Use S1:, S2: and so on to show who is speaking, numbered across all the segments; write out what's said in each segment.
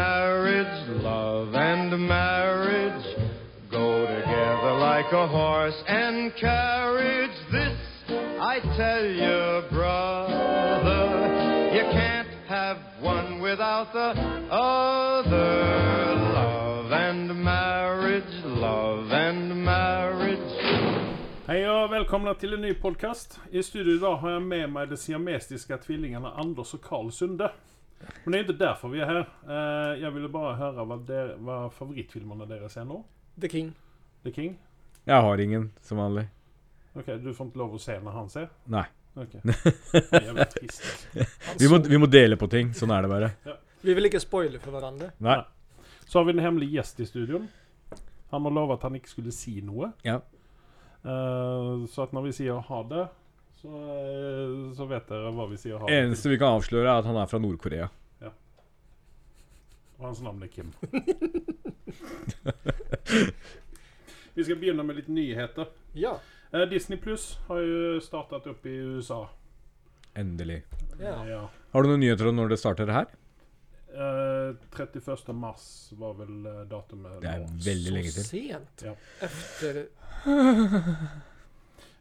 S1: marriage, love and marriage go together like a horse and carriage. This I tell you, brother, you can't have one without the other. Love and marriage, love and marriage.
S2: Hej och välkomna till en ny podcast. I studion idag har jag med mig de siamesiska tvillingarna Anders och Karl Sunde. Men det är inte därför vi är här. Eh, jag ville bara höra vad, der, vad favoritfilmerna deras är nu.
S3: The King.
S2: The King?
S4: Jeg har ingen, som vanlig.
S2: Okej, du får inte lov att se när han ser.
S4: Nej.
S2: Okej. Fan, Jävligt trist.
S4: Vi må, vi må dele på ting. Sånn er det bare.
S3: Vi vill inte spoila för varandra.
S4: Nei.
S2: Så har vi en hemlig gäst i studion. Han har lovat att han inte skulle si noe.
S4: Ja.
S2: Eh, så att när vi säger ha det så, eh, så vet dere vad vi säger ha det.
S4: Eneste vi kan avsløre, er at han er fra Nord-Korea.
S2: Och hans namn är Kim. Vi ska begynna med lite nyheter.
S3: Ja.
S2: Eh, Disney Plus har ju startat upp i USA.
S4: Endelig.
S3: ja.
S2: Ja.
S4: Har du noen nyheter om når det starter her?
S2: Eh, 31 mars var väl eh, datumet.
S4: Det er
S2: då.
S4: veldig lenge
S3: Så
S4: til.
S3: sent.
S2: Ja.
S3: Efter...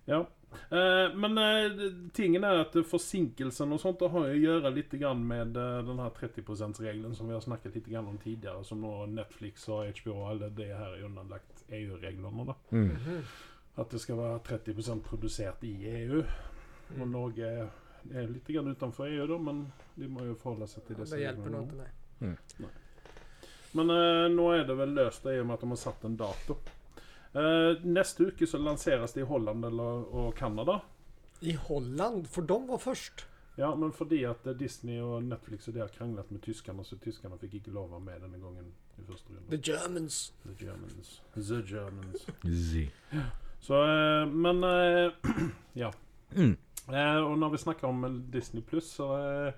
S2: Ja. Eh, men eh, tingen är att eh, försinkelsen och sånt har ju att göra lite grann med eh, den här 30%-regeln som vi har snackat lite grann om tidigare. Som då Netflix och HBO och alla det här är undanlagt EU-reglerna då.
S4: Mm.
S2: Att det ska vara 30% producerat i EU. Och
S3: Mm.
S2: några är- är lite grann utanför EU då men det må ju förhålla sig till det.
S3: Det
S2: som
S3: hjälper
S2: gäller.
S3: nog inte. Nej.
S2: Men eh, nå er det vel løst i og med at de har satt en dato. Eh, neste uke så lanseres det i Holland eller, og Canada.
S3: I Holland, för de var först.
S2: Ja, men fordi at eh, Disney og Netflix og de har kranglet med tyskerne, så tyskerne fikk ikke lov å være med denne gangen i første
S3: The
S2: runde.
S3: Germans.
S2: The Germans. The Germans.
S4: Zi.
S2: Så, eh, men eh, Ja.
S4: Mm.
S2: Eh, og når vi snakker om eh, Disney pluss, så eh,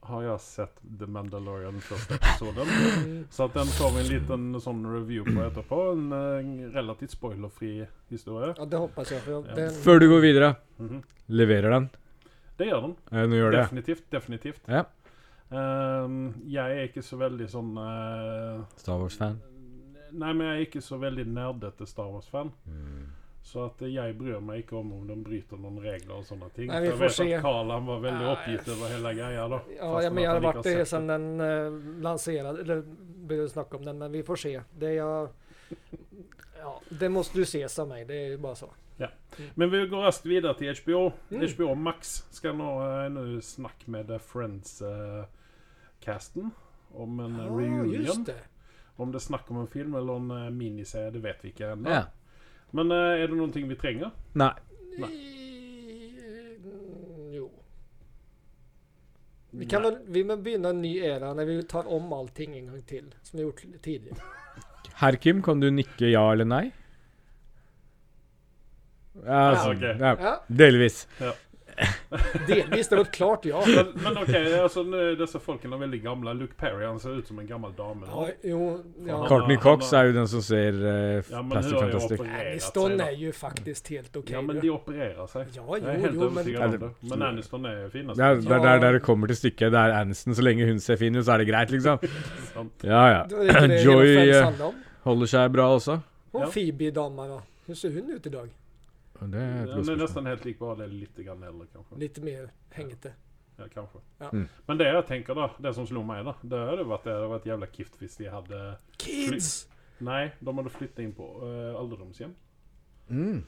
S2: har jeg sett The Mandalorian første episoden. Så at den får vi en liten sånn review på etterpå. En, eh, en relativt spoilerfri historie.
S3: Ja, det hoppas jag. För jag den...
S4: Før du går videre,
S2: Mhm.
S4: leverer den.
S2: Det gjør den.
S4: Eh, Nå gjør det.
S2: Definitivt. definitivt.
S4: Ja.
S2: Eh, jeg er ikke så veldig sånn eh,
S4: Star Wars-fan.
S2: Nei, men jeg er ikke så veldig nerdete Star Wars-fan.
S4: Mm.
S2: Så at jeg bryr meg ikke om om de bryter noen regler og sånne ting.
S3: Nei, vi
S2: For jeg
S3: får
S2: vet
S3: se.
S2: at Carl han var veldig
S3: Nei.
S2: oppgitt over hele greia da.
S3: Ja,
S2: Fastän
S3: ja, men
S2: at
S3: jag har
S2: han ikke
S3: varit
S2: har
S3: det
S2: sett
S3: sedan den eh, lanserade, eller blev det snack om den, men vi får se. Det jag... Ja, det måste du ses av mig, det är ju bara så.
S2: Men vi går raskt videre til HBO.
S3: Mm.
S2: HBO Max skal nå eh, nå snakke med eh, Friends-casten om en eh,
S3: Ja,
S2: reunion.
S3: just det.
S2: Om det er snakk om en film eller en eh, miniserie, det vet vi ikke ennå.
S4: Ja.
S2: Men eh, er det noe vi trenger?
S4: Nei.
S3: Mm, Jo. Vi kan väl, vi må begynne en ny era när vi tar om allting en gång till, som vi gjort tidigare.
S4: Herr Kim, kan du nikke ja eller nei? Ja,
S2: Ja,
S4: sånn.
S2: ok.
S4: ja.
S3: Ja,
S4: Delvis.
S3: delvis, det var ett klart ja.
S2: Men, men alltså, ok, altså, nå er disse folkene er veldig gamle. Luke Perry han ser ut som en gammel dame. nå.
S3: ja jo, ja.
S2: Karl-
S4: Courtney
S2: han
S4: Cox
S2: har-
S4: er jo den som ser eh,
S2: Ja, men
S4: Plastic
S2: hun har jo
S4: Fantastic.
S2: operert seg.
S3: Aniston
S2: da.
S3: är ju faktiskt helt okej.
S2: alltså, Ja, men de opererer seg.
S3: Ja,
S2: Jeg er
S3: jo,
S2: helt
S3: jo, men
S2: overtygad om
S4: Ja,
S2: det.
S4: det-
S2: Men Aniston er finest.
S4: Det er det er der,
S3: Ja.
S4: det kommer til stykket. Det er Aniston. Så lenge hun ser fin ut, så er det greit, liksom.
S2: Sant.
S4: Ja,
S3: det var inte
S4: ja.
S3: det Joy,
S4: Joy
S3: hela
S4: eh,
S3: Friends handlade om.
S4: holder seg bra også.
S3: Hon
S2: ja.
S3: Phoebe damen va? Hur ser hon ut idag?
S4: Det er et
S2: Den
S4: godt
S2: er
S4: spørsmål.
S2: nesten helt lik, bare det er litt grann eldre, kanskje.
S3: Lite mer hängete.
S2: Ja, kanskje.
S3: Ja.
S4: Mm.
S2: Men det jeg tenker da, det som slo meg da, det hadde vært det hadde vært jævla kift hvis de hadde
S3: Kids!
S2: Nei, de hadde flyttet inn på uh, alderdomshjem.
S4: Mm.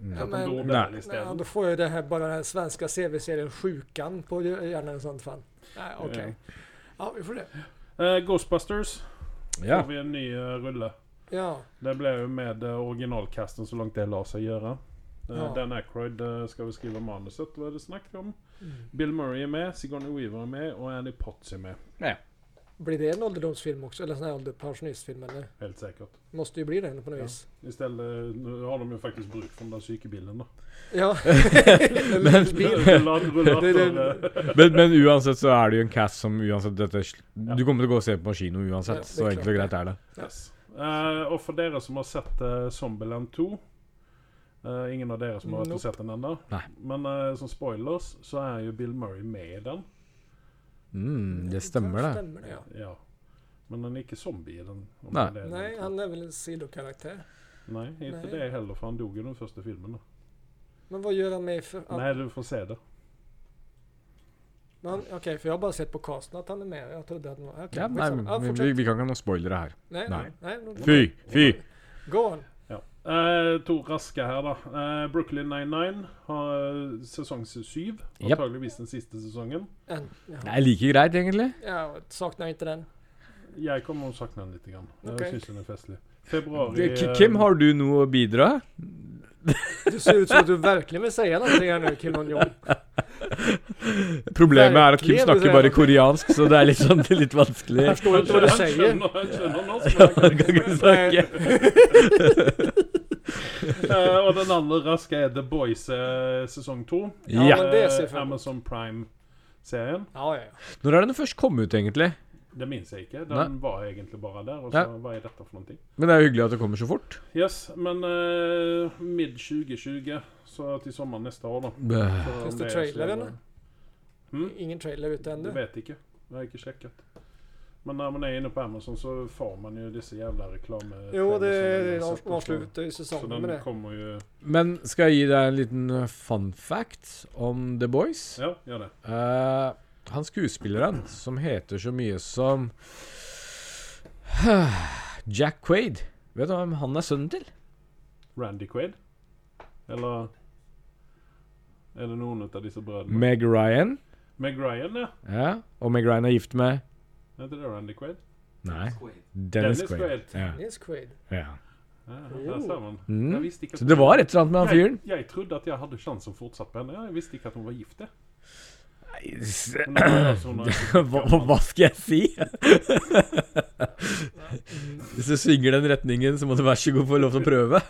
S3: Ja,
S2: At de
S3: men,
S2: bor
S4: Nei.
S2: der
S3: ja,
S2: isteden.
S3: då får jag det här, bara den här svenska CV-serien Sjukan på hjärnan i sånt fall. Nej, okej. Ja, vi får det.
S2: Eh, Ghostbusters
S4: Ja.
S2: får vi en ny eh, rulle.
S3: Ja.
S2: Det ble jo med uh, originalkasten så langt det lar seg gjøre. Eh,
S3: Ja.
S2: Dan Aykroyd eh, skal jo skrive manuset, hva er det snakk om? Bill Murray er med, Sigourney Weaver er med, og Annie Potts er med.
S3: Blir det en ålderdomsfilm också? Eller en sån här ålder- pensionistfilm eller?
S2: Helt sikkert.
S3: Måste ju bli det på något
S2: Ja.
S3: vis.
S2: I stedet nå har de jo faktisk bruk for den der sykebilen, da.
S3: Ja. Bil.
S2: Ruller, ruller,
S3: Det- det-
S2: etter, eh,
S4: Men, men uansett så er det jo en cast som uansett dette, Du kommer til å gå og se på kino uansett,
S3: Ja, det er
S4: så enkelt og
S3: klart.
S4: greit er det.
S2: Yes. Eh, og for dere som har sett eh, Zombieland 2 eh, Ingen av dere som har vært og
S3: Nope.
S2: sett den ennå.
S4: Nei.
S2: Men eh, som spoilers så er jo Bill Murray med i den.
S4: Mm, det stemmer, det.
S3: Stämmer det ja.
S2: Ja. Men han är inte zombie i den. om
S4: Nej.
S2: det är det.
S3: Nej, han är väl en sidokaraktär.
S2: Nej, inte
S3: Nej.
S2: det heller för han dog i den första filmen. Då.
S3: Men vad gör han med för... att-
S2: Nej, du får se det.
S3: men- Okej, för jag har bara sett på casten att han är med. Jag trodde att han var... Okej,
S4: Ja, nej,
S3: skitsamma. ja,
S4: men
S3: fortsätt.
S4: vi, vi kan inte ha spoilere här.
S3: nej, nej.
S4: nej.
S3: nej, nej
S4: Fy, fy!
S3: Gå on.
S2: Ja. Eh, to raska här då. Eh, Brooklyn 99 har eh, säsong 7.
S4: Japp.
S2: Antagligen den sista säsongen.
S3: En, ja.
S4: Det er like greit, egentlig.
S3: ja, saknar inte den.
S2: Jag kommer att sakna den lite grann.
S3: Okej.
S2: Jag syns den är festlig. Februari...
S4: Det, K-
S2: eh,
S4: Kim, har du noe å bidra?
S3: Du ser ut som att du verkligen vill säga någonting här nu, Kim Jong.
S4: Problemet er at Kim
S3: Virkelig,
S4: snakker
S3: det er
S4: bare
S3: det.
S4: koreansk, så det er litt sånn det er litt vanskelig.
S3: Jag förstår inte vad du
S2: han
S3: säger.
S2: känner- han känner någon som
S4: Han kan
S2: verkar-
S4: ikke snakke.
S2: Eh, Och den andra raska är The Boys eh, säsong 2.
S3: Ja,
S4: Ja.
S3: men det ser jag fram emot.
S2: Amazon Prime-serien.
S3: Ja, ja, ja.
S4: Når er den først kommet ut, egentlig?
S2: Det minns jag inte. Den
S4: Nej.
S2: var egentligen bara där. Och så,
S4: Ja.
S2: Vad är detta för någonting?
S4: Men det er jo hyggelig at det kommer så fort.
S2: Yes, men eh, mid 2020. Så till sommaren nästa år då.
S4: Bæh.
S2: Så om
S3: Finns det
S2: är
S3: trailer
S2: så-
S3: eller?
S2: Mm.
S3: Ingen trailer ute
S2: Det
S3: ännu.
S2: vet inte. Jag har inte checkat. Men när man är inne på Amazon så får man ju dessa jävla reklam...
S3: Jo, det
S2: Så-
S3: är
S2: så-
S3: avslutet i
S2: Så
S3: säsongen med
S2: den
S3: det.
S2: kommer ju...
S4: Men skal jeg gi deg en liten eh, fun fact om The Boys?
S2: Ja, gör det.
S4: Eh, han skuespilleren som heter så mye som Jack Quaid. Vet du hvem han er sønnen til?
S2: Randy Quaid? Eller... Är det någon av dessa bröderna?
S4: Meg Ryan.
S2: Meg Ryan, ja.
S4: Ja. Og Meg Ryan er gift med
S2: Är inte det Randy Quaid?
S4: Nei,
S1: Quaid.
S4: Dennis,
S2: Dennis
S4: Quaid. Ja.
S3: Dennis Quaid.
S4: Ja.
S2: Ja, där ser man.
S4: Mm.
S2: Jag visste inte att
S4: Så det var et eller annet med han fyren.
S2: Jag, jag trodde att jag hade chansen fortsatt på henne. Jag visste inte att hon var gift det. Men
S4: Nei,
S2: det var alltså hon har-
S4: hva, hva skal jeg si? Hvis du svinger den retningen, så må du vær så god få lov til å prøve.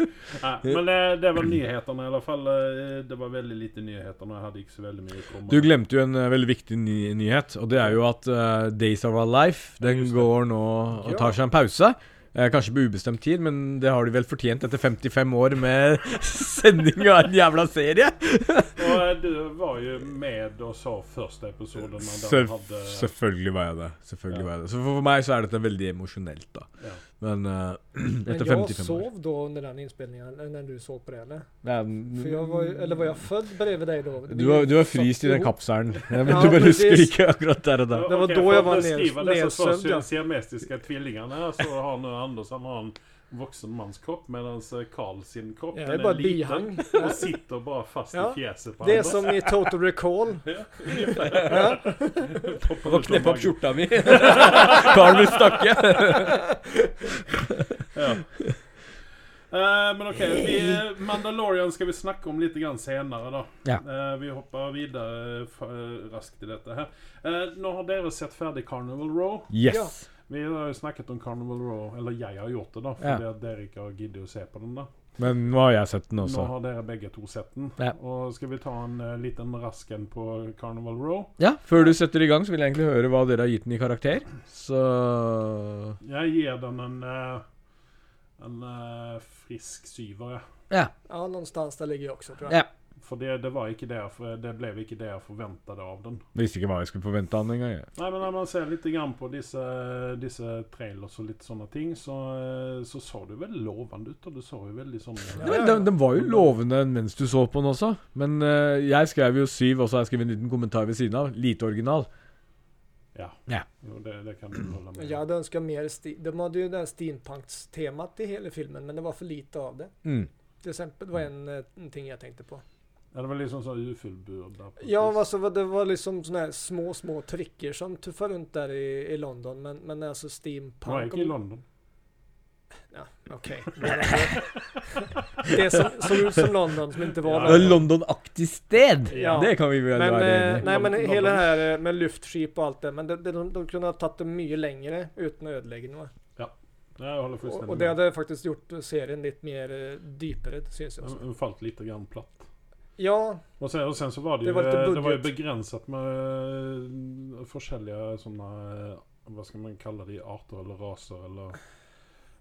S2: Nej, Men eh, det var nyheterna i alla fall. Eh, Det var väldigt lite nyheter och jag hade inte så väldigt mycket att komma
S4: Du glemte jo en eh, veldig viktig ny nyhet, og det er jo at eh, Days of Our Life den
S2: just det.
S4: går nå og tar seg en pause. Eh, kanskje på ubestemt tid, men det har de vel fortjent etter 55 år med sending av en jævla serie.
S2: Och eh, du var ju med og sa första episoden när de
S4: Selv-
S2: hade...
S4: selvfølgelig var jeg det. Selvfølgelig
S2: Ja.
S4: var jeg det. Så for, for meg så er dette veldig emosjonelt, da.
S2: Ja.
S4: Men eh,
S3: Men jag
S4: etter 55 år
S3: sov då under den inspelningen, eller när du såg på det eller?
S4: Ja,
S3: För jag var ju, eller var jag född bredvid dig då?
S4: Mm. du var, du var fryst i den kapselen. Ja, men du bare
S3: precis.
S4: husker ikke akkurat der og da.
S3: Det var
S2: Okej,
S3: då
S2: för
S3: jag
S2: att
S3: var
S2: beskriva
S3: ned-
S2: dessa två
S3: nedsövd, ja.
S2: siamesiska tvillingarna här, så har nu Anders han har en vuxen mans kropp medan Karl sin kropp
S3: Ja,
S2: den
S3: det är bara
S2: liten
S3: bihang.
S2: och sitter bara fast
S3: Ja,
S2: i fjäset på
S3: Det är
S2: Anders.
S3: som i Total Recall.
S2: Poppar ut
S4: Og
S2: ur
S4: kneppe opp
S2: magen.
S4: skjorta mi. Karen vil snakke.
S2: Eh, men okej, vi, eh, Mandalorian ska vi snacka om lite grann senare då.
S4: Ja.
S2: Eh, vi hoppar vidare uh, raskt i detta här. Eh, nu har dere sett färdig Carnival Row.
S4: Yes.
S2: Vi har ju snackat om Carnival Row, eller jag har gjort det då, för
S4: Ja.
S2: det är att Derek har giddat att se på den där.
S4: Men nå har jeg sett den
S2: Nu
S4: også.
S2: har dere bägge två sett den.
S4: Ja.
S2: Och ska vi ta en eh, liten rasken på Carnival Row?
S4: Ja, før du setter i gang, så vil jeg egentlig høre hva dere har gitt den i karakter. Så
S2: Jag ger den en, eh, en eh, frisk syvare.
S4: Ja.
S3: Ja, någonstans där ligger jag också tror
S4: Ja.
S3: jag.
S2: För det, det var inte det, jag för, det blev inte det jag förväntade av den.
S4: Jeg visste ikke hva jeg skulle forvente av den engang. jeg.
S2: Nej men när man ser lite grann på dessa, dessa trailers och lite sådana ting så, eh, så såg det veldig lovande ut och det såg ju väldigt sån...
S4: Ja, men den, den var jo lovende mens du så på den også. Men eh, jeg skrev jo syv, og så har jeg skrevet en liten kommentar ved siden av. Lite original.
S2: Ja.
S4: Ja.
S2: Jo, det, det kan du hålla
S3: Men
S2: med
S3: jag
S2: om.
S3: hade önskat mer sti- De hade ju det här steampunks-temat i hela filmen, men det var för lite av det.
S4: Mm.
S3: Till exempel det var en, eh, en ting jag tänkte på.
S2: Ja, det var liksom så ufullbordad. på ett
S3: Ja,
S2: vis.
S3: alltså, vad- det var liksom såna här små, små tricker som tuffar runt där i, i London, men, men alltså
S2: Men Jag
S3: steampunk...
S2: gick i London.
S3: Ja, okej. det som såg ut som London, som inte var
S2: Ja,
S4: Det er
S3: London.
S4: London-aktig sted!
S3: Ja.
S4: Det kan vi vel
S3: Men,
S4: være
S3: eh,
S4: enig i.
S3: nej, men
S2: London.
S3: hela det här eh, med luftskip och allt det, men det, det, de, de kunde ha tagit det mycket längre utan att ödelägga något.
S2: Nej, jag håller
S3: Och,
S2: fullständigt
S3: och det hade faktiskt gjort serien lite mer eh, djupare, syns jag.
S2: Den fallit lite grann platt.
S3: Ja,
S2: Och sen, och sen så var det,
S3: Det
S2: ju,
S3: var lite
S2: eh, det var ju
S3: budget.
S2: begränsat med eh, att försälja sådana, eh, vad ska man kalla det, arter eller raser eller...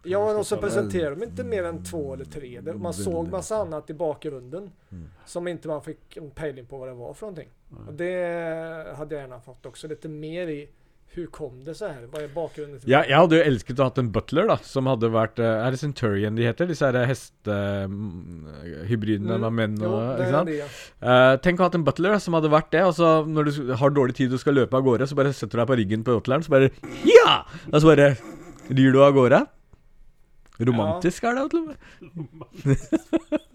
S3: Ja,
S2: man
S3: och så
S2: stoppa den?
S3: presenterade de inte mer än två eller tre. Det- Man såg massa annat i bakgrunden
S4: Mm.
S3: som inte man fick en pejling på vad det var för någonting.
S2: Nej.
S3: Och det hade jag gärna fått också lite mer i Hur kom det så här? Vad är bakgrunden till
S4: Ja, jeg hadde jo elsket å hatt en butler, da, som hadde vært eh, Er det Centurion de eh, heter? Disse her hestehybridene
S3: Mm.
S4: av menn
S3: det?
S4: og
S3: Jo, det
S4: Ikke
S3: är
S4: sant?
S3: det.
S4: Eh, tenk å ha hatt en butler da, som hadde vært det, og så når du s- har dårlig tid og skal løpe av gårde, så bare setter du deg på ryggen på butleren, så bare Ja! Og så bare rir du av gårde. Romantisk er det, til og med.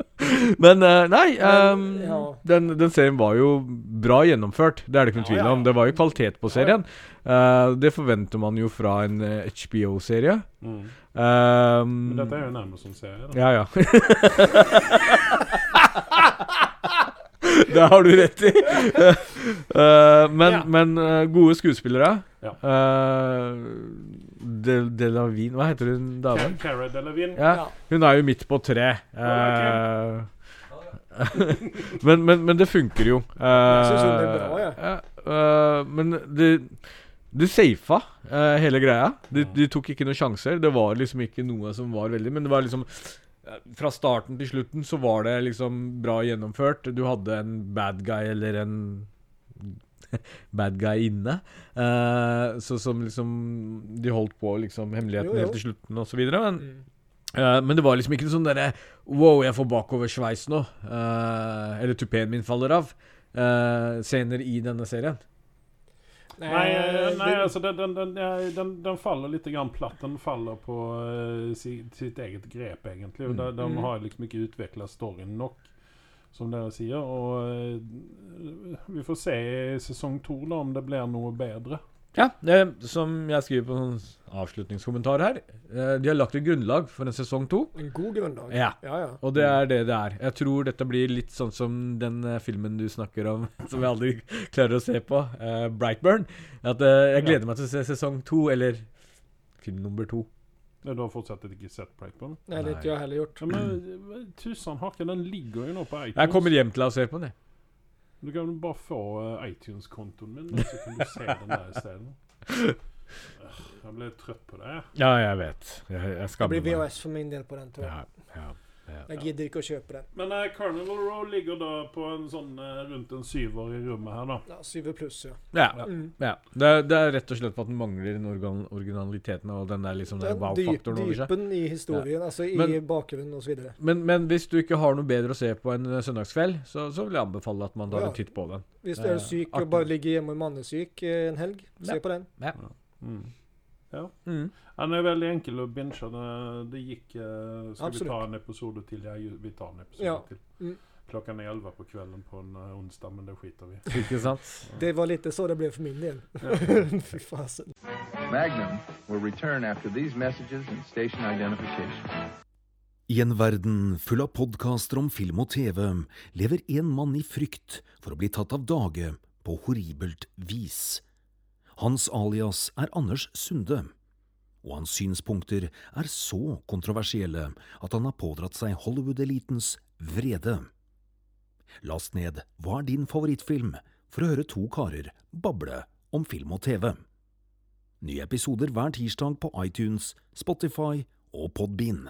S4: Men eh, nei,
S3: Men,
S4: eh,
S3: ja.
S4: den, den serien var jo bra gjennomført. Det er det ikke noen
S3: Ja,
S4: tvil
S3: ja,
S4: om. Det var jo kvalitet på serien. Eh, det forventer man jo fra en eh, HBO-serie.
S2: Mm. Men dette
S4: Um,
S2: är ju en Amazon-serie. då.
S4: ja, ja. det har du rett i. Eh, men
S3: Ja.
S4: men eh, gode skuespillere.
S2: Ja.
S4: Eh, Del Delavine Hva heter hun damen?
S2: Car- Cara Delevingne.
S4: Ja.
S3: Ja.
S4: Hun er jo midt på treet.
S2: Ja,
S4: Eh, men, men, men det funker jo. eh,
S3: Jeg synes hun er bra,
S4: ja. eh, men det du safa eh, hele greia. Du,
S3: Mm.
S2: Ja.
S4: du tok ikke noen sjanser. Det var liksom ikke noe som var veldig Men det var liksom eh, Fra starten til slutten så var det liksom bra gjennomført. Du hadde en bad guy eller en bad guy inne. Eh, så som liksom De holdt på liksom hemmeligheten
S3: Jo, jo.
S4: helt til slutten og så videre. Men
S3: Mm.
S4: Eh, men det var liksom ikke noe sånn derre Wow, jeg får bakoversveis nå. Eh, eller tupeen min faller av. eh, senere i denne serien.
S2: Nej, eh, nej
S3: det-
S2: alltså den, den, den, ja, den, den faller lite grann platt. Den faller på eh, si, sitt eget grep egentligen.
S4: Mm.
S2: Där, de
S3: Mm.
S2: har liksom mycket utvecklat storyn nog. Som dere sier. Og eh, vi får se i sesong to da, om det blir noe bedre.
S4: Ja, det, som jeg skriver på en sånn avslutningskommentar her eh, De har lagt et grunnlag for en sesong to.
S3: En god grundlag.
S4: Ja.
S3: Ja, ja.
S4: Og det er det det er. Jeg tror dette blir litt sånn som den eh, filmen du snakker om, som jeg aldri klarer å se på, eh, 'Brightburn'. At eh, jeg
S2: Ja.
S4: gleder meg til å se sesong to, eller film nummer to.
S2: Du har fortsatt ikke sett Breakbone?
S3: Nej, det har inte jag heller gjort.
S2: Ja, men tusen hakke, den ligger jo nå på iTunes.
S4: Jeg kommer hjem til deg og ser på den, jeg.
S2: Du kan jo bare få eh, iTunes-kontoen min, da, så kan du se den der isteden. Øh, Jeg ble trøtt på det. jeg.
S4: Ja, jeg vet. Jeg, jeg
S3: Det blir
S4: skammer meg.
S3: VHS för min del på den tror jag.
S4: Ja, ja.
S3: Jag gidder inte att köpa den.
S2: Men eh, Carnival Row ligger da på en sånn eh, rundt en syver i rommet her, da.
S3: Ja, Syver plus ja.
S4: Ja.
S3: Mm.
S4: ja. Det, er, det er rett og slett på at den mangler den organ originaliteten og den der liksom der
S3: Den dyp,
S4: wow-faktoren over seg.
S3: dypen i historien, altså i
S4: Men-
S3: bakgrunnen og så videre.
S4: Men, men hvis du ikke har noe bedre å se på en eh, søndagskveld, så, så vil jeg anbefale at man tar
S3: Ja.
S4: en titt på den.
S3: Hvis du
S4: Ja,
S3: er syk
S4: artig.
S3: og bare ligger hjemme og mannesyk eh, en helg, se
S4: Ja.
S3: på den.
S4: Mm.
S2: Den er veldig enkel å binge. Det- Det gikk eh, Skal
S3: Absolutt.
S2: vi ta en episode til? Ja, ju- vi tar en episode
S3: Ja.
S2: til.
S3: Mm.
S2: Klockan er elleve på kvelden på en eh, onsdag, men det skiter vi i.
S4: Ikke sant?
S3: Det var lite så det ble for min del. Fy fasen.
S5: Magnum will return after these messages and station identification.
S6: I en verden full av podkaster om film og TV lever en mann i frykt for å bli tatt av dage på horribelt vis. Hans alias er Anders Sunde, og hans synspunkter er så kontroversielle at han har pådratt seg Hollywood-elitens vrede. Last ned Hva er din favorittfilm? for å høre to karer bable om film og TV. Nye episoder hver tirsdag på iTunes, Spotify og Podbean.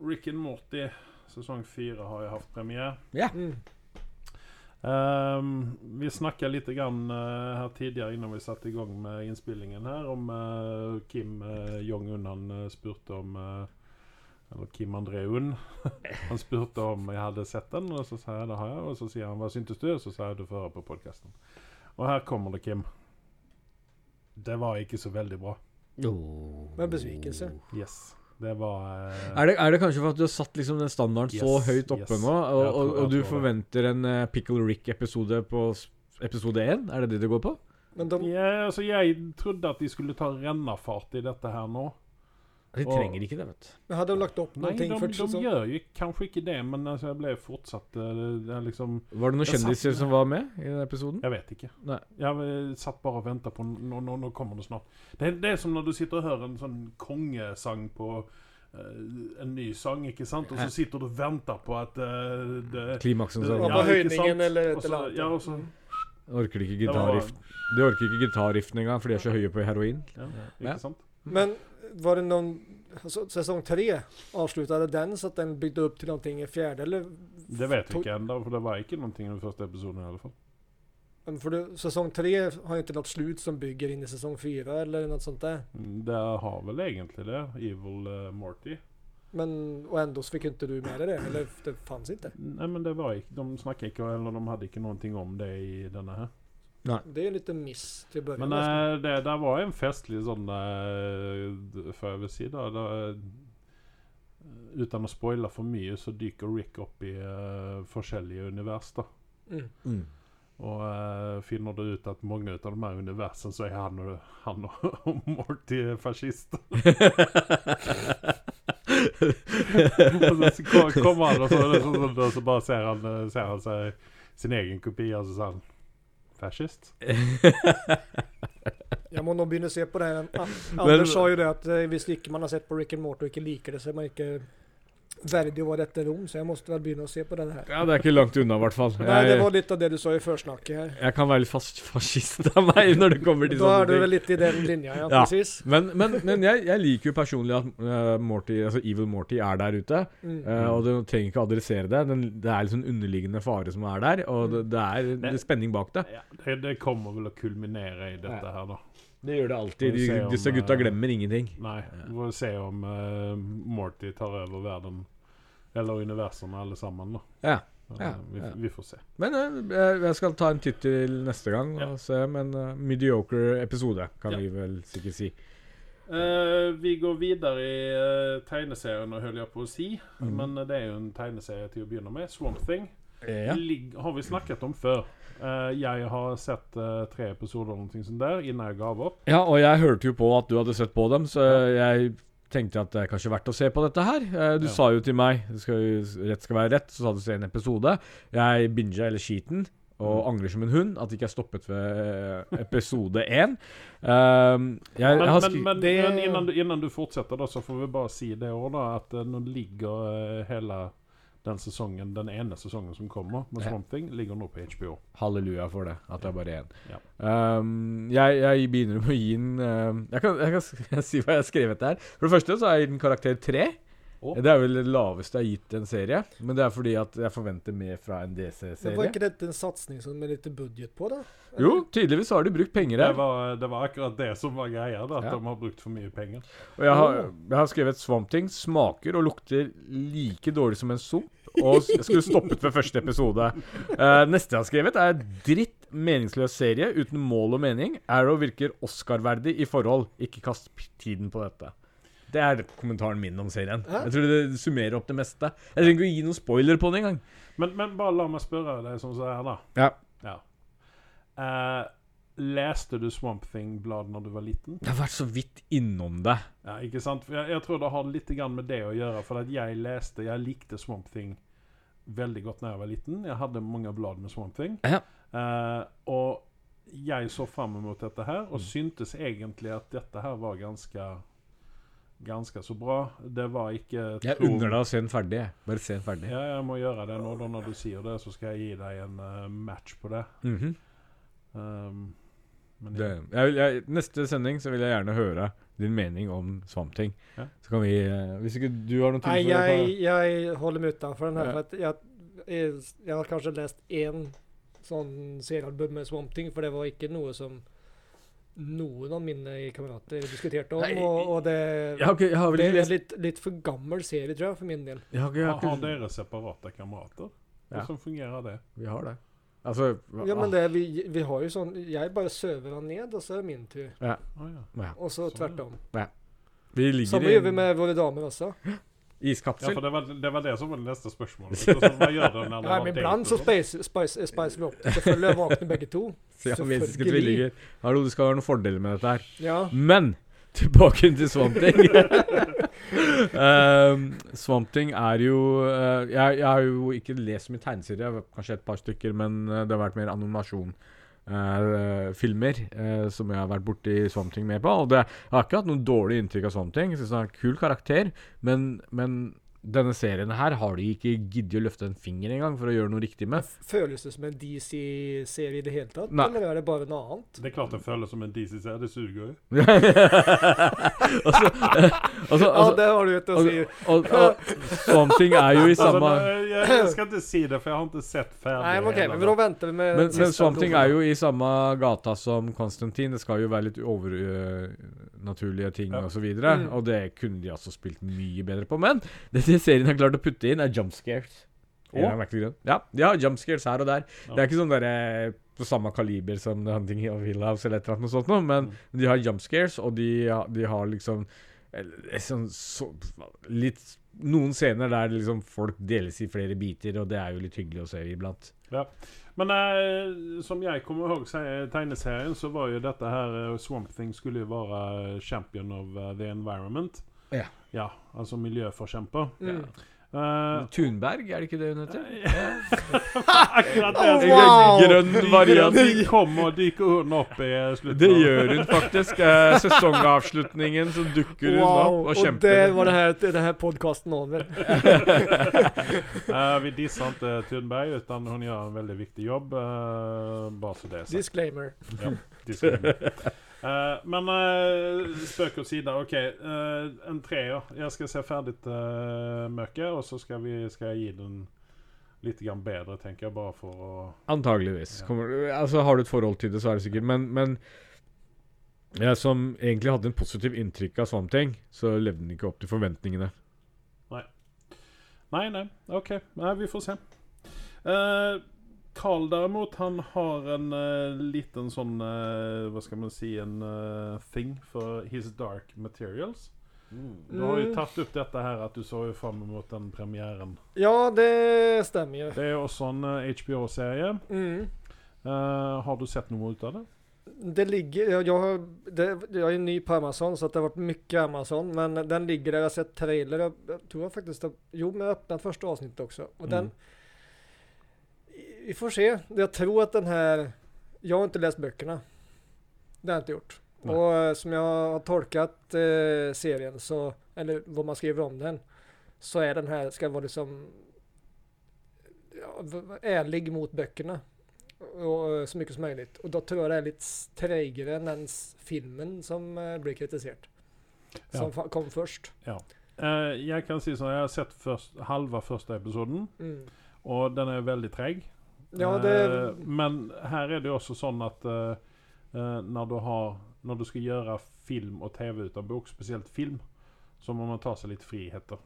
S2: Rick and Morty säsong 4 har ju haft premiär.
S4: Ja.
S3: Mm.
S2: Ehm, vi snackade lite grann eh, här tidigare innan vi satte igång med inspelningen här om eh, Kim eh, Jong-Un han eh, spurte om eh, eller Kim André Un. Han spurte om jag hade sett den och så sa jag det har jag och så säger han vad syntes du? Och så sa jag du får höra på podcasten. Och här kommer det Kim. Det var inte så väldigt bra.
S3: Med besvikelse.
S2: Yes. Det var... eh,
S4: Er det, er det kanskje for at du har satt liksom den standarden så
S2: Yes,
S4: høyt oppe
S2: yes.
S4: nå, og,
S2: Jeg tror-
S4: og,
S2: jeg
S4: og du
S2: tror det.
S4: forventer en eh, Pickle Rick-episode på s- episode én? Er det det det går på?
S3: Men de,
S2: Ja, altså Jeg trodde at de skulle ta rennafart i dette her nå.
S4: De
S2: Og- trenger
S4: ikke det, vet du.
S3: men hadde de lagt opp
S2: Nei, de,
S3: noe for
S2: de
S3: sånn
S2: gjør jo kanskje ikke det, men altså, jeg ble fortsatt eh, det er liksom
S4: Var det noen
S2: Jeg satt-
S4: kjendiser som var med i den episoden?
S2: Jeg vet ikke.
S4: Nei.
S2: Jeg eh, satt bare og venta på Nå, nå, nå kommer det snart. Det, er- det er som når du sitter og hører en sånn kongesang på eh, en ny sang, ikke sant? Og så sitter du og venter på at eh, det,
S4: Klimaksen sa
S3: var på
S4: ja.
S2: ikke sant?
S3: høyningen eller
S2: Og
S3: et
S2: så-
S3: eller annet.
S2: Ja, og så
S4: Orker ikke
S2: det var-
S4: gitarriff. De orker ikke gitarriften engang, for de er så høye på heroin.
S2: Ja,
S4: Ja.
S2: ikke sant?
S3: Men var det noen altså, Sesong tre, avsluttet den så at den bygde opp til noe i fjerde, eller?
S2: Det vet vi
S3: To-
S2: ikke ennå, for det var ikke noe i den første episoden i alle fall.
S3: Men För du, säsong tre har ju inte något slut som bygger in i säsong fyra eller något sånt där.
S2: Mm, Det har väl egentlig det. Evil eh, Morty.
S3: Men, och ändå så fick inte du med dig det. Eller det fanns inte.
S2: Nej men det var ik- De snackade ikke, eller de hadde ikke någonting om det i denne her.
S3: Det är ju en liten miss till början.
S2: Men eh, det der var en festlig sånn eh, Får jeg vel si, da. da eh, uten å spoile for mye, så dyker Rick opp i eh, forskjellige univers. da.
S3: Mm.
S4: Mm.
S2: Og eh, finner du ut at mange av de her universene, så er han og, han og, og Morty fascister. og så ko- kommer han, og så, og så, og så bare ser han, eh, ser han seg, sin egen kopi, og så sier han Fascist?
S3: Jag må nog börja se på det här. Ah, Anders sa ju det att eh, visst gick man har sett på Rick and Morty och inte likar det så är man inte värdig att vara rätt rom. Så jag måste väl börja se på den här.
S4: Ja, det er ikke langt unna, i hvert fall.
S3: Nej, det var
S4: Jeg,
S3: lite av det du sa i försnacket här.
S4: jeg kan være litt fast fascist av meg når det kommer til
S3: Då är
S4: sånne
S3: du
S4: ting.
S3: väl lite i den linjen, ja,
S4: Ja.
S3: precis.
S4: Men, men, men jeg, jeg liker jo personlig at eh, Morty, altså Evil Morty er der ute.
S3: Mm.
S4: eh, og du trenger ikke adressere det. Den, det er liksom underliggende fare som er der, og det, det er
S2: Mm.
S4: det er spenning bak det.
S2: Ja, det, det kommer vel å kulminere i dette her, da.
S4: Det gjør det alltid.
S2: Vi
S4: De,
S2: får se om,
S4: disse gutta
S2: eh,
S4: glemmer ingenting.
S2: Nei. Vi får se om eh, Morty tar over verden, eller universene, alle sammen, da.
S4: Ja.
S2: Men,
S4: Ja,
S2: eh, vi,
S4: ja.
S2: vi får se.
S4: Men eh, jeg, jeg skal ta en titt til neste gang og
S2: Ja.
S4: se. Men eh, mediocre episode, kan
S2: Ja.
S4: vi vel sikkert si.
S2: Eh, vi går videre i eh, tegneserien, og holder jeg på å si.
S4: Mm.
S2: Men eh, det er jo en tegneserie til å begynne med. Swamp Thing. Eh,
S4: Ja.
S2: Ligg, har vi snakket om før. Eh, jeg har sett eh, tre episoder eller noe sånt der innan jeg gav opp.
S4: ja, og jeg hørte jo på at du hadde sett på dem, så jeg tenkte at det er kanskje verdt å se på dette her. Eh, Du
S2: Ja.
S4: sa jo til meg det skal, jo- rett skal være rett, så sa du se en episode. Jeg binga hele skiten.
S2: Mm.
S4: Og angrer som en hund at ikke jeg stoppet ved eh, episode én. Um, jeg,
S2: Men,
S4: jeg har
S2: men,
S4: skri-
S2: men,
S3: Det-
S2: men innan, du, innan du fortsetter, da, så får vi bare si det òg, da, at eh, nå ligger eh, hele den sesongen, den ene sesongen som kommer med
S4: Ja.
S2: Swamp Thing, ligger nå på HBO.
S4: Halleluja for det, at det er bare én.
S2: Ja.
S4: Um, jeg, jeg begynner med å gi den um, jeg, kan, jeg kan s- si hva jeg har skrevet der. For det første så har jeg gitt den karakter tre.
S2: Å.
S4: Det er vel det laveste jeg har gitt en serie. Men det er fordi at jeg forventer mer fra en
S3: Men var
S4: DC-serie.
S3: inte det en satsning som med lite budget på då?
S4: Jo, tydeligvis har de brukt penger
S2: Det
S4: her.
S2: var, eh, det var akkurat det som var greia, da, at
S4: Ja.
S2: de har brukt for mye penger.
S4: Og jeg har, jeg har skrevet Swamp Thing smaker og lukter like dårlig som en sump. Og s- jeg skulle stoppet ved første episode. Eh, neste jeg har skrevet, er dritt meningsløs serie uten mål og mening. Arrow virker Oscar-verdig i forhold. Ikke kast p- tiden på dette. Det er kommentaren min om serien. Jeg tror det summerer opp det meste. Jeg trenger ikke å gi noen spoiler på den engang.
S2: Men, men bare la meg spørre deg som så her, da.
S4: Ja.
S2: Ja. Eh, leste du Swamp Thing-blad når du var liten?
S4: Jeg har vært så vidt innom det.
S2: Ja, ikke sant? For Jeg, jeg tror det har litt grann med det å gjøre. For at jeg leste, jeg likte Swamp Thing veldig godt da jeg var liten. Jeg hadde mange blad med Swamp Thing.
S4: Ja.
S2: Eh, og jeg så fram mot dette her, og syntes egentlig at dette her var ganske Ganske så bra. Det var ikke
S4: Jeg
S2: to-
S4: unner deg å se den ferdig. jeg. Bare se den ferdig.
S2: Ja, jeg må gjøre det nå. Da når du sier det, så skal jeg gi deg en eh, match på det.
S4: Mhm.
S2: Um, men
S4: Det, jeg, vil- jeg, neste sending så vil jeg gjerne høre din mening om Swamp Thing.
S2: Ja.
S4: Så kan vi eh, Hvis ikke du har noe
S3: Nej,
S4: tilfelle
S3: jag,
S4: på
S3: jag håller mig utanför den här.
S4: Ja.
S3: För att jag, eh, jag har kanskje läst en sån seriealbum med Swamp Thing, för det var inte något som noen av mine kamrater diskuterte om.
S4: Nei,
S3: Og, og det,
S4: Jeg har ikke jeg har vel
S3: det
S4: ikke
S3: er en
S4: lest
S3: litt, litt for gammel serie, tror jeg, for min del.
S4: jeg har ikke, jeg
S2: Har,
S4: har
S2: har
S4: ikke,
S2: dere separate kamerater?
S4: Ja.
S2: Hvordan fungerer det?
S4: Vi har det. Alltså, ah, Altså hva-
S3: Ja, men det, vi, vi har jo sånn Jeg bare søver han ned, og så er det min tur.
S2: Å ja.
S3: Og
S2: Sånn,
S3: så
S2: ja.
S3: tvert om.
S4: Vi ligger
S3: Samme
S4: i
S3: gjør vi
S4: en
S3: med våre damer også.
S2: ja,
S4: iskapsel.
S2: for det var, det var det som var det Liksom, neste spørsmålet. Hvordan- Hva gjør du når du
S3: Ja,
S2: har
S3: men iblant så
S2: date?
S3: spicer spice, spice vi opp. Selvfølgelig våkner begge to.
S4: Siamesiske
S3: selvfølgelig.
S4: tvillinger. Hallo, du skal ha noen fordeler med dette her.
S3: Ja.
S4: Men tilbake til Swamp Thing. um, Swamp Thing er jo eh, jeg, jeg har jo ikke lest så mye tegneserier, jeg har kanskje et par stykker, men eh, det har vært mer animasjon. eh, filmer eh, som jeg har vært borti Swamp Thing med på. Og det, jeg har ikke hatt noe dårlig inntrykk av Swamp Thing. Jeg synes han er en kul karakter, men, men denne serien her har de ikke giddet å løfte en finger engang for å gjøre noe riktig med.
S3: Føles det som en DC-serie i det hele tatt,
S4: Nei.
S3: eller er det bare noe annet?
S2: Det er klart det føles som en DCC. Det suger jo.
S4: altså, eh, altså,
S3: Ja,
S4: altså,
S3: det har du et å si.
S4: og, og, og Swamp Thing er jo i
S2: Altså,
S4: samme
S2: det- jeg, jeg skal ikke si det, for jeg har ikke sett ferdig
S3: Nei, men ok,
S2: hele
S3: men
S2: det.
S3: da venter vi med
S4: Men,
S3: den
S4: men
S3: siste
S4: Swamp Thing
S3: episoden.
S4: er jo i samme gata som Konstantin. Det skal jo være litt overnaturlige eh, ting
S2: Ja.
S4: og så videre.
S3: Mm.
S4: Og det kunne de altså spilt mye bedre på. Men det de serien har klart å putte inn, er jump scares.
S2: Å?
S4: Ja, ja, de har jump scares her og der.
S2: Ja.
S4: Det er ikke sånn derre på samme kaliber som The Hunting of Hill House eller et eller annet noe sånt noe, men
S2: Mm.
S4: de har jump scares, og de, ha- de har liksom eh, sånn, så, litt noen scener der liksom folk deles i flere biter, og det er jo litt hyggelig å se iblant.
S2: Ja. Men eh, som jeg kommer ihåg se- tegneserien, så var jo dette her eh, Swamp Thing skulle jo være champion of eh, the environment.
S4: Ja.
S2: ja alltså altså miljøforkjemper.
S3: Mm.
S2: Eh,
S4: Thunberg, er det ikke det hun heter?
S2: akkurat det
S4: En
S3: Wow!
S4: Grønn variant.
S2: De kommer og dyker hun opp i eh, slutten.
S4: Det
S2: av-
S4: gjør hun faktisk. Eh, Sesongavslutningen så dukker hun
S3: Wow,
S4: opp og
S3: og det
S4: kjemper.
S3: var det her, det her podcasten over.
S2: Eh, vi disser ikke Thunberg, utan hun gjør en veldig viktig jobb. eh, bare så det er sagt.
S3: Disclaimer.
S2: Disclaimer. Eh, men uh, spøk åt side. OK, eh, en treer. Jeg skal se ferdig uh, møkket, og så skal, vi, skal jeg gi den litt grann bedre, tenker jeg, bare for å
S4: Antageligvis. Kommer, altså, har du et forhold til det, så er det sikkert. Men, men jeg som egentlig hadde en positiv inntrykk av Swamp Thing, så levde den ikke opp til forventningene.
S2: Nei, nei. OK. Nei, vi får se. Eh, Carl derimot, han har en eh, liten sånn eh, Hva skal man si En eh, thing for his dark materials. Du har jo
S3: Mm.
S2: tatt opp dette her at du så jo fram mot den premieren.
S3: Ja, det stämmer ju.
S2: Det er jo også en eh, HBO-serie.
S3: Mm.
S2: Eh, har du sett noe ut av det?
S3: Det ligger, jag, jag, har- det, jag är ju ny på Amazon så att det har varit mycket Amazon. Men den ligger där, jag har sett trailer. Jag, jag tror jag faktiskt har, jo men jag har öppnat första avsnittet också. Och den,
S2: Mm.
S3: vi får se. Jag tror att den här, jag har inte läst böckerna. Det har jag inte gjort.
S4: Nej.
S3: Och eh, som jag har tolkat eh, serien så, eller vad man skriver om den, så är den här, ska vara liksom ja, v- v- ärlig mot böckerna. Och, eh, så mycket som möjligt. Och då tror jag det är lite s- trägare än den s- filmen som eh, blir kritiserad.
S2: Ja.
S3: Som fa- kom först.
S2: Eh, jeg kan si sånn, jeg har sett først, halve første episoden,
S3: Mm.
S2: og den er veldig treg.
S3: Ja, det...
S2: Eh, men her er det jo også sånn at eh, eh, når, du har, når du skal gjøre film og TV ut av bok, spesielt film, så må man ta seg litt friheter.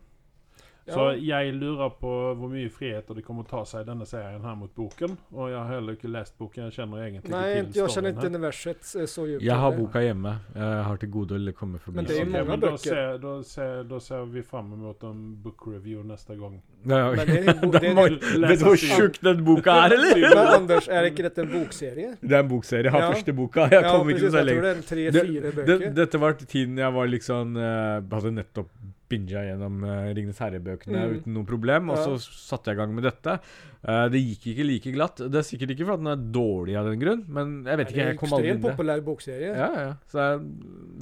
S2: Så
S3: Ja.
S2: jeg lurer på hvor mye friheter det kommer å ta seg i denne serien her mot boken. Og jeg har heller ikke lest boken. Jeg kjenner egentlig
S3: Nej,
S2: ikke
S3: inte-
S2: til
S3: jag känner
S2: storyen
S3: inte
S2: her.
S3: universet eh, så djupt.
S4: Jeg har
S3: heller.
S4: boka hjemme. Jeg har til gode å komme forbi.
S3: Men det er jo
S2: Ok,
S3: mange
S2: men da
S3: bøker.
S2: ser- Da ser, da ser vi fram mot en book review neste gang.
S4: Ja, ja.
S3: Men det er jo-
S4: Da
S3: det er-
S4: må- Vet du hvor tjukk den boka er,
S3: Men
S4: eller?
S3: Anders, är det inte detta en bokserie?
S4: Det er en bokserie. Jeg har
S3: Ja.
S4: første boka. Jeg kom ikke
S3: precis,
S4: så
S3: jag tror
S4: lenger.
S3: det är en tre,
S4: Det-
S3: fyra
S4: det,
S3: böcker.
S4: dette var tiden jeg var liksom eh, Hadde nettopp binga gjennom eh, Ringnes herre-bøkene
S3: Mm.
S4: uten noe problem. Og
S3: Ja.
S4: så satte jeg i gang med dette. Eh, det gikk ikke like glatt. Det er sikkert ikke fordi den er dårlig av den grunn, men jeg vet
S3: Det
S4: ikke.
S3: är
S4: Jeg kom aldri
S3: en
S4: inn i det.
S3: populär bokserie.
S4: Ja, ja. Så det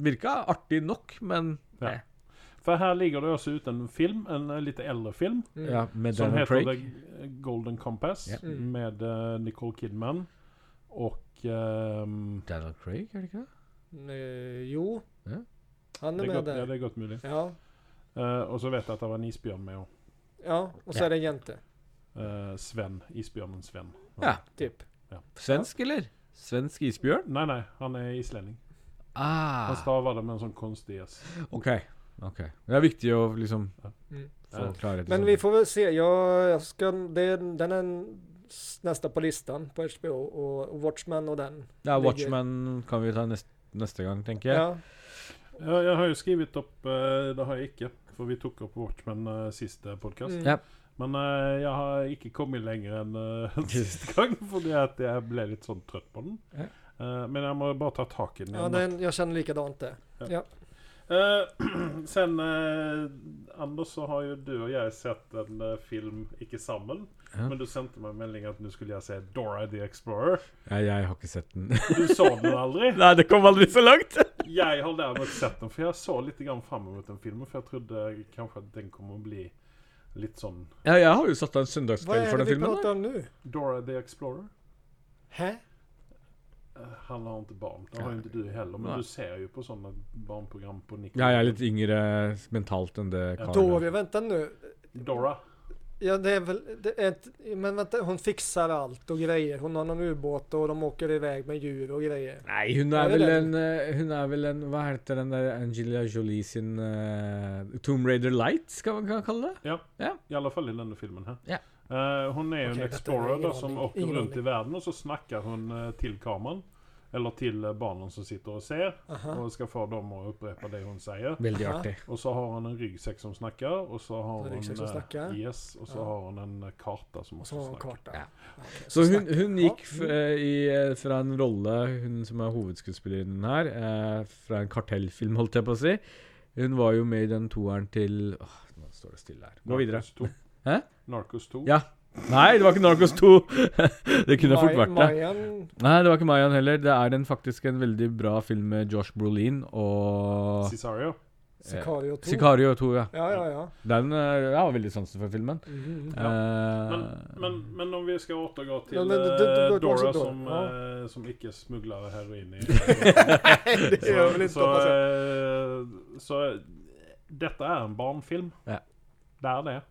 S4: virka artig nok, men
S2: Ja. For her ligger det også ute en film, en eh, litt eldre film,
S3: Mm.
S4: ja, med
S2: som
S4: Daniel
S2: heter
S4: Craig.
S2: The Golden Compass,
S4: Ja.
S3: Mm.
S2: med eh, Nicole Kidman og ehm,
S4: Daniel Craig, er det ikke det?
S3: Eh, jo.
S4: Ja.
S3: Han
S2: det
S3: är
S2: er
S3: med
S2: godt, ja,
S3: där.
S2: det er godt mulig.
S3: Ja.
S2: Eh, og så vet jeg at det var en isbjørn med òg.
S3: ja, och så
S4: Ja.
S3: är det en jente.
S2: Eh, Sven. Isbjørnen Sven.
S4: Ja.
S3: Typ.
S4: Svensk, eller? Svensk isbjørn?
S2: Nei, nei, han er islending. Han
S4: Ah,
S2: staver det med en sånn konstig S.
S4: OK. ok Det er viktig å liksom
S3: Mm.
S4: få klarhet i
S3: Men
S4: sånt.
S3: vi får väl se. Jag, jag ska, det, den är en- s- nästa på listan på HBO och, och Watchmen och den.
S4: Ja,
S3: ligger-
S4: Watchman kan vi ta neste, neste gang, tenker jeg.
S3: Ja.
S2: Ja, jeg har jo skrevet opp eh, Det har jeg ikke, for vi tok opp Watchmen uh, siste podkast.
S3: Mm.
S4: Ja.
S2: Men eh, jeg har ikke kommet lenger enn uh, siste gang, fordi at jeg ble litt sånn trøtt på den.
S4: Ja.
S2: Eh, men jeg må bare ta tak i den.
S3: Ja,
S2: igjen.
S3: den, jag känner likadant det.
S2: Eh, sen eh, Anders, så har jo du og jeg sett en eh, film, ikke sammen,
S4: Ja.
S2: men du sendte meg en melding at nå skulle jeg se Dora the Explorer.
S4: Nei, jeg har ikke sett den.
S2: Du så den aldri.
S4: Nei, det kom aldri så langt.
S2: Jeg har derimot sett den, for jeg så litt grann fram mot den filmen. For jeg trodde kanskje at den kommer å bli Litt sånn
S4: Ja, jeg har jo satt av en
S3: Hva
S4: søndagskveld
S3: er
S4: for
S3: det
S4: den
S3: vi
S4: filmen. da.
S3: prater om nu?
S2: Dora the Explorer.
S3: Hä?
S2: Eh, Han har inte barn. Det har ju inte du heller. Men
S4: Nej.
S2: du ser ju på sådana barnprogram på Nickelodeon.
S4: Ja, jeg er litt yngre mentalt enn det
S3: Då,
S4: Carl er.
S3: vi- vänta nu.
S2: Dora.
S3: Ja, det är väl... Det är ett, men vänta, hon fixar allt och grejer. Hon har någon ubåt och de åker iväg med djur och grejer.
S4: Nei, hun
S3: Ja,
S4: er
S3: det er
S4: vel
S3: det.
S4: en eh, Hun er vel en Hva heter den der Angela Jolie sin eh, Tomb Raider Light, skal man kan man kalle det?
S2: Ja.
S4: Ja.
S2: I alla fall i den filmen här.
S4: Ja.
S2: Eh, hon är ju en
S3: Okej, detta är
S2: explorer
S3: ingen
S2: då, som
S3: aning.
S2: åker
S3: Ingen
S2: runt
S3: aning.
S2: i världen och så snackar hon eh, till kameran. Eller till eh, barnen som sitter och ser. Och ska få dem att upprepa det hon säger.
S4: Veldig
S3: Aha.
S4: artig.
S2: Och så har hon en ryggsäck som snackar. Och så har
S3: En
S2: hon...
S3: ryggsäck som
S2: eh,
S3: snackar.
S2: Yes. Och så
S3: Ja.
S2: har hon en eh, karta som
S3: Och
S2: också
S3: så har hon en
S2: snackar.
S3: karta.
S4: Ja.
S3: Okej,
S4: Så hun,
S3: snackar-
S4: hun
S3: Ja,
S4: gikk f eh, i, eh, fra en rolle, hun som er hovedskuespillerinnen her, eh, fra en kartellfilm, holdt jeg på å si. Hun var jo med i den toeren til åh, Nå står det stille her. Gå videre.
S2: Narcos 2.
S4: Hæ?
S2: Narcos 2.
S4: Ja. Nei, det var ikke Narcos 2! det kunne fort Eh, vært det.
S3: Mayan,
S4: Nei, det var ikke Mayan heller. Det er en, faktisk en veldig bra film med Josh Brolin og eh,
S2: Cesario.
S3: Sicario 2.
S4: Sicario 2, ja.
S3: Ja, ja, ja.
S4: Den eh, jeg har veldig sansen for filmen.
S3: Mhm.
S4: Eh,
S2: Men, men, men om vi ska återgå till
S3: Ja, men det-
S2: eh,
S3: det- det går
S2: Dora
S3: konstigt då.
S2: som,
S3: Ja.
S2: eh, som icke smugglar heroin i...
S3: Det gör väl
S2: så,
S3: inte
S2: så,
S3: hoppas jag.
S2: eh, så eh, detta är en barnfilm.
S4: Ja.
S2: Det är det.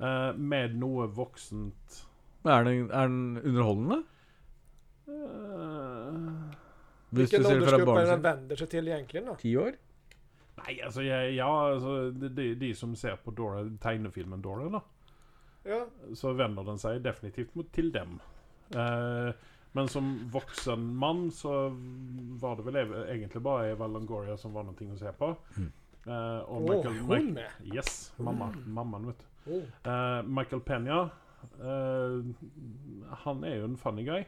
S2: Eh, Med något vuxent...
S4: er, den, er den underholdende?
S2: eh,
S4: Hvis
S3: Vilken
S4: du ser det fra
S3: åldersgrupp är det den
S4: barnet
S3: vänder sig till egentligen då?
S4: Ti år?
S2: Nej, alltså, jag, jag, alltså det, det är de som ser på Dora, tegnefilmen Dora då.
S3: Ja,
S2: så vänder den sig definitivt mot, till dem. Eh, men som vuxen man så var det väl ev- egentligen bara Eva Longoria som var någonting att se på. Eh, och
S3: Åh,
S2: Michael,
S3: hon
S2: Mi-
S3: med.
S2: Yes, mamma, mamman vet du.
S3: Oh.
S2: Eh, Michael Peña, eh, han är ju en funny guy.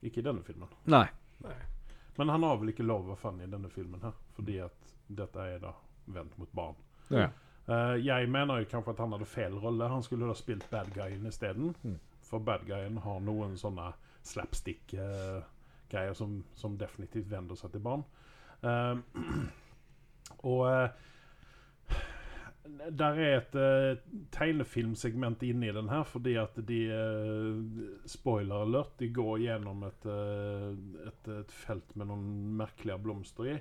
S2: Icke i denna filmen.
S4: Nei.
S2: Men han har väl icke lov att vara funny i denna filmen här. För det att detta är då vänt mot barn.
S4: Ja.
S2: Eh, jeg mener jo kanskje at han hadde feil rolle. Han skulle ha spilt bad guyen isteden. For bad guyen har noen sånne slapstick-greier eh, som, som definitivt vender seg til barn. Eh, og eh, der er et eh, tegnefilmsegment inne i den her, fordi at de eh, Spoiler alert. De går gjennom et, eh, et, et felt med noen merkelige blomster i,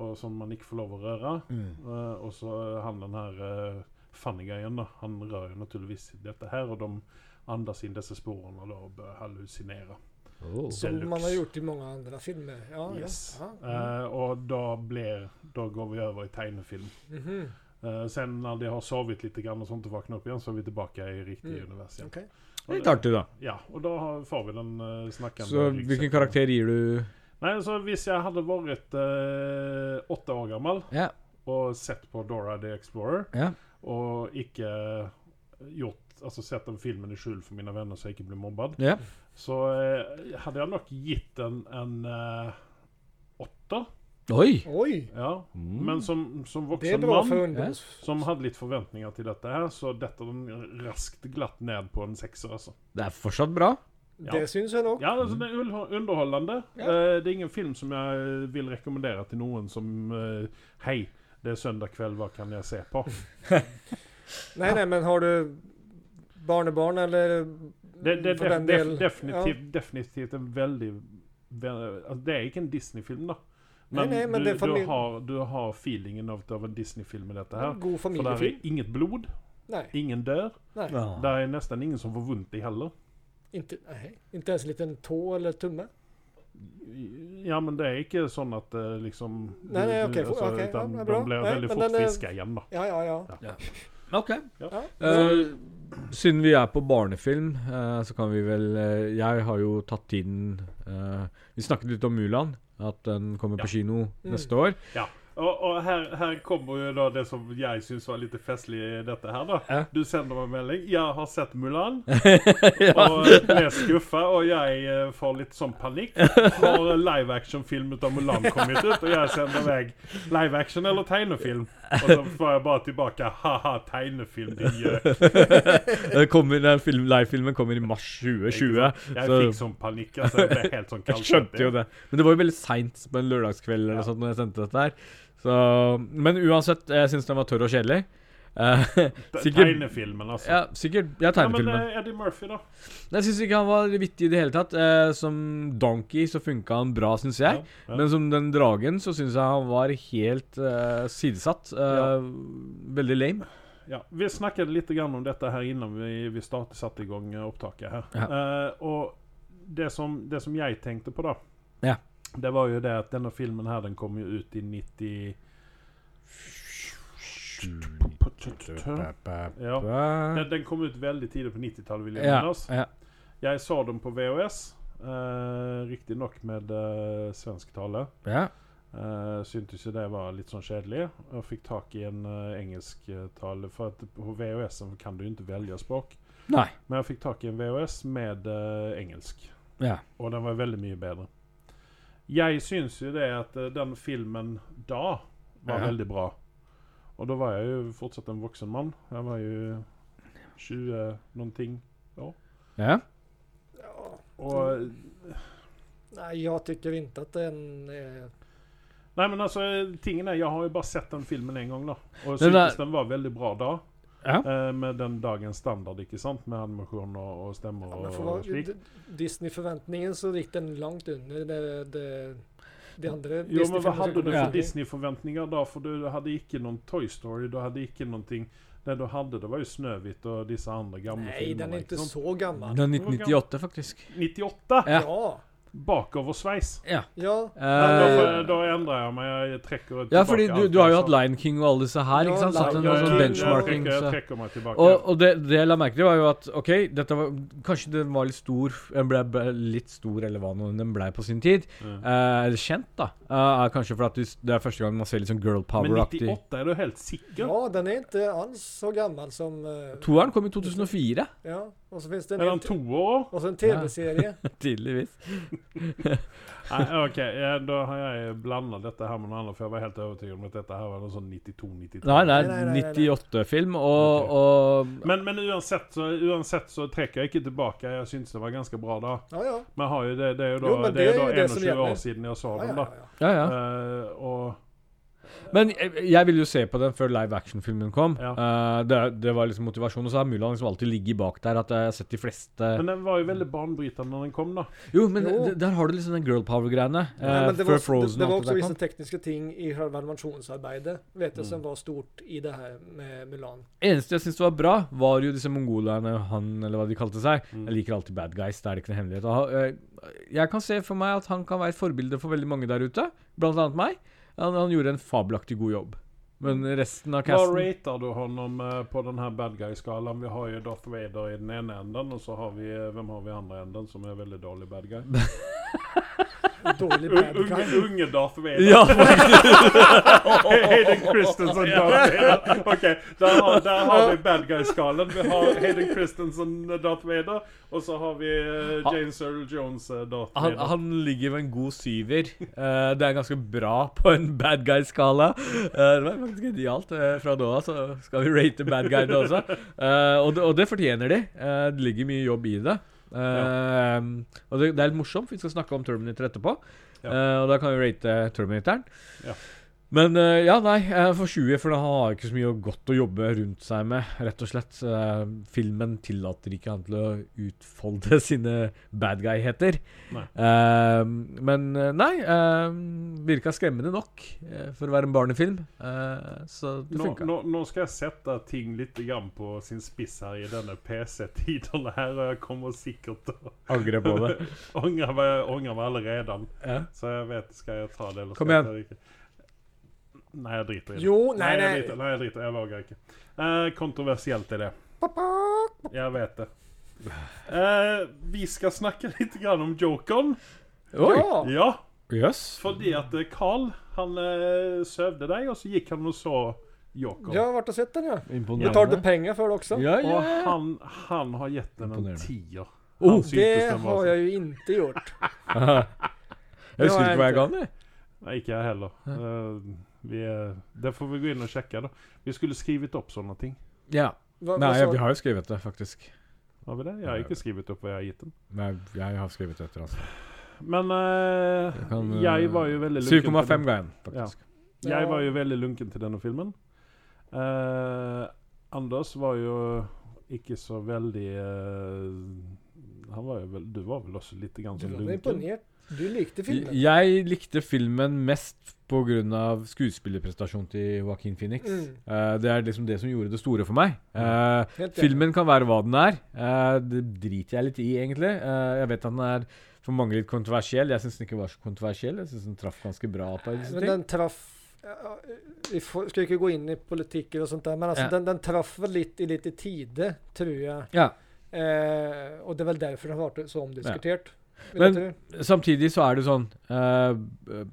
S2: og som man ikke får lov å røre. Eh, og så han den her uh, funny-greien, da. Han rör ju naturligtvis dette her, og de andas inn disse sporene da, og bør hallusinere.
S3: Som
S2: Deluxe.
S3: man har gjort i många andra filmer. Ja,
S2: Yes.
S3: ja. Mm. ja.
S2: Eh, och då blir, då går vi över i tegnefilm.
S3: Mhm.
S2: Eh, sen när de har sovit lite grann och sånt och vaknat upp igen så är vi tillbaka i riktiga
S3: Mm.
S2: universum.
S3: Okej.
S4: Litt artig, da.
S2: Ja, och då har, får vi den uh, snackande
S4: Så
S2: ryggsäcken.
S4: hvilken karakter gir du?
S2: Nej, så visst jag hade varit eh, åtta år gammal
S4: Ja.
S2: och sett på Dora the Explorer
S4: Ja.
S2: och icke eh, gjort, alltså sett den filmen i skjul för mina vänner så jag icke blev mobbad.
S4: ja.
S2: Så eh, hade jag nog gett den en eh, åtta.
S4: Oi!
S3: Oj!
S2: Ja,
S4: Mm.
S2: men som, som
S3: Det är
S2: vuxen
S3: bra
S2: man
S3: för ungdoms...
S2: som hade lite förväntningar till detta här så detta den raskt glatt ned på en sexa alltså.
S4: Det er fortsatt bra.
S2: Ja.
S3: Det syns väl också.
S2: Ja, alltså den är un- underhållande.
S4: Ja.
S2: Eh, det är ingen film som jag eh, vill rekommendera till någon som eh, Hej, det är söndag kväll, vad kan jag se på?
S3: Nej, nej, men har du barnebarn eller
S2: Det, det, det,
S3: för den
S2: def,
S3: del?
S2: definitivt, definitivt en väldigt... vä- Alltså, det är inte en Disney-film då. Men,
S3: Nej, nej, men
S2: du,
S3: det får
S2: du,
S3: ni-
S2: har, du har feelingen av, av en Disney-film i detta
S3: Ja.
S2: här.
S3: En god
S2: För där är
S3: familjefilm?
S2: inget blod,
S3: Nej,
S2: ingen dör.
S3: nej.
S2: Där er nästan ingen som får vunt i heller.
S3: Inte, nej. Inte ens en liten tå eller tumme?
S2: Ja, men det er ikke sånn at eh, liksom
S3: Nei, nei, ok, for-
S2: utan
S3: ok, ja, det er
S2: De
S3: bra.
S2: blir
S3: Nei,
S2: veldig
S3: men
S2: fort
S3: den er-
S2: fiska igjen, da.
S3: Ja, ja, ja.
S4: Ok.
S2: Ja.
S4: Eh, siden vi er på barnefilm, eh, så kan vi vel eh, Jeg har jo tatt tiden eh, Vi snakket litt om Mulan. At den kommer på kino neste år.
S2: Ja. Og, og her, her kommer jo da det som jeg syns var litt festlig i dette her, da.
S4: Ja.
S2: Du sender meg en melding. 'Jeg har sett Mulan', og ble skuffa, og jeg eh, får litt sånn panikk. Har live action-film ut av Mulan kommet ut? Og jeg sender vei live action eller tegnefilm? Og så får jeg bare tilbake 'ha-ha, tegnefilm, din gjøk'.
S4: Den Eh, kommer- den film- Live-filmen kommer i mars 2020.
S2: Jeg
S4: så-
S2: fikk sånn panikk, altså. Jeg ble alltså, helt sånn
S4: Jeg
S2: kald.
S4: skjønte jo det. Men det var jo veldig seint på en eh, lørdagskveld eller noe sånt når jeg sendte dette her. Så, men uansett, jeg syns den var tørr og kjedelig. Eh, sikkert
S2: Tegnefilmen, altså.
S4: ja, sikkert, ja,
S2: Ja, men
S4: tegnefilmen.
S2: eh, Eddie Murphy, da.
S4: Jeg syns ikke han var vittig i det hele tatt. Eh, som Donkey så funka han bra, syns jeg.
S2: Ja, ja.
S4: Men som den dragen så syns jeg han var helt eh, sidesatt. Eh,
S2: Ja.
S4: Veldig lame.
S2: Ja, vi snakket litt grann om dette her innan vi, vi startet, satte i gang eh, opptaket her. Eh, og det som, det som jeg tenkte på da,
S4: Ja.
S2: det var jo det at denne filmen her, den kom jo ut i 90... Ja. Den, den kom ut veldig tidlig på 90-tallet, vil jeg
S4: Mm. Ja,
S2: minnes.
S4: ja.
S2: Jeg så den på VHS, uh, riktig nok med uh, svensktallet.
S4: ja.
S2: Eh, syntes jo det var litt sånn kjedelig, og fikk tak i en eh, engelsktale. For at på VHS-en kan du jo ikke velge språk.
S4: Nei.
S2: Men jeg fikk tak i en VHS med eh, engelsk,
S4: Ja.
S2: og den var veldig mye bedre. Jeg syns jo det at eh, den filmen da var
S4: Ja.
S2: veldig bra. Og da var jeg jo fortsatt en voksen mann. Jeg var jo 20 noen ting.
S4: Ja.
S3: Ja,
S2: Og
S3: nej, jag tycker inte att den är...
S2: Nei, men altså, tingen er, jeg har jo bare sett den filmen en gang, da. Og
S4: Den er-
S2: syntes den var veldig bra da.
S4: Ja.
S2: Eh, med den dagens standard, ikke sant? Med animasjon og, og stemmer
S3: Ja, men for
S2: og
S3: vad,
S2: slik.
S3: Disney-förväntningen så gick den långt under det, det, det andra
S2: Jo, men hva
S3: Disney-filmen som
S2: hadde du
S3: kom
S2: for
S3: ut.
S2: Disney-forventninger da? For du hadde ikke noen Toy Story, du hadde ikke noen ting Det du hadde, det var jo Snøhvit og disse andre gamle
S3: Nej,
S2: filmene.
S3: den är inte
S2: ikke sant?
S3: så gammal.
S4: Den er 1998, faktisk.
S2: 98!
S4: Ja.
S3: Ja,
S2: Bakoversveis.
S4: Ja.
S3: ja,
S2: Nei, da,
S4: Eh,
S2: får- da endrer jeg meg. Jeg trekker
S4: ja, fordi
S2: tilbake
S4: du,
S2: alt
S4: du har jo
S2: jeg
S4: hatt
S2: sa.
S4: Lion King og alle disse her, ikke
S3: Ja,
S4: sant? Så hatt
S3: Lion
S4: en
S2: Ja,
S3: noe
S4: sånn
S2: jeg-
S4: benchmarking.
S2: Jeg
S4: Så.
S2: trekker, jeg trekker meg tilbake.
S4: Og, og det, det jeg la merke til, var jo at OK, dette var, kanskje den var litt stor Den ble, ble litt stor, eller hva nå den ble på sin tid.
S2: Mm.
S4: Eh, Eller kjent, da. Eh, er kanskje fordi at du s- det er første gang man ser litt sånn girl
S2: men
S4: power-aktig
S2: 98, er du helt sikker?
S3: ja, den är inte alls så gammal som... eh,
S4: Toeren kom i 2004,
S3: Ja, och så finns det en,
S2: Er han
S3: helt-
S2: to år?
S3: och så en tv-serie.
S4: tydeligvis.
S2: Nei, ok, Ah, ja, Da har jeg blanda dette her med noe annet, for jeg var helt overbevist om at dette her var noe sånn 92-93.
S4: Nei, det
S3: Nei, nei, nei,
S4: er
S3: nei, nei.
S4: 98-film, og, og
S2: Men, men uansett, så, uansett så trekker jeg ikke tilbake. Jeg syns det var ganske bra da.
S3: Ja, ja.
S2: Men jeg har jo det, det er jo da,
S3: Jo,
S2: det
S3: men
S2: er
S3: det er
S2: da
S3: jo det som
S2: 21 år
S3: gjelder.
S2: siden jeg så
S3: Ja,
S2: den,
S3: ja,
S2: da.
S3: ja.
S4: Ja, ja.
S2: Eh, og
S4: Men jeg, jeg ville jo se på den før live action-filmen kom.
S2: Ja.
S4: Eh, det, det var liksom motivasjonen. Og så har Mulan liksom alltid ligget bak der. At jeg har sett de fleste
S2: Men den var jo veldig banebrytende når den kom, da.
S4: Jo, men
S3: Jo.
S4: d- der har du liksom den girl power-greiene. eh,
S3: Nej, men det,
S4: før
S3: var, det,
S4: Frozen
S3: det
S4: og
S3: var
S4: alt
S3: också
S4: det der
S3: vissa
S4: kom.
S3: tekniska ting i själva animationsarbetet, vet jag,
S2: Mm.
S3: som var stort i det här med Mulan.
S4: Eneste jeg syntes var bra, var jo disse mongolerne, han eller hva de kalte seg.
S3: Mm.
S4: Jeg liker alltid bad guys, det er ikke noe hemmelighet. Og, ha- eh, jeg kan se for meg at han kan være et forbilde for veldig mange der ute, blant annet meg. Han, han gjorde en fabelaktig god jobb. Men resten av
S2: Hva
S4: casten
S2: rater du honom eh, på den her bad guy-skalaen? Vi har jo Darth Vader i den ene enden, og så har vi eh, Hvem har vi i andre enden som er veldig dårlig bad guy?
S3: Dålig
S2: Un-
S3: bad
S2: Unge,
S3: guy.
S2: unge Darth Vader.
S4: Ja,
S2: Hayden Christensen Darth Vader. Ok, der har, der har vi bad guy-skalaen. Vi har Hayden Christensen eh, Darth Vader, og så har vi eh, James Earl Jones eh, Darth
S4: Han,
S2: Vader.
S4: han ligger ved en god syver. Eh, det er ganske bra på en bad guy-skala. Eh, det var faktisk genialt. Eh, fra nå av så skal vi rate bad guy også. Eh, og, det, og det fortjener de. Eh, det ligger mye jobb i det. Eh, Og det, det er litt morsomt, for vi skal snakke om Terminator etterpå.
S2: Ja.
S4: Eh, og da kan vi rate Terminatoren.
S2: Ja.
S4: Men eh, ja, nei, eh, for 20, for han har ikke så mye godt å jobbe rundt seg med, rett og slett. Eh, filmen tillater ikke han til å utfolde sine bad guy-heter. Eh, men eh, nei, eh, virka skremmende nok eh, for å være en barnefilm. Eh, så det
S2: Nå,
S4: funka.
S2: nå, nå skal jeg sette ting litt grann på sin spiss her i denne PC-tiden her, og jeg kommer sikkert til å
S4: Angrer på det.
S2: angre meg, angre meg allerede.
S4: Ja.
S2: Så jeg vet Skal jeg ta det, eller
S4: Kom
S2: skal jeg ta det ikke? Nei, jeg driter i det.
S3: Jo, nei,
S2: Jeg
S3: nei.
S2: driter, nei, jeg driter. Jeg våger ikke. Eh, kontroversielt er det. Jeg vet det. Eh, vi skal snakke litt grann om jokeren.
S4: Oi!
S3: Ja,
S2: Ja,
S4: Jøss.
S2: fordi at eh, Carl han eh, søvde deg, och så gick han och så joker.
S3: jag har varit och sett den ja. Betalte
S4: Imponerende.
S3: pengar för det också.
S4: Ja,
S2: Och
S4: ja, ja.
S2: han, han har gett den en
S4: Imponerande.
S2: tier. Han
S4: Oh,
S2: syntes
S3: Det
S2: den var
S3: har
S2: så-
S3: jag ju inte gjort.
S4: jeg
S3: har
S4: husker
S3: jeg
S4: ikke hva jeg ga den. jeg.
S2: Nej, inte jag heller. Eh, vi, eh, det får vi gå in och checka då. Vi skulle skrivit upp sådana ting.
S4: Ja.
S3: Hva-
S4: Nei,
S3: hva
S4: jeg,
S3: sa-
S4: vi har jo skrevet det, faktisk.
S2: Har vi det? Jag har inte skrivit upp vad jag har gett den.
S4: Nei, jeg har skrevet det etter, altså.
S2: Men eh,
S4: Jeg kan, eh,
S2: jeg var jo veldig lunken.
S4: 7,5
S2: til den.
S4: ga jeg den, faktisk.
S2: Jeg var jo veldig lunken til denne filmen. Eh, Anders var jo ikke så veldig eh, Han var jo vel Du var vel også litt grann
S3: Du
S2: som
S3: var
S2: lunken?
S3: imponert. Du likte filmen.
S4: Jeg likte filmen mest pga. skuespillerprestasjonen til Joaquin Phoenix.
S3: Mm.
S4: Eh, det er liksom det som gjorde det store for meg. Eh,
S3: Helt enig.
S4: filmen kan være hva den er. Eh, det driter jeg litt i, egentlig. Eh, jeg vet at den er for mange litt kontroversiell. Jeg syns den ikke var så kontroversiell. Jeg syns den traff ganske bra på disse
S3: Men
S4: ting.
S3: den traff ja, Vi får, skal ikke gå inn i politikken og sånt der, men altså,
S4: Ja.
S3: den, den traff vel litt i litt i tide, tror jeg.
S4: Ja.
S3: Eh, og det er vel derfor den har vært så omdiskutert. vil
S4: Men-
S3: jeg tro.
S4: Samtidig så er det sånn eh,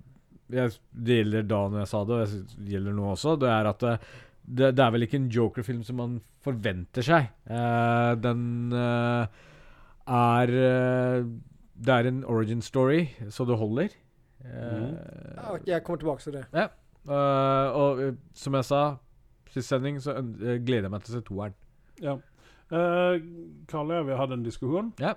S4: jeg, Det gjelder da når jeg sa det, og jeg synes det gjelder nå også. Det er at eh, det, det er vel ikke en Joker-film som man forventer seg. Eh, den eh, er eh, Det er en origin story, så det holder. Eh,
S3: Ja, ok, jeg kommer tilbake til det.
S4: eh, og eh, som jeg sa sist sending, så øn- eh, gleder jeg meg til å se toeren.
S2: Ja. Eh, Karl og jeg vi hadde en diskusjon,
S4: Ja.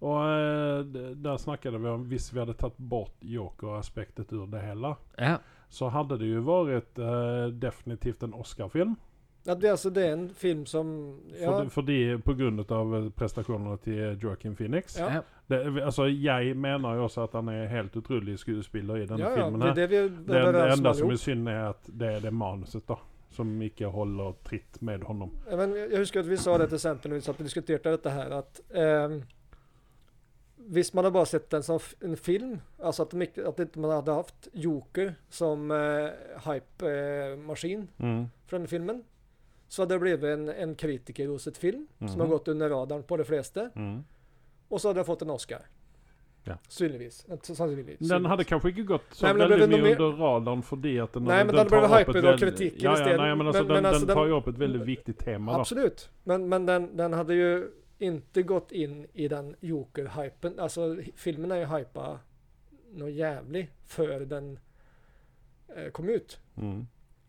S2: og eh, d- der snakket vi om hvis vi hadde tatt bort Joker-aspektet ur det hele,
S4: Ja.
S2: så hadde det jo vært eh, definitivt en Oscar-film.
S3: Ja, det, er altså, det er en film som ja,
S2: Fordi, fordi på grunn av eh, prestasjonene til Joaquin Phoenix.
S3: Ja.
S2: Det, alltså, altså, jeg mener jo også at han er helt utrolig skuespiller i denne
S3: ja, ja,
S2: filmen.
S3: det
S2: her.
S3: er det vi er
S2: Det, en- det
S3: overens om
S2: enda som
S3: alle
S2: er synd, er at det er det manuset da som ikke holder tritt med honom.
S3: Ja, Eh, Men jeg husker at vi sa det til Senter når vi satt og diskuterte dette her, at eh, hvis man hadde bare sett den som f- en film, altså at, de ikke, at ikke man hadde hatt Joker som eh, hype-maskin
S2: Mm,
S3: for denne filmen, så hadde det blitt en, en kritikerroset film som har
S2: Mhm.
S3: gått under radaren på de fleste, og så hadde jeg fått en Oscar.
S2: Ja.
S3: Synligvis. Eh, s- Sannsynligvis.
S2: Den hadde
S3: Synligvis.
S2: kanskje ikke gått så
S3: Nei, men det
S2: veldig
S3: ble
S2: mye
S3: noe mer-
S2: under radaren fordi at den
S3: Nei, men den
S2: tar
S3: ble
S2: opp
S3: hypet
S2: et
S3: av
S2: veldig-
S3: kritikken
S2: ja, ja,
S3: isteden.
S2: nei, men, altså,
S3: Men- men
S2: den,
S3: altså,
S2: den tar
S3: den-
S2: jo opp et veldig viktig tema, da.
S3: Absolutt. Men, men den, den hade ju inte gått in i den Joker-hypen. Alltså hi- filmen är ju hypa något jävlig för den eh, kom ut.
S2: Mm.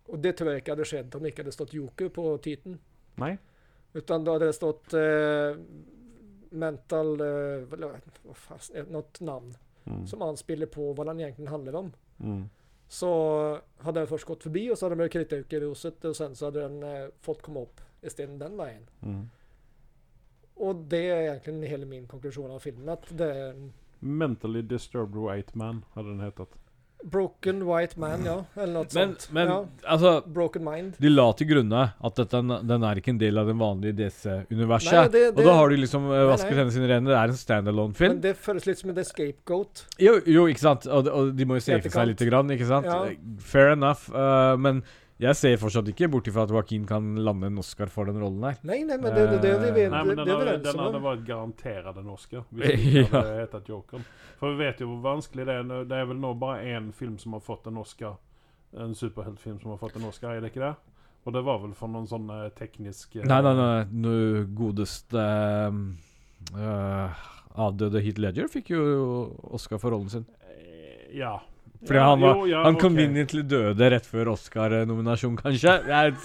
S3: Och det tror jag inte hade skett om det inte hade stått Joker på titeln.
S2: Nei?
S3: Utan då hade det stått eh, Mental, eh, eller vad fan, eh, något namn
S2: Mm.
S3: som anspelar på vad den egentligen handlar om.
S2: Mm.
S3: Så hade den först gått förbi och så hade den blivit kritikerroset och sen så hade den eh, fått komma upp istället den vägen.
S2: Mm.
S3: Og det er egentlig hele min konklusjon av filmen. At det er en
S2: Mentally Disturbed White Man hadde den hetet.
S3: broken white man, ja. Eller noe
S4: Men,
S3: sånt.
S4: men alltså,
S3: ja.
S4: altså
S3: Broken mind.
S4: De la til grunne at dette, den er ikke en del av det vanlige DC-universet.
S3: Nei, det-
S4: Og
S3: det-
S4: da har du liksom
S3: Nei,
S4: eh, vasket
S3: nei.
S4: hendene sine rene. Det er en
S3: Men
S4: standalone-film.
S3: det føles litt som en scapegoat.
S4: Jo, jo, ikke sant? Og, de- og de må jo safe seg
S3: Etterkant.
S4: lite grann, ikke sant?
S3: Ja.
S4: Fair enough. eh, men jeg ser fortsatt ikke bort ifra at Joaquin kan lande en Oscar for den rollen her.
S3: Nei, nei, men det, det, det, det, det,
S2: Nei, men
S3: det, det,
S2: den,
S3: det er vi
S2: hadde,
S3: ense
S2: den hadde
S3: om.
S2: vært garantert en Oscar. Hvis den ikke
S4: Ja.
S2: hadde hetet Jokeren. For vi vet jo hvor vanskelig det er. nå. Det er vel nå bare én film som har fått en Oscar. En superheltfilm som har fått en Oscar, er det ikke det? Og det var vel for noen sånn eh, teknisk eh,
S4: Nei, nei, nei. Nå godeste eh, eh, avdøde Heath Ledger fikk jo Oscar for rollen sin.
S2: eh, Ja.
S4: Fordi
S2: Ja,
S4: han var
S2: jo, ja,
S4: Han
S2: ok.
S4: conveniently døde rett før Oscar-nominasjon, kanskje. Jeg,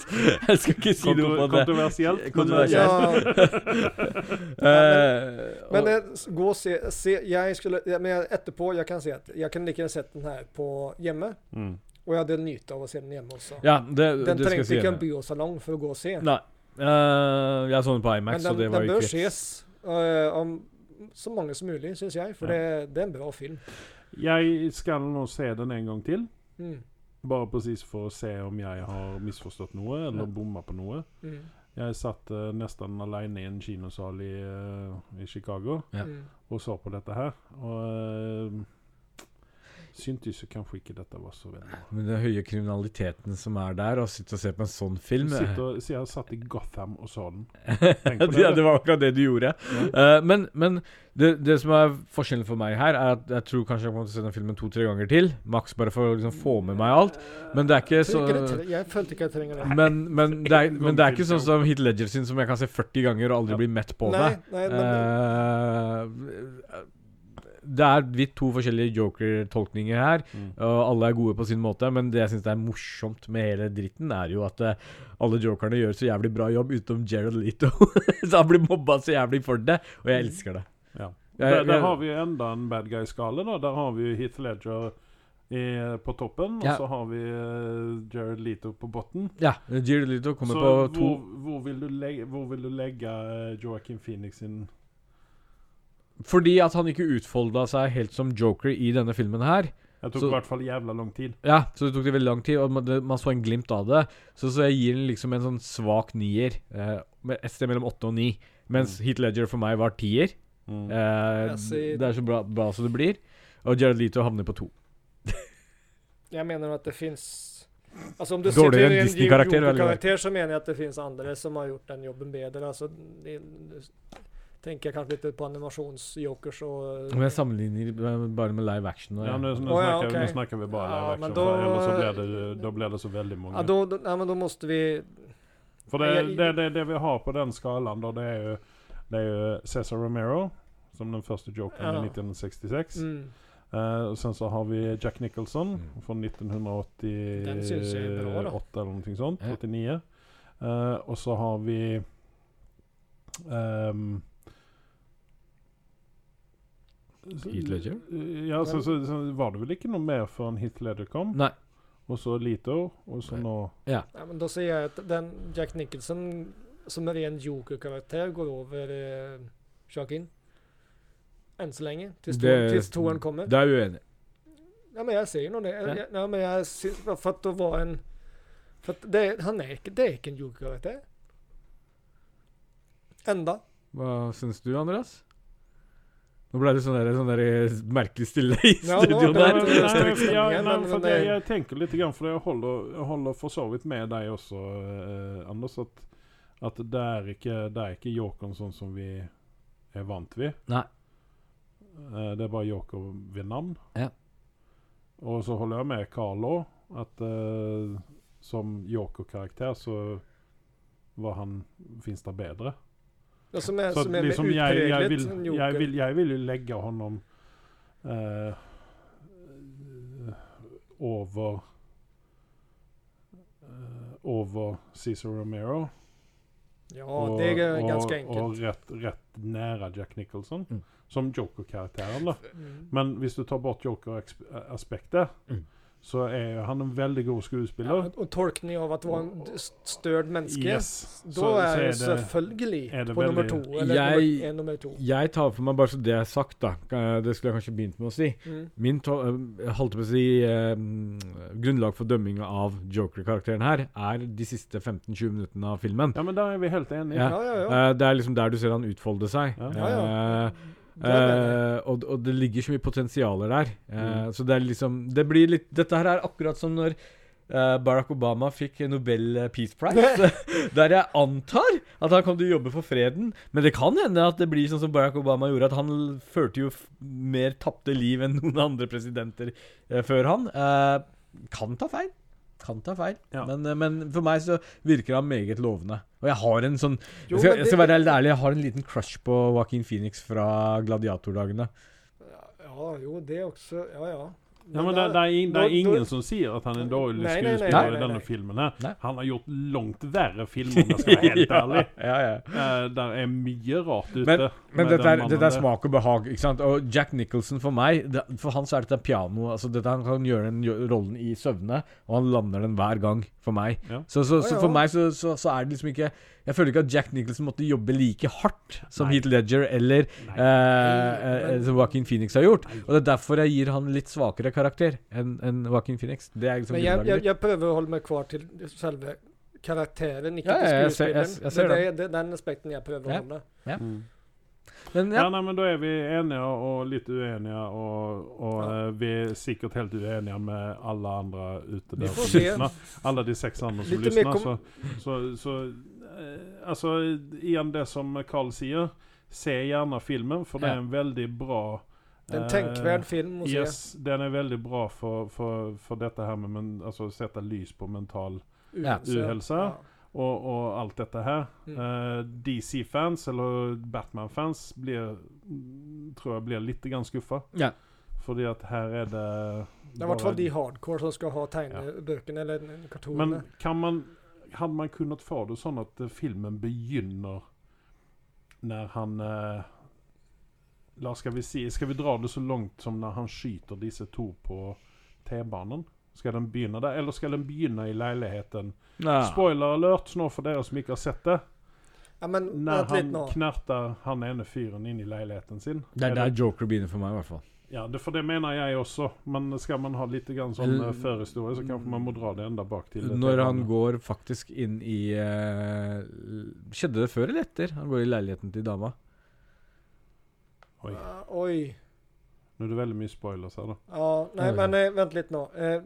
S4: jeg skal ikke si noe på
S2: Kontro-
S4: det.
S2: Kontroversielt. men, eh,
S4: Kontroversielt.
S3: Ja,
S4: Eh,
S3: men
S4: og-
S3: eh, s- gå og se, se jeg skulle, ja, Men jeg, etterpå jeg kan si at jeg kunne like gjerne sett den her på hjemme.
S2: Mm.
S3: Og jeg hadde nytt av å se den hjemme også.
S4: ja, det,
S3: den
S4: det skal jeg
S3: trengte
S4: si.
S3: ikke en
S4: henne.
S3: biosalong for å gå og se.
S4: Nei. Eh, jeg så den på IMAX,
S3: Men den,
S4: og det var
S3: den
S4: jo
S3: bør
S4: ikke
S3: ses eh, om så mange som mulig, syns jeg. For
S2: Ja.
S3: det, det er en bra film.
S2: Jeg skal nå se den en gang til.
S3: Mm.
S2: Bare presis for å se om jeg har misforstått noe eller
S4: Ja.
S2: bomma på noe.
S3: Mm.
S2: Jeg satt eh, nesten alene i en kinosal i, eh, i Chicago
S4: Ja.
S3: Mm.
S2: og så på dette her. Og eh, ehm, syntes jo kanskje ikke dette var så veldig bra.
S4: Men den høye kriminaliteten som er der, og sitte og se på en sånn film
S2: Så
S4: eh.
S2: sitter- så jeg satt i Gotham og så den. Tenk på det,
S4: ja,
S2: du.
S4: det var akkurat det du gjorde. Eh, men men det, det som er forskjellen for meg her, er at jeg tror kanskje jeg kommer til å se den filmen to-tre ganger til. Maks bare for å liksom få med meg alt. Men det er ikke
S3: Jeg tror
S4: så
S3: ikke det tre- Jeg følte ikke jeg trenger det.
S4: Men, men, det, er, men det er ikke
S2: Film,
S4: sånn som Heath Ledger sin, som jeg kan se 40 ganger og aldri
S2: Ja.
S4: bli mett på
S3: Nei,
S4: det.
S2: Eh,
S3: nei, men,
S4: Eh, det er vidt to forskjellige joker-tolkninger her,
S2: Mm.
S4: og alle er gode på sin måte. Men det jeg syns er morsomt med hele dritten, er jo at eh, alle jokerne gjør så jævlig bra jobb utenom Jared Leto. så han blir mobba så jævlig for det, og jeg elsker det.
S2: Ja.
S4: Jeg-
S2: Der, der
S4: jeg-
S2: har vi jo enda en bad guy-skala, da. Der har vi jo Heath Ledger i, på toppen,
S4: Ja.
S2: og så har vi eh, Jared Leto på bunnen.
S4: Ja, Jared Leto kommer
S2: Så
S4: på to
S2: hvor, hvor, vil du legge, hvor vil du legge eh, Joaquin Phoenix sin
S4: Fordi at han ikke utfolda seg helt som Joker i denne filmen her.
S2: Jeg tok
S4: Så-
S2: i hvert fall jævla lang tid.
S4: Ja, så det tok det veldig lang tid, og man, det, man så en glimt av det. Så, så jeg gir den liksom en sånn svak nier. Eh, med et sted mellom åtte og ni. Mens
S3: Mm.
S4: Heat Ledger for meg var tier. Eh,
S3: Jeg sier-
S4: det er så bra, bra som det blir. Og Jared Leto havner på to.
S3: Jeg mener at det fins Altså om du
S4: Dårligere
S3: sitter i
S4: enn
S3: en
S4: Disney-karakter,
S3: Joker-
S4: eller?
S3: Joker-karakter, så mener jeg at det fins andre som har gjort den jobben bedre. Altså, det, tenker jeg kanskje litt på animasjons-jokers og
S4: Men jeg sammenligner med- bare med live action. Og,
S2: Ja, nå, nå,
S3: Å, ja,
S2: snakker,
S3: ok.
S2: nå snakker vi bare
S3: Ja,
S2: live
S3: men
S2: action,
S3: da-
S2: for ellers så blir det, da blir det så veldig mange.
S3: ja, då, då, ja, men da måste vi
S2: For det,
S3: Jeg-
S2: det, det, det vi har på den skalaen, da, det er jo, det er jo Cesar Romero, som den første jokeren
S3: Ja.
S2: i 1966.
S3: mm,
S2: Eh, og sen så har vi Jack Nicholson
S4: Mm.
S2: fra 1988
S3: Den syns jeg er bra, da.
S2: eller noe sånt.
S4: Ja.
S2: 89. Eh, og så har vi ehm,
S4: Heath Ledger?
S2: Ja, så, så, så var det vel ikke noe mer før Heath Ledger kom.
S4: Nei.
S2: Og så Lito, og så
S4: Nei.
S2: nå
S3: ja, men Da sier jeg at den Jack Nicholson som er ren Joker-karakter, går over eh, Joaquin. Enn så lenge. Til
S4: Det-
S3: toeren kommer.
S4: Da er jeg uenig.
S3: Ja, men jeg ser jo nå det.
S4: Ja.
S3: Jeg, ja, men jeg syns, for at å være en For at det, han er ikke, det er ikke en joker-karakter. Enda.
S4: Hva syns du, Andreas? Nå ble det sånn der, sånn der merkelig stille i
S3: Ja, nå-
S4: studio
S3: det
S2: Nei,
S3: er litt
S4: der.
S2: men-
S3: strikk
S2: nei,
S3: stemning
S2: ja,
S3: igjen,
S2: nei,
S3: men-
S2: for
S3: men
S2: det,
S3: det-
S2: jeg tenker litt grann, for jeg holder, jeg holder for så vidt med deg også, eh, Anders, at, at det er ikke, det er ikke jokeren sånn som vi er vant ved.
S4: Nei.
S2: Eh, det er bare joker ved navn.
S4: Ja.
S2: Og så holder jeg med Carlo at eh, som jokerkarakter så var han Fins det bedre?
S3: Det som er,
S2: Så
S3: som er
S2: liksom, jeg,
S3: utpreglet
S2: jeg, vil, jeg,
S3: en joker.
S2: vil, jeg vil jo legge honom eh, over eh, over Cesar Romero
S3: ja, det er ganske
S2: og
S3: enkelt.
S2: rett, rett nære Jack Nicholson
S4: Mm.
S2: som joker-karakteren. da.
S3: Mm.
S2: Men hvis du tar bort joker-aspektet,
S4: Mm.
S2: så er jo han en veldig god
S3: Ja,
S2: skuespiller.
S3: og tolkning av at være en størt menneske.
S2: Yes.
S3: Da
S2: Så- så
S3: er det
S2: er det-
S3: selvfølgelig
S2: er det
S3: på nummer to.
S2: veldig-
S3: Eller
S4: Jeg-
S3: nummer, er nummer to.
S4: Jeg tar for meg bare så det er sagt, da. Eh, Det skulle jeg kanskje begynt med å si.
S3: Mm.
S4: Min to eh, jeg holdt på å si eh, mm, grunnlag for dømming av Joker-karakteren her er de siste 15-20 minuttene av filmen.
S2: Ja, men der er vi helt enige.
S4: Ja.
S3: Ja, ja, ja.
S4: Eh, det er liksom der du ser han utfolde seg.
S2: Ja.
S3: Ja, ja.
S4: Eh,
S3: Det er det. Mm.
S4: eh, og, og det ligger så mye potensialer der. Eh, Så det er liksom Det blir litt Dette her er akkurat som når eh, Barack Obama fikk Nobel eh, Peace Prize. der jeg antar at han kom til å jobbe for freden. Men det kan hende at det blir sånn som Barack Obama gjorde, at han l- førte jo f mer tapte liv enn noen andre presidenter eh, før han. Eh, kan ta feil. Kan ta feil.
S2: Ja.
S4: Men, eh, men for meg så virker han meget lovende. Og jeg har en sånn
S3: Jo,
S4: jeg, skal,
S3: men
S4: jeg skal
S3: det-
S4: være helt ærlig, jeg har en liten crush på Joaquin Phoenix fra gladiatordagene.
S3: ja, jo, det er også Ja, ja.
S2: Ja, men
S3: da-
S2: det, det, er, in, det
S3: da-
S2: er ingen
S3: da-
S2: som sier at han er en dårlig
S3: Nei, nei, nei,
S2: skuespiller
S3: nei,
S2: i denne
S3: nei.
S2: filmen. her.
S4: Nei.
S2: Han har gjort langt verre filmer, om jeg skal være helt ærlig.
S4: ja, ja.
S2: Eh, der er mye rart ute.
S4: Men, men
S2: med
S4: dette,
S2: den
S4: er,
S2: mannen
S4: dette er
S2: der.
S4: smak og behag. ikke sant? Og Jack Nicholson for meg det, For han så er dette piano. altså dette, Han kan gjøre den gjø- rollen i søvne, og han lander den hver gang, for meg.
S2: Ja.
S4: Så, så,
S3: Ja,
S4: så
S3: ja.
S4: for meg så, så, så er det liksom ikke Jeg føler ikke at Jack Nicholson måtte jobbe like hardt som
S2: Nei.
S4: Heath Ledger eller eh, eh,
S3: men-
S4: som Joaquin Phoenix har gjort. Og det er derfor jeg gir han litt svakere karakter enn en Joaquin Phoenix. Det er liksom
S3: Men jeg,
S4: grunnlaget
S3: jeg,
S4: mitt.
S3: jeg prøver å holde meg kvar til selve karakteren, ikke
S4: Ja, ja, jeg
S3: til skuespilleren.
S4: ser- jeg- jeg ser
S3: Men det, er- det er den aspekten jeg prøver
S4: Ja.
S3: å holde.
S4: Men
S2: Mm. Ja,
S4: ja,
S2: nei, men Da er vi enige og litt uenige, og, og eh, vi er sikkert helt uenige med alle andre ute
S3: Vi
S2: der
S3: får
S2: som
S3: se.
S2: lyssnar. Alle de seks andre som
S3: Lite mer
S2: lyssnar. Så,
S3: kom-
S2: så, så eh, Altså, igjen det som Carl sier. Se gjerne filmen, for det
S4: Ja.
S2: er en veldig bra
S3: Det er en
S2: eh,
S3: tenkverd film å se.
S2: Yes, den er veldig bra for, for, for dette her med men, altså, å sette lys på mental
S4: Ja.
S3: Uhelse.
S2: Uhelse. og, og alt dette her.
S3: Mm.
S2: Eh, DC-fans eller Batman-fans blir tror jeg blir litt grann skuffa.
S4: Ja.
S2: Fordi at her er det
S3: Det er i hvert fall
S2: bare-
S3: de hardcore som skal ha tegnebøkene eller kartonene.
S2: Men kan man Hadde man kunnet få det sånn at eh, filmen begynner når han eh, La skal vi si Skal vi dra det så langt som når han skyter disse to på T-banen? Skal den begynne der, eller skal den begynne i leiligheten?
S4: Nei.
S2: Spoiler alert nå for dere som ikke har sett det.
S3: Ja, men
S2: Når
S3: vent litt
S2: han
S3: nå.
S2: knerter han ene fyren inn i leiligheten sin.
S4: Det er der Joker begynner for meg, i hvert fall.
S2: Ja, det, for det mener jeg også. Men skal man ha litt grann sånn
S4: Eller-
S2: eh, førhistorie, så kanskje man må dra det enda bak til. det
S4: Når han
S2: temaet.
S4: går faktisk inn i eh, Skjedde det før eller etter? Han går i leiligheten til dama.
S2: Oi,
S3: Ja, Oi.
S2: nå er det veldig mye spoilers her, da.
S3: Ja, nej,
S4: Oj.
S3: men eh, vent litt nå. Eh,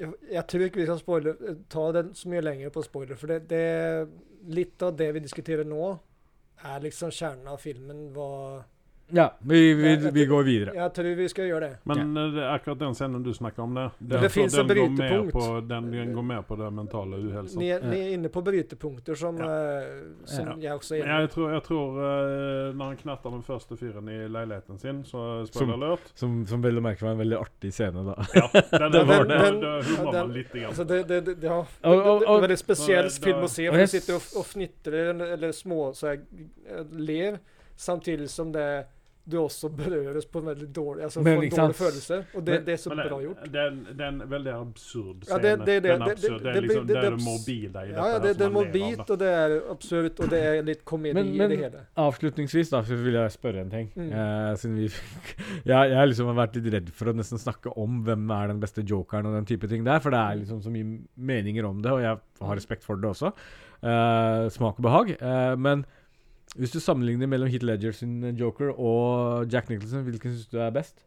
S3: jeg- jeg tror ikke vi skal spoiler, eh, ta den så mye lenger på spoiler, for det, det litt av det vi diskuterer nå, er liksom kjernen av filmen. Hva,
S4: Ja, vi, vi,
S3: Ja, jeg
S4: vi går videre.
S3: jeg tror vi skal gjøre det.
S2: Men eh, det er akkurat den scenen du snakker om der. Den,
S3: det finnes
S2: den
S3: en
S2: går mer
S3: brytepunkt.
S2: på- Den, den går mer på det mentale uhelsen.
S3: Ni, er- ni er inne på brytepunkter som,
S2: Ja.
S3: eh, som
S4: Ja.
S3: jeg også er
S2: Men
S3: enig i.
S2: jeg tror, jeg tror eh, når han knerter den første fyren i leiligheten sin, så
S4: Som-
S2: spoiler alert.
S4: Som, som vel å merke var en veldig artig scene, da.
S2: Ja, den,
S3: Den-
S2: den, den,
S3: den- den-
S2: hummer
S3: den-
S2: man litt. Igjen.
S3: Altså Alltså, det, det, det, ja. det,
S4: Og-
S3: det,
S4: og-
S3: det er en
S4: og-
S3: veldig spesiell
S2: Og det-
S3: film å se.
S4: og
S3: For
S4: jeg
S3: du sitter og,
S4: s-
S3: og fnitrer eller, eller små, så jeg, eh, ler, samtidig som det du også berøres på en veldig dårlig altså
S4: Men
S3: får en
S4: ikke
S3: dårlig
S4: sant?
S3: følelse. Og det,
S4: Men-
S3: det er så
S2: Men det,
S3: bra gjort.
S2: det, er en, det er en veldig absurd
S3: Ja,
S2: scene.
S3: det- det- det-
S2: den er
S3: det- det-
S2: absurd. Det
S3: det
S2: er
S3: blir-
S2: liksom
S3: det-
S2: det, er
S3: det-
S2: det mobile i
S3: Ja, ja,
S2: dette.
S3: det, det er
S2: som man ler av,
S3: mobilt, og det er absurd, og det er litt komedi
S4: Men- men-
S3: i det hele.
S4: Avslutningsvis da, så vil jeg spørre en ting.
S3: Mm.
S4: Eh, siden vi fikk jeg, jeg har liksom vært litt redd for å nesten snakke om hvem er den beste jokeren og den type ting der, for det er liksom så mye meninger om det, og jeg har respekt for det også. Eh, smak og behag. Eh, men hvis du sammenligner mellom Heath Ledger sin joker og Jack Nicholson, hvilken syns du er best?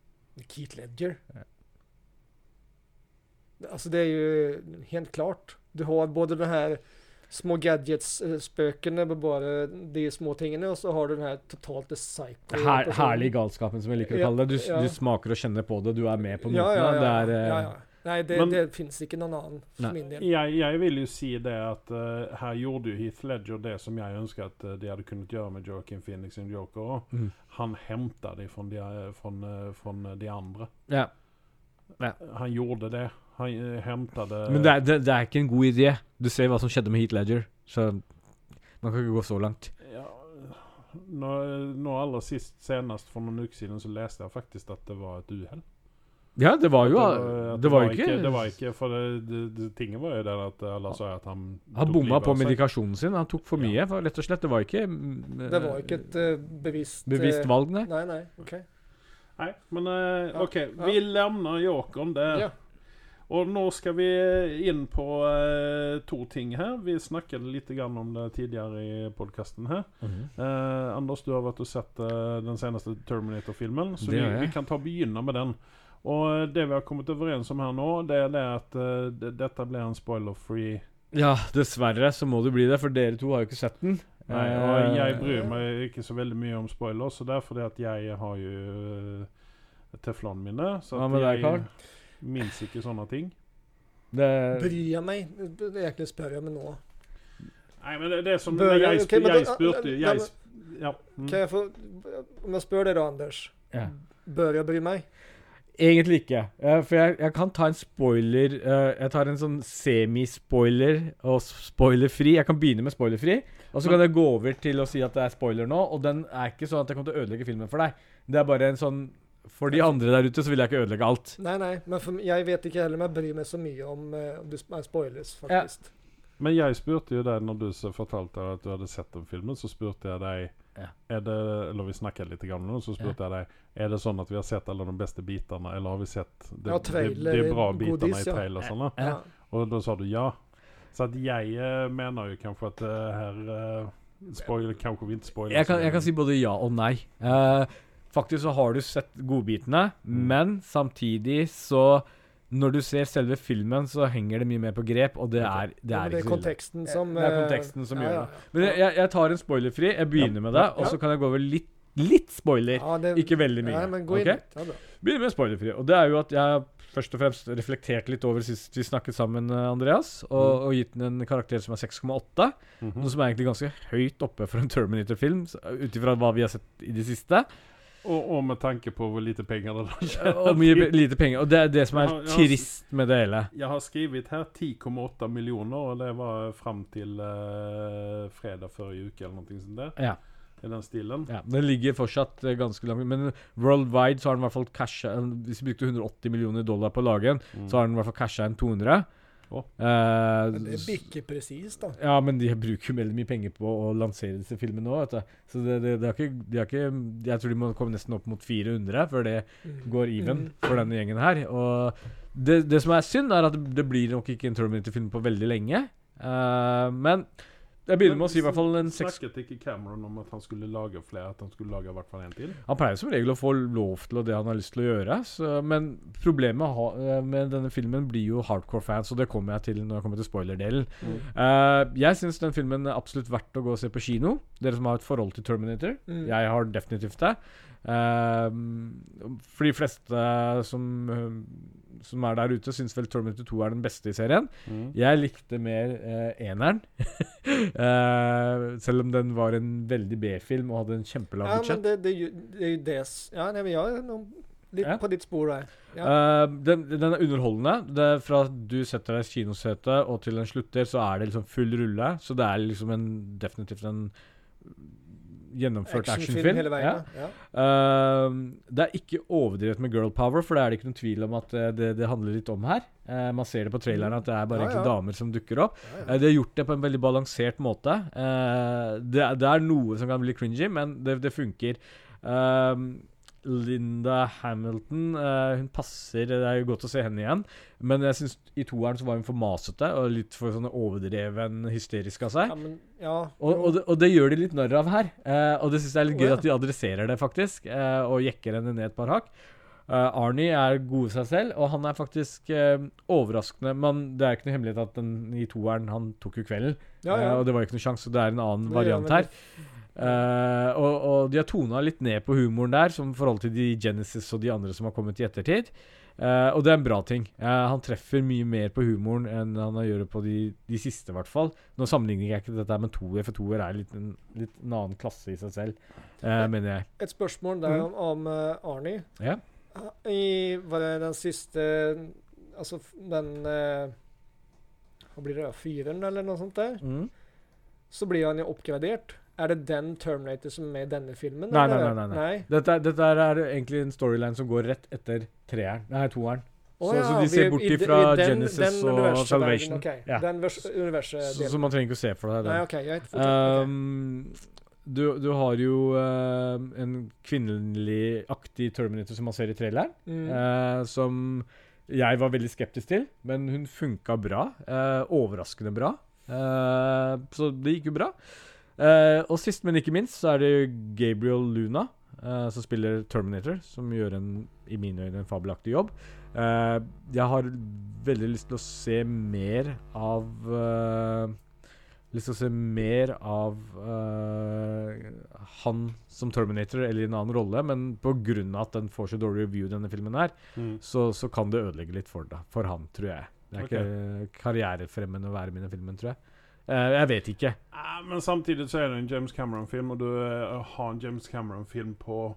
S3: Keith Ledger. Alltså det är ju helt klart. Du har både de här små gadgets-spökena, bara de små tingen och så har du den här totalt psycho.
S4: Her,
S3: personen.
S4: herlig galskapen, som jeg liker å
S3: Ja,
S4: kalle det. Du,
S3: ja.
S4: du smaker og kjenner på det, du er med på notene.
S3: Ja, ja, ja.
S4: Det er, eh,
S3: ja, ja. Nej, det,
S2: Men-
S3: det finns inte någon annan för
S4: Nej.
S3: min del.
S2: Jeg, jeg vil jo si det at eh, her gjorde jo Heath Ledger det som jeg ønsker at eh, de hadde kunnet gjøre med Joaquin Phoenix sin Joker også.
S4: Mm.
S2: Han hentet det fra de, från, eh, från de andre.
S4: ja.
S2: Han gjorde det. Han eh, hentet det
S4: Men det er, det, det er ikke en god idé. Du ser hva som skjedde med Heat Ledger, så man kan ikke gå så langt.
S2: ja, nå, eh, nå aller sist, senest for noen uker siden, så leste jeg faktisk at det var et uhell.
S4: Ja, det var jo
S2: At at
S4: Det, var jo ikke,
S2: Det var ikke For det, det, det, tinget var jo der at alle sa at han
S4: Han
S2: tok
S4: bomma
S2: livet
S4: på
S2: av seg.
S4: medikasjonen sin. Han tok for
S2: Ja.
S4: mye, for rett og slett. Det var ikke mm,
S3: Det var
S4: eh,
S3: inte ett eh, bevisst...
S4: bevisst
S3: eh,
S4: valg, nei.
S3: Nej, nej, okej.
S2: Nei, men eh,
S3: Ja.
S2: OK. Vi lämnar Jokern der.
S3: Ja.
S2: Og nå skal vi inn på eh, to ting her. Vi snakket litt grann om det tidligere i podkasten her.
S4: Mhm.
S2: Eh, Anders, du har vært og sett eh, den seneste Terminator-filmen, så
S4: Det
S2: vi,
S4: har jeg.
S2: vi kan ta begynne med den. Og eh, det vi har kommet overens om her nå, det er det at eh, d- dette blir en spoiler-free
S4: Ja, dessverre så må det bli det, for dere to har jo ikke sett den.
S2: Nei, og jeg
S4: Eh,
S2: bryr meg ikke så veldig mye om spoilers, så det er fordi at jeg har jo eh, teflonminne. Så
S4: Hva
S2: at
S4: med deg, Carl?
S2: jeg minnes ikke sånne ting.
S4: det,
S3: Bryr jeg meg? Det er egentlig spør jeg meg
S4: Mm.
S3: nå.
S2: Nei, men det, det er som
S3: Bør
S2: jeg,
S3: jeg-
S2: sp-
S3: ok, men
S2: jeg
S3: da-
S2: spurte jo
S3: ja,
S2: jeg,
S3: men-
S2: sp- ja, mm.
S3: Kan jeg få... Om jeg spør deg da, Anders.
S4: ja.
S3: Bør jeg bry meg?
S4: Egentlig ikke. Eh, for jeg, jeg kan ta en spoiler eh, Jeg tar en sånn semispoiler og spoilerfri. Jeg kan begynne med spoilerfri, og så kan jeg gå over til å si at det er spoiler nå. Og den er ikke sånn at jeg kommer til å ødelegge filmen for deg. Det er bare en sånn For de andre der ute så vil jeg ikke ødelegge alt.
S3: Nei, nei, men for, jeg vet ikke heller om jeg bryr meg så mye om, eh, om det sp- er spoilers, faktisk.
S2: Men jeg spurte jo deg når du så fortalte at du hadde sett den filmen, så spurte jeg deg
S4: Ja.
S2: er det, eller vi snakket litt grann nå, så spurte jeg deg Er det sånn at vi har sett alle de beste bitene, eller har vi sett de,
S3: Ja,
S2: de,
S3: trailer,
S2: de bra
S3: godis,
S2: bitene i
S3: ja.
S2: trailersene?
S4: Ja.
S3: Ja.
S2: Og da sa du ja. Så at jeg eh, mener jo kanskje at det her eh, spoiler, Kanskje vi ikke spoiler.
S4: Jeg kan,
S2: så
S4: jeg kan
S2: mye.
S4: si både ja og nei. Eh, faktisk så har du sett godbitene,
S3: Mm.
S4: men samtidig så Når du ser selve filmen, så henger det mye mer på grep, og det er, det
S3: Ja,
S4: er
S3: men det er
S4: ikke så ille.
S3: konteksten som
S4: Det er
S3: eh,
S4: konteksten som
S3: ja,
S4: gjør
S3: ja,
S4: det. Men jeg, jeg- jeg tar en spoilerfri. Jeg begynner med det, og så kan jeg gå over litt, litt spoiler.
S3: Ja, det,
S4: Ikke veldig mye.
S3: Nei, men gå inn
S4: ok?
S3: litt. Ja, bra.
S4: Begynner med spoilerfri. Og det er jo at jeg har først og fremst reflektert litt over sist vi snakket sammen, eh, Andreas, og,
S3: Mm.
S4: og gitt den en karakter som er 6,8.
S3: Mhm.
S4: Noe som er egentlig ganske høyt oppe for en Terminator-film, så- ut ifra hva vi har sett i det siste.
S2: og, og med tanke på hvor lite penger det er.
S4: Og mye be- lite penger. Og det er det som
S2: Ja,
S4: er
S2: ja,
S4: trist med det hele.
S2: Jeg har skrevet her 10,8 millioner, og det var fram til eh, fredag før i uke eller noe sånt. der.
S4: Ja.
S2: i den stilen.
S4: Ja, Den ligger fortsatt eh, ganske langt Men worldwide så har den i hvert fall casha Hvis vi brukte 180 millioner dollar på å lage en, så har den i hvert fall casha en 200.
S2: Å.
S4: Eh,
S3: Men Det bikker presis, da.
S4: ja, men de bruker jo veldig mye penger på å lansere disse filmene nå, vet du. Så det, det, det er ikke, de er ikke Jeg tror de må komme nesten opp mot 400 før det går even for denne gjengen her. Og det, det som er synd, er at det blir nok ikke en Terminator-film på veldig lenge. Eh, men jeg begynner med å si i hvert fall en seks
S2: Snakket ikke Cameron om at han skulle lage flere? At han skulle lage i hvert fall en til?
S4: Han pleier som regel å få lov til å det han har lyst til å gjøre, så, men problemet ha, eh, med denne filmen blir jo hardcore-fans, og det kommer jeg til når jeg kommer til spoilerdelen.
S3: Mm.
S4: Eh, jeg syns den filmen er absolutt verdt å gå og se på kino, dere som har et forhold til Terminator.
S3: Mm.
S4: Jeg har definitivt det. Eh, for de fleste som, eh, som er der ute, syns vel Terminator 2 er den beste i serien.
S3: Mm.
S4: Jeg likte mer eh, eneren. Eh, selv om den var en veldig B-film og hadde en kjempelang
S3: Ja,
S4: budsjett.
S3: men det, det, er jo- det er jo det s- Ja, nei, men jeg er nå litt
S4: Ja.
S3: på ditt spor der.
S4: Eh, den, den er underholdende. Det er fra du setter deg i kinosete og til den slutter, så er det liksom full rulle. Så det er liksom en, definitivt en gjennomført actionfilm.
S3: hele veien.
S4: Ja.
S3: Ja. Ja.
S4: Ehm, det er ikke overdrevet med girl power, for det er det ikke noen tvil om at eh, det, det handler litt om her. Eh, man ser det på traileren at det er bare
S3: Mm. Ja,
S4: egentlig
S3: ja.
S4: damer som dukker opp. Eh, de har gjort det på en veldig balansert måte. Eh, det, er- det er noe som kan bli cringy, men det, det funker. Ehm, Linda Hamilton eh, Hun passer Det er jo godt å se henne igjen. Men jeg syns i toeren så var hun for masete og litt for sånn overdreven hysterisk av seg.
S3: ja, men Ja.
S4: Og, og, det, og det gjør de litt narr av her. Eh, og det syns jeg er litt
S3: Å,
S4: gøy
S3: ja.
S4: at de adresserer det, faktisk. eh, og jekker henne ned et par hakk. Eh, Arnie er god i seg selv, og han er faktisk eh, overraskende Men det er ikke noe hemmelighet at den i toeren han tok jo kvelden.
S3: Ja, ja.
S4: eh, og det var jo ikke noe sjanse, så det er en annen
S3: Det gjør
S4: variant
S3: han
S4: her. Eh, og, og de har tona litt ned på humoren der, som i forhold til de Genesis og de andre som har kommet i ettertid. Eh, og det er en bra ting. Eh, han treffer mye mer på humoren enn han gjør på de, de siste, i hvert fall. Nå sammenligner jeg ikke dette her med toer, for toer er litt en, litt en annen klasse i seg selv, eh, mener jeg.
S3: Et spørsmål der om, om eh, Arnie.
S4: Mm. Ja.
S3: I, var det den siste Altså f- den eh, Hva blir det? da? Fyren, eller noe sånt der?
S4: Mm.
S3: Så blir han jo oppgradert. Er det den Terminator som er med i denne filmen?
S4: Nei, nei,
S3: eller?
S4: nei, nei,
S3: nei.
S4: Dette, er- dette her er egentlig en storyline som går rett etter treeren, nei, toeren.
S3: Å
S4: så, så
S3: ja,
S4: de ser
S3: vi-
S4: bort
S3: i de-
S4: ifra
S3: i den-
S4: Genesis
S3: den
S4: og
S3: universet-
S4: Salvation.
S3: verden, ok.
S4: Ja.
S3: Den vers- universet
S4: Så, så man trenger ikke å se for seg den.
S3: Eh, Nei, OK, greit. fortsett, ok.
S4: Um, du, du har jo eh, en kvinnelig-aktig Terminator som man ser i traileren,
S3: Mm.
S4: eh, som jeg var veldig skeptisk til, men hun funka bra. eh, overraskende bra. Eh, så det gikk jo bra. Eh, og sist, men ikke minst, så er det Gabriel Luna, eh, som spiller Terminator, som gjør en, i mine øyne en fabelaktig jobb. Eh, jeg har veldig lyst til å se mer av eh, lyst til å se mer av eh, han som Terminator, eller i en annen rolle, men pga. at den får så dårlig review, denne filmen her,
S2: Mm.
S4: så, så kan det ødelegge litt for, da, for han, tror jeg. Det er ikke karrierefremmende å være med i den filmen, tror jeg. Eh, jeg vet ikke.
S2: Ah, men samtidig så er det en James Cameron-film, og du eh, har en James Cameron-film på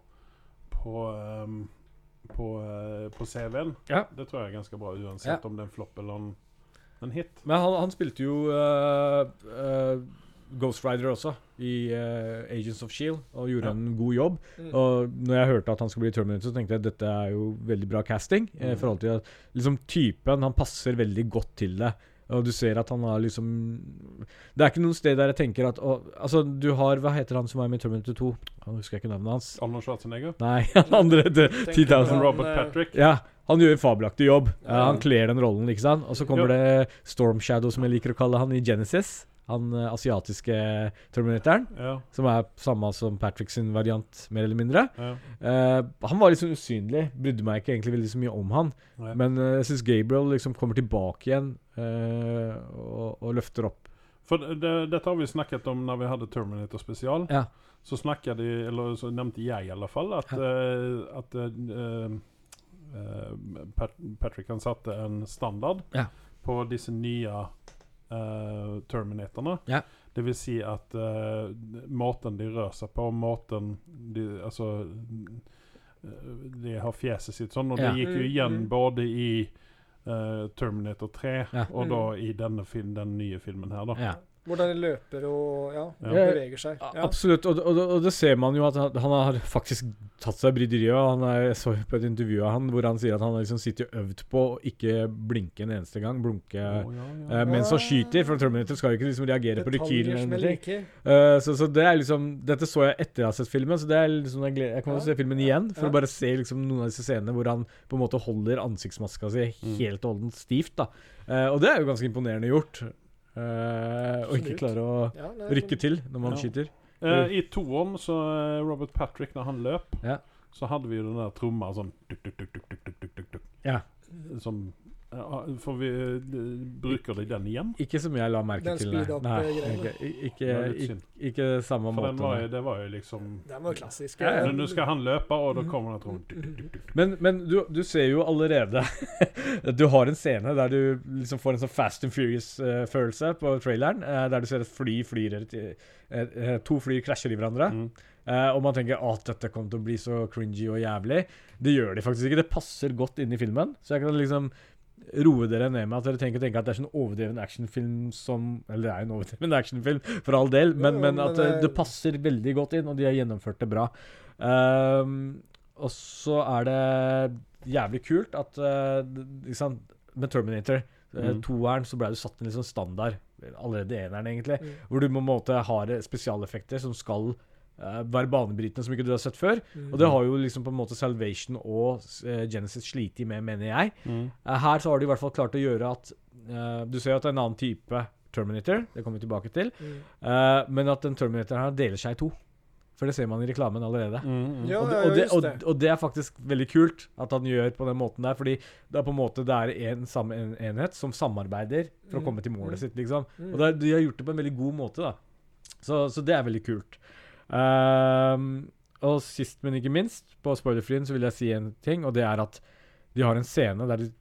S2: på, ehm, på, eh, på CV-en.
S4: Ja.
S2: Det tror jeg er ganske bra, uansett om det er en flopp eller en, en hit.
S4: Men han, han spilte jo eh, eh, Ghost Rider også, i eh, Agents of Shield, og gjorde
S2: Ja.
S4: en god jobb.
S3: Mm.
S4: Og når jeg hørte at han skulle bli Terminator, så tenkte jeg at dette er jo veldig bra casting.
S3: Mm.
S4: eh, I forhold til at liksom, typen Han passer veldig godt til det. Og du ser at han har liksom Det er ikke noen sted der jeg tenker at å, Altså, du har Hva heter han som er med i Terminator 2? Han husker jeg ikke navnet hans.
S2: Arnold Schwarzenegger.
S4: Nei, han andre. The
S3: Tenker
S4: 10,000
S3: på-
S2: Som Robert
S3: eh,
S2: Patrick.
S4: ja, han gjør en fabelaktig jobb. Eh, han kler den rollen, ikke sant? Og så kommer det Storm Shadow, som jeg liker å kalle han, i Genesis. Han eh, asiatiske terminatoren,
S2: Ja,
S4: som er samme som Patrick sin variant, mer eller mindre.
S2: ja.
S4: Eh, han var liksom usynlig, brydde meg ikke egentlig veldig så mye om han.
S2: Nei.
S4: Men eh, jeg syns Gabriel liksom kommer tilbake igjen eh, og, og løfter opp.
S2: For det, det, dette har vi snakket om når vi hadde Terminator spesial.
S4: Ja.
S2: Så snakket de, eller så nevnte jeg i alle fall, at, eh, at eh, eh, Pat Patrick han satte en standard
S4: Ja.
S2: på disse nye eh, Terminatorene.
S4: Ja.
S2: Det vil si at eh, måten de rører seg på, måten de Altså eh, De har fjeset sitt sånn, og
S4: Ja.
S2: det gikk jo
S3: Mm,
S2: igjen
S3: mm.
S2: både i eh, Terminator 3,
S4: Ja.
S2: og da i denne film, den nye filmen her, da.
S4: Ja.
S3: Hvordan de løper og ja,
S2: Ja.
S4: Eh,
S3: beveger seg.
S4: A-
S3: Ja.
S4: Absolutt, og, og, og det ser man jo at han han har faktisk tatt seg bryderiet. og Han er, jeg så jo på et intervju av han hvor han sier at han har liksom sittet og øvd på å ikke blinke en eneste gang. Blunke
S2: Å, ja, ja.
S4: eh, mens han skyter, for Terminator skal jo ikke liksom reagere på rekylen.
S3: Detaljer
S4: eller
S3: som er
S4: noen ting.
S3: like.
S4: Eh, så, så det er liksom Dette så jeg etter jeg har sett filmen, så det er liksom jeg, gleder, jeg kommer til å se filmen igjen for
S3: Ja.
S4: å bare se liksom noen av disse scenene hvor han på en måte holder ansiktsmaska si helt og holdent stivt. da Eh, Og det er jo ganske imponerende gjort. Eh, å ikke
S3: Absolutt.
S4: klare å
S3: Ja, nei,
S4: rykke til når man
S2: Ja.
S4: skyter.
S2: Eh, I toeren, så eh, Robert Patrick, når han løp,
S4: Ja.
S2: så hadde vi jo den der tromma sånn tuk, tuk, tuk, tuk, tuk, tuk, tuk, tuk, tuk.
S4: Ja.
S2: Eh, Som ja, For vi eh, bruker de den igjen?
S4: Ikke som jeg la merke
S3: Den
S4: til, nei.
S3: speed up,
S4: nei
S3: eh, greien.
S4: ikke, ikke,
S2: Det var litt
S4: ikke,
S2: synd.
S4: ikke samme
S2: For den
S4: måte.
S2: var, jo-
S4: nei.
S2: det var jo liksom
S3: Den var jo klassisk.
S4: Ja, ja.
S3: Den-
S2: Nå skal han løpe, og da kommer den trommen. Tuk, tuk, tuk, tuk.
S4: Men, men du, du ser jo allerede Du har en scene der du liksom får en sånn Fast and Furious-følelse på traileren. eh, der du ser et fly flyr et- eh, eh, To fly krasjer i hverandre.
S2: Mm.
S4: eh, og man tenker at dette kommer til å bli så cringy og jævlig. Det gjør de faktisk ikke. Det passer godt inn i filmen. Så jeg kan liksom roe dere ned med at dere tenker, tenker at det er sånn overdreven actionfilm som Eller det er jo en overdreven actionfilm, for all del, men,
S3: Jo,
S4: men
S3: men eh,
S4: at
S3: det
S4: det,
S3: er-
S4: det passer veldig godt inn, og de har gjennomført det bra. Ehm, og så er det jævlig kult at eh, det- ikke sant, Med Terminator, eh,
S2: Mm.
S4: toeren, så ble det satt en litt sånn standard. Allerede i eneren, egentlig. Hvor du på en måte har eh, spesialeffekter som skal eh, være banebrytende, som ikke du har sett før. Og det har jo liksom på en måte Salvation og eh, Genesis slitt med, mener jeg.
S2: Mm.
S4: Eh, Her så har de i hvert fall klart å gjøre at eh, Du ser jo at det er en annen type Terminator, det kommer vi tilbake til. Eh, men at den Terminatoren her deler seg i to. For det ser man i reklamen allerede.
S2: Mm.
S3: Ja,
S4: Og, det,
S3: ja,
S4: og,
S3: ja,
S4: det,
S3: just
S4: og,
S3: det.
S4: og det er faktisk veldig kult at han gjør på den måten der, fordi det er på en måte det er en samme en- enhet som
S3: Mm,
S4: samarbeider for å komme til målet sitt, liksom. Og det er, de har gjort det på en veldig god måte, da. Så, så det er veldig kult. Ehm, og sist, men ikke minst, på spoilerfrien så vil jeg si en ting, og det er at de har en scene der de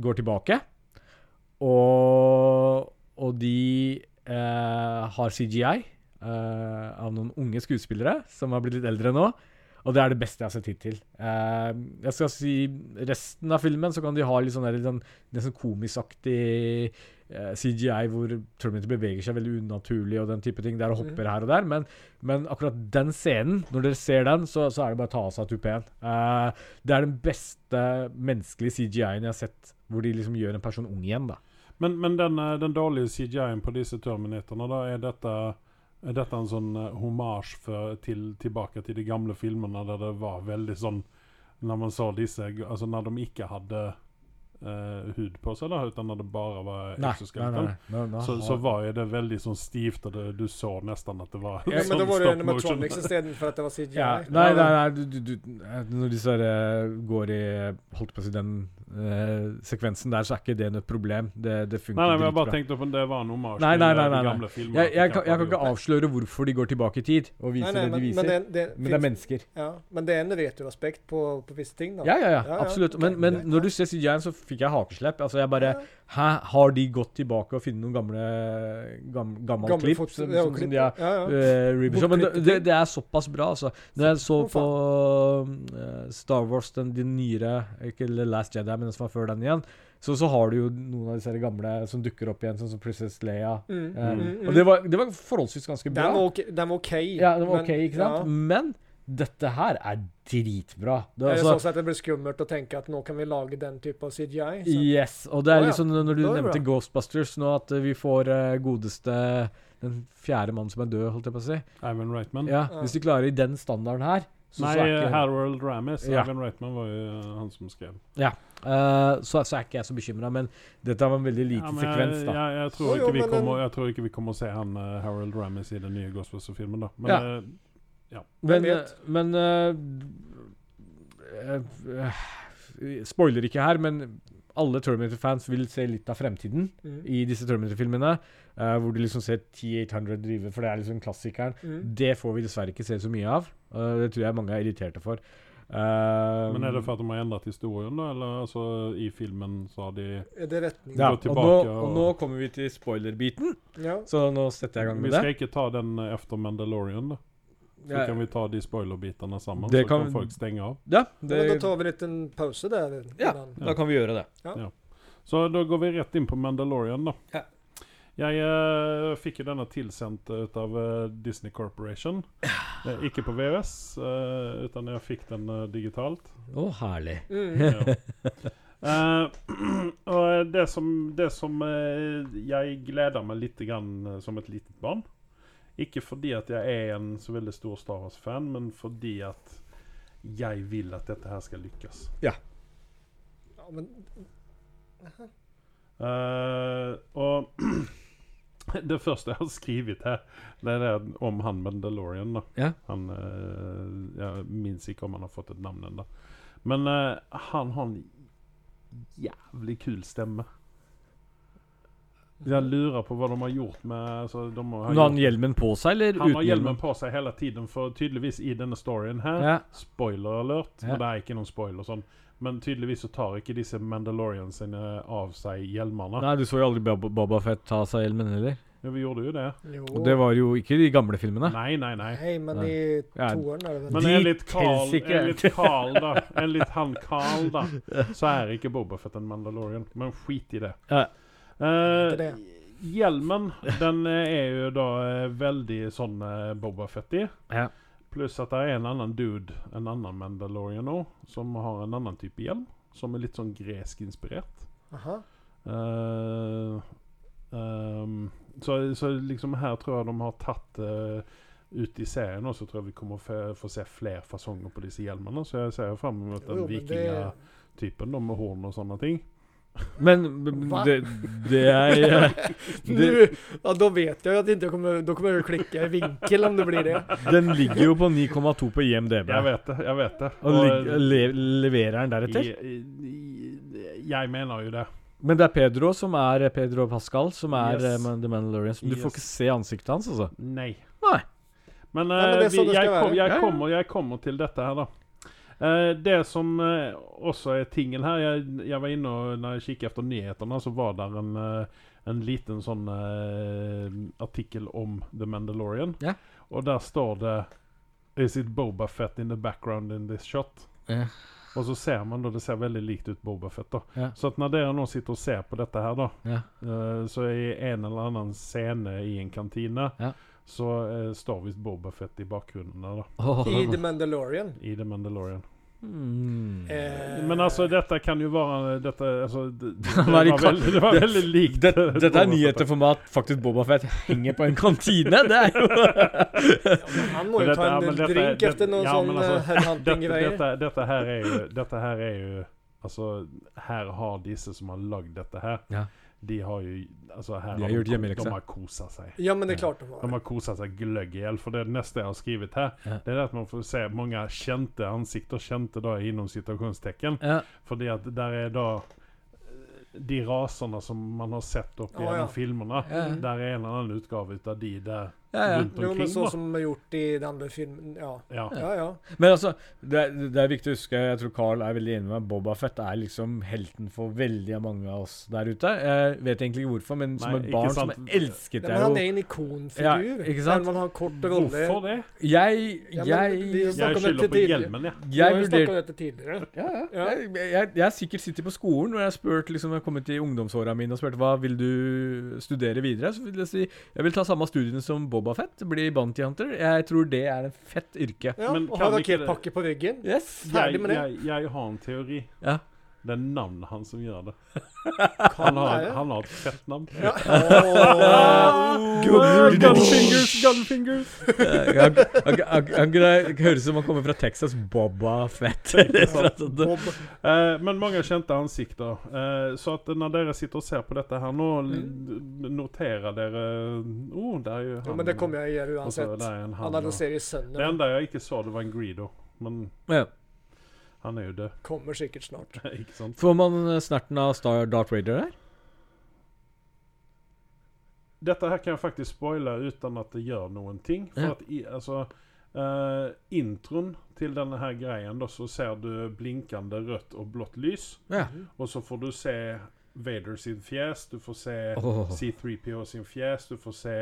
S4: går tilbake, og, og de eh, har CGI eh, av noen unge skuespillere som har blitt litt eldre nå. Og det er det beste jeg har sett hittil. Eh, jeg skal si resten av filmen så kan de ha litt sånn der, litt sånn, nesten komisaktig eh, CGI hvor Terminator beveger seg veldig unaturlig og den type ting. Der og hopper her og der. Men, men akkurat den scenen, når dere ser den, så, så er det bare å ta av seg tupeen. Eh, det er den beste menneskelige CGI-en jeg har sett, hvor de liksom gjør en person ung igjen, da.
S2: Men, men den, eh, den dårlige CGI-en på disse Terminatorene, da er dette er dette en sånn eh, hommage for, til, tilbake til de gamle filmene der det var veldig sånn Når man så disse Altså når de ikke hadde eh, hud på seg, da, utan når det bare var exoskeleton,
S4: Nå- nå
S2: så,
S4: har-
S2: så var jo det veldig sånn stivt, og det, du så nesten at det var
S3: Ja, men
S2: sånn
S3: da var det jo
S2: stop motion.
S3: animatronics istedenfor at det var CGI.
S4: ja, nei, nei, nei du, du, du, eh, Når disse her, eh, går i Holdt på å si den eh, sekvensen der, så er ikke det noe problem. Det, det funker
S2: Nei, nei, men jeg
S4: dritbra.
S2: bare tenkte på om det var en hommage
S4: Nei, nei,
S2: til eh,
S4: nei, nei,
S2: de
S4: nei.
S2: gamle filmene.
S4: Jeg, jeg,
S2: at de
S4: kan, jeg kan
S2: kanskje
S4: ikke
S2: hadde gjort
S4: avsløre hvorfor de går tilbake i tid og
S3: Nei,
S4: viser
S3: nei,
S4: det de
S3: men,
S4: viser.
S3: men
S4: Men,
S3: det, det,
S4: det er
S3: finnes-
S4: mennesker.
S3: ja, men det er en retroaspekt på, på visse ting, da.
S4: Ja, ja, ja,
S3: Ja, ja,
S4: absolutt.
S3: ok,
S4: Men, men
S3: greit.
S4: når du ser CGI-en, så fikk jeg hakeslepp. Altså, jeg bare Alltså, Hæ, har de gått tilbake og funnet noen gamle gam, gammel
S3: Gamle
S4: klipp
S3: fot-
S4: som,
S3: ja,
S4: som,
S3: klipp,
S4: som de har
S3: ja, ja.
S4: eh, rebootet? Men det, det- det er såpass bra, altså. Når jeg så
S3: Å,
S4: på eh, Star Wars, den, den nyere Ikke The Last Jedi, men den som var før den igjen, så, så har du jo noen av disse her gamle som dukker opp igjen, sånn som Princess Leia.
S3: Mm,
S4: Eh,
S3: mm, mm.
S4: Og det var, det var forholdsvis ganske bra.
S3: Den var ok. Den var ok,
S4: Ja, den var
S3: men-
S4: ok, ikke sant?
S3: ja.
S4: Men dette her er dritbra. Det er
S3: Jeg
S4: altså,
S3: synes at det blir skummelt å tenke at nå kan vi lage den type av CGI. Så.
S4: yes, og det er
S3: Å, ja.
S4: liksom når du
S3: Da er det
S4: nevnte
S3: bra.
S4: Ghostbusters nå, at eh, vi får eh, godeste den fjerde mannen som er død, holdt jeg på å si.
S2: Ivan Reitman.
S4: Ja, Hvis de klarer i den standarden her, så,
S2: Nei,
S4: så er ikke
S2: Harold Ramis.
S4: Ja.
S2: Ivan Reitman var jo eh, han som skrev.
S4: ja. eh, så, så er ikke jeg så bekymra, men dette var en veldig liten
S2: Ja, men
S4: sekvens, da.
S2: Jeg, jeg, jeg, tror
S3: Jo, jo,
S2: ikke vi
S3: men
S2: kommer,
S3: den-
S2: jeg tror ikke vi kommer å se han eh, Harold Ramis i den nye Ghostbusters-filmen, da. Men
S4: Ja.
S2: eh,
S3: Hvem
S4: Men,
S3: vet?
S4: men eh, eh, eh, Spoiler ikke her, men alle Terminator-fans vil se litt av fremtiden
S3: Mm.
S4: i disse Terminator-filmene. eh, hvor du liksom ser T800 drive, for det er liksom klassikeren.
S3: Mm.
S4: Det får vi dessverre ikke se så mye av. eh, det tror jeg mange er irriterte for. Eh,
S2: men er det for at de har endret historien, da? Eller altså, i filmen så har de
S3: Er det retning?
S4: ja,
S2: Gå
S4: og, nå,
S2: tilbake
S4: og
S2: og-
S4: nå kommer vi til spoiler-biten,
S3: Ja.
S4: så nå setter jeg i gang
S2: Vi
S4: med det.
S2: skal ikke ta den eh, efter Mandalorian, da. Så
S4: Ja.
S2: kan vi ta de spoiler-bitene sammen,
S4: Det
S2: så kan,
S4: kan-
S2: folk stenge av.
S4: Ja,
S3: Ja, men da
S4: det,
S3: tar vi en liten pause der.
S4: ja,
S3: innan.
S4: da kan vi gjøre det.
S2: Så da går vi rett inn på Mandalorian, da.
S3: Ja.
S2: Jeg eh, fikk jo denne tilsendt ut av eh, Disney Corporation. Eh, ikke på VØS, uh, utan jeg fikk den eh, digitalt.
S4: Å, herlig.
S2: Ja. Eh, og det som, det som eh, jeg gleder meg litt grann, eh, som et lite barn Ikke fordi at jeg er en så veldig stor Star Wars-fan, men fordi at jeg vil at dette her skal lykkes.
S3: Ja, men
S2: Eh, og det første jeg har skrevet her, det er det om han Mandalorian. da.
S4: Ja.
S2: Han, eh, jeg minnes ikke om han har fått et navn ennå. Men eh, han har en jævlig kul stemme. Jeg lurer på hva de har gjort med altså, de har
S4: Men har han
S2: gjort,
S4: hjelmen på seg, eller
S2: Han har hjelmen på seg hele tiden, for tydeligvis i denne storyen her
S4: Ja.
S2: Spoiler alert,
S4: Ja.
S2: men det er ikke noen spoiler sånn. Men tydeligvis så tar ikke disse Mandalorians sine eh, av seg hjelmene.
S4: Nei, du så jo aldri Bab- Boba Fett ta av seg hjelmen heller.
S2: Ja, vi gjorde jo det.
S3: jo
S4: Og det var jo ikke de gamle filmene.
S2: Nei, nei, nei.
S3: Nei, men
S4: Nei.
S3: i
S4: Ja.
S3: toeren er det vel
S2: Men
S4: Dit
S2: enligt Carl,
S4: helsike.
S2: enligt Carl da, enligt han Carl da, så er ikke Boba Fett en Mandalorian. Men skit i det.
S4: Ja.
S2: Eh,
S3: Ikke det.
S2: hjelmen, den eh, er jo da eh, veldig sånn eh, Boba Fett-i.
S4: Ja.
S2: Pluss at det er en annen dude, en annen Mandalorian òg, som har en annen type hjelm. Som er litt sånn gresk-inspirert.
S3: Aha.
S2: Eh, ehm, så, så liksom her tror jeg de har tatt eh, ut i serien også, tror jeg vi kommer å få, få se flere fasonger på disse hjelmene. Så jeg ser fram mot
S3: Jo,
S2: den
S3: jo, men det-
S2: vikingatypen da, med horn og sånne ting.
S4: Men b- b-
S3: Hva?
S4: det, det er eh, det,
S3: Nu, ja, då vet jag ju att inte jag kommer, då kommer jag ju klicka i vinkel om det blir det.
S4: Den ligger jo på 9,2 på IMDb.
S2: Jeg vet det. jeg vet det eh,
S4: Og ligger- le, leverer den deretter?
S2: i, i, Jeg mener jo det.
S4: Men det er Pedro som er Pedro Pascal, som er
S2: Yes.
S4: eh, Man- The Mandalorian. Så du får
S2: Yes.
S4: ikke se ansiktet hans, alltså. altså.
S2: Nei.
S4: Nei.
S2: Men,
S3: Nei, men
S2: eh,
S3: det er
S2: vi,
S3: sånn det
S2: jeg,
S3: skal
S2: kom,
S3: være.
S4: Ja,
S2: jeg,
S4: ja.
S2: kommer, jeg kommer til dette her, da. Eh, det som eh, også er tingen her jeg, jeg var inne og Når jeg kikket etter nyhetene, så var der en, eh, en liten sånn eh, artikkel om The Mandalorian.
S4: Ja.
S2: Og der står det Is it Boba Fett in the background in this shot?
S4: Ja.
S2: Og så ser man da, det ser veldig likt ut Boba Fett. da
S4: Ja.
S2: Så at når dere nå sitter og ser på dette her, da,
S4: Ja.
S2: eh, så i en eller annen scene i en kantine
S4: Ja.
S2: så eh, står visst Boba Fett i bakgrunnen der, da.
S3: I The Mandalorian.
S2: I The Mandalorian.
S4: Mm.
S3: Eh,
S2: Men alltså, altså, dette kan jo være dette, altså, det, alltså, det,
S4: Han
S2: var
S4: er i kan-
S2: veldig, det var veldig likt
S4: Det,
S2: eh,
S4: dette
S2: Boba
S4: er nyheter
S2: Fett.
S4: for meg at faktisk Boba Fett henger på en kantine. Det er jo
S3: han må
S2: Men
S3: ju
S2: dette- ja,
S3: ta
S2: men
S3: en
S2: dette-
S3: drink
S2: det-
S3: efter någon
S2: ja, men
S3: sån
S2: alltså,
S3: eh,
S2: Dette,
S3: headhunting-grej.
S2: dette, dette her er jo Dette her er jo Altså, her alltså, har disse som har lagd dette her
S4: Ja.
S2: De har jo altså, her
S4: De har gjort liksom. hjemmeleksa.
S2: De har kosa seg.
S3: Ja, men det är klart de
S2: De
S3: har.
S2: har kosa seg gløgg i hjel. For det neste jeg har skrevet her,
S4: Ja.
S2: det er at man får se mange kjente ansikter. Kjente da innom situasjonstekken.
S4: ja.
S2: Fordi at der er da eh, de rasene som man har sett opp
S3: Ja,
S2: gjennom
S3: ja.
S2: filmerna,
S4: Ja.
S2: der er en eller annen utgave ut av de der
S4: Ja, ja.
S2: rundt
S3: Jo, men
S2: omkring.
S3: så
S2: da.
S3: som de har gjort i den andra filmen. Ja,
S2: Ja.
S3: ja, ja.
S4: Men altså, det er, det er viktig å huske, jeg tror Carl er veldig enig med meg, Boba Fett er liksom helten for veldig mange av oss der ute. Jeg vet egentlig ikke hvorfor, men som
S2: Nei,
S4: et
S2: ikke
S4: barn
S2: sant.
S4: som elsket
S3: Nej, men han är
S4: jeg jo
S3: en
S4: Ja,
S3: ikonfigur.
S4: ikke
S3: Ja,
S4: sant?
S3: Även om han har kort
S2: Hvorfor
S3: roller.
S2: det?
S4: Jeg,
S3: Ja, men vi har
S4: jeg,
S3: snakket
S2: Jeg
S3: om dette
S2: skylder på
S3: tidligere.
S2: hjelmen, jeg.
S3: Vi har
S4: jeg
S3: ju snackat om
S4: vurderte
S3: dette tidigare.
S4: ja, ja.
S3: Ja.
S4: Jeg, jeg, jeg har sikkert sittet på skolen når jeg har spurt liksom, jeg har kommet i ungdomsåra mine og spurt hva vil du studere videre. Så vil jeg si jeg vil ta samme studiene som Boba Fett, bli bounty hunter. Jeg tror det er en fett yrke.
S3: Ja,
S2: Men
S3: och
S2: kan
S3: har
S2: vi inte-
S3: raketpacker på ryggen.
S4: Yes.
S3: Ferdig
S2: Jeg,
S3: med det.
S2: jeg, jeg har en teori.
S4: Ja.
S2: Det er navnet hans som gjør det. Han har,
S3: være.
S2: han har et fett navn.
S4: Ah, Gunfingers, gunfingers. Han kunne høres ut som han kommer fra Texas. Boba Fett. eller noe sånt.
S3: Bob.
S2: Eh, men mange kjente ansikter. Eh, så at når dere sitter og ser på dette her nå, l- noterer dere oh, det er jo han.
S3: Ja, Mm. men det kommer jag göra
S2: Og så
S3: oavsett.
S2: det er en han, og-
S3: Analyserer ju
S2: Det
S3: sönder.
S2: enda jeg ikke så, det var en Greedo. Men
S4: Ja.
S2: han er jo død,
S3: Kommer säkert snart.
S2: ikke sant?
S4: Får man eh, snerten av Star Darth Raider der?
S2: Dette her kan jeg faktisk spoile uten at det gjør noen ting. For
S4: Ja.
S2: at i, altså eh, Introen til denne her greien, da, så ser du blinkende rødt og blått lys.
S4: Ja.
S2: Og så får du se Vader sin fjes, du får se
S4: Åh.
S2: C3PO sin fjes, du får se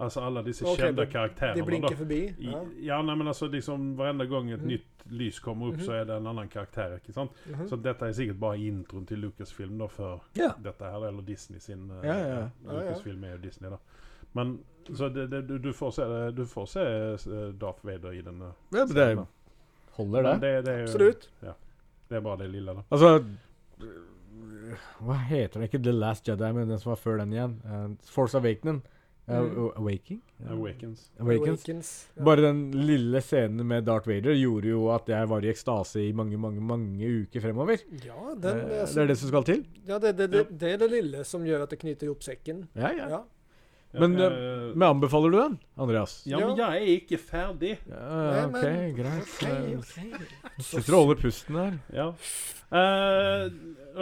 S2: Alltså alla dessa
S3: Okej,
S2: kända
S3: det-
S2: karaktärerna.
S3: Det blinkar
S2: då.
S3: förbi.
S2: I,
S3: Ja. Mm.
S2: ja, nej, men alltså liksom varenda gång ett nytt lys kommer
S3: Mm-hmm.
S2: upp så är det en annan karaktär. Inte sant?
S3: Mhm.
S2: Så detta är säkert bara intron till Lucasfilm då för
S4: Ja.
S2: detta här, eller Disney sin... eh,
S4: Ja, ja, ja.
S3: Ja, ja.
S2: Lucasfilm är ju Disney då. Men så det, det, du, du får se, det- du får se eh, Darth Vader i den. eh,
S4: Ja, men det
S2: scenen.
S4: holder,
S2: Men
S4: det.
S2: det, det, är,
S3: Absolut.
S2: det är bara det lilla då.
S4: Altså øh, Hva Alltså, heter den? Ikke The Last Jedi, men den som var før den igjen. Eh, Force Awakening. Eh,
S3: Mm.
S4: Awaking?
S2: Awakens.
S4: Awakens.
S3: Awakens. Ja.
S4: Bare den lille scenen med Darth Vader gjorde jo at jeg var i ekstase i mange, mange mange uker fremover.
S3: Ja, den,
S4: Eh,
S3: altså,
S4: det er det som skal til?
S3: ja, det, det, det, det är det lille som gör att det knyter ihop säcken.
S4: Ja, ja.
S3: Ja.
S4: Men,
S2: ja, eh,
S4: Men anbefaler du den, Andreas?
S2: ja, men jag är inte färdig.
S3: Nei,
S4: Ja, ok,
S3: men-
S4: greit.
S3: Okej,
S4: Eh,
S3: okej.
S4: Sitter og holder pusten her.
S2: Ja. Eh,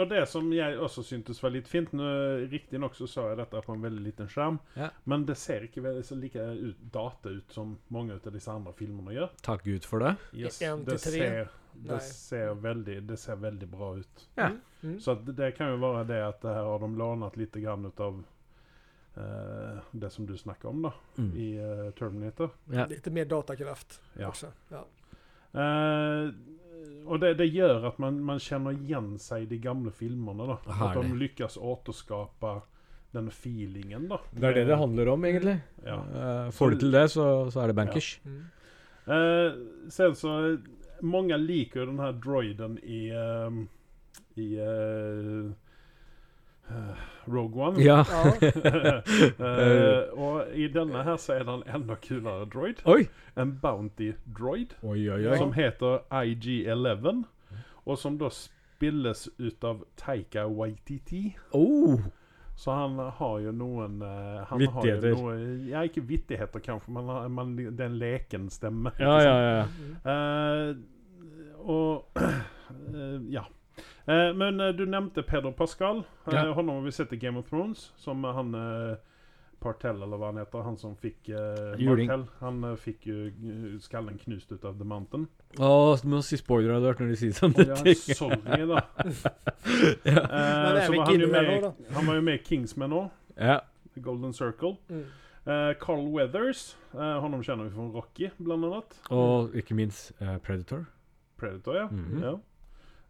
S2: och det som jag också syntes var lite fint, nu riktigt också sa jag detta på en väldigt liten skärm.
S4: Ja.
S2: Men det ser inte väl så lika ut, data ut som många av dessa andra filmerna gör.
S4: Takk Gud for det.
S2: Yes,
S3: En till
S2: det,
S3: tre.
S2: ser,
S3: Nej.
S2: det, ser väldigt, det ser väldigt bra ut.
S4: Ja.
S3: Mm.
S2: Så att det kan ju vara det att det här har de lånat lite grann utav eh, det som du snackade om då
S4: Mm.
S2: i eh, Terminator.
S4: Ja.
S3: Lite mer datakraft
S2: Ja.
S3: också. Ja.
S2: Eh, och det, det gör att man, man känner igen sig i de gamla filmerna då. Att
S4: Härligt.
S2: de lyckas återskapa den feelingen då.
S4: Det er det det handler om, egentlig.
S2: Ja.
S4: Eh, Får du til det, så, så er det bankers.
S3: Mm.
S2: Eh, sen så, eh, många liker ju den här droiden i, ehm, i eh, eh, Rogue One.
S4: Ja.
S3: Ja,
S2: Eh, och i denna här så är det en ännu kulare droid.
S4: Oi!
S2: En Bounty Droid.
S4: Oi, oi, oi.
S2: Som heter IG-11. Och som då spilles utav Taika Waititi.
S4: Oh.
S2: Så han har ju någon... eh, Han Har
S4: Vittigheter.
S2: ju någon, ja, inte vittigheter kanske, men han- man, den leken stämmer.
S4: Ja, ja, ja.
S2: Eh, och... eh, ja. Eh, men eh, du nämnde Pedro Pascal. Eh,
S4: Ja.
S2: Honom har vi sett i Game of Thrones. Som han... eh, Partell eller vad han heter, han som fick... Eh,
S4: Juling.
S2: Martell, han eh, fick ju eh, skallen knust utav The Mountain.
S4: Å, du må si spoiler alert når du sier sånne
S2: Ja,
S4: ting.
S2: sorry da.
S3: Men
S2: Eh,
S3: det er
S2: så var han,
S3: vi
S2: jo
S3: ikke
S2: med,
S3: inne
S2: i- han var jo med i Kingsman òg.
S4: Ja.
S2: Golden Circle.
S3: mm.
S2: Eh, Carl Weathers. Eh, honom känner vi från Rocky bland annat.
S4: Og ikke minst eh, Predator.
S2: Predator ja.
S4: Mhm.
S2: ja.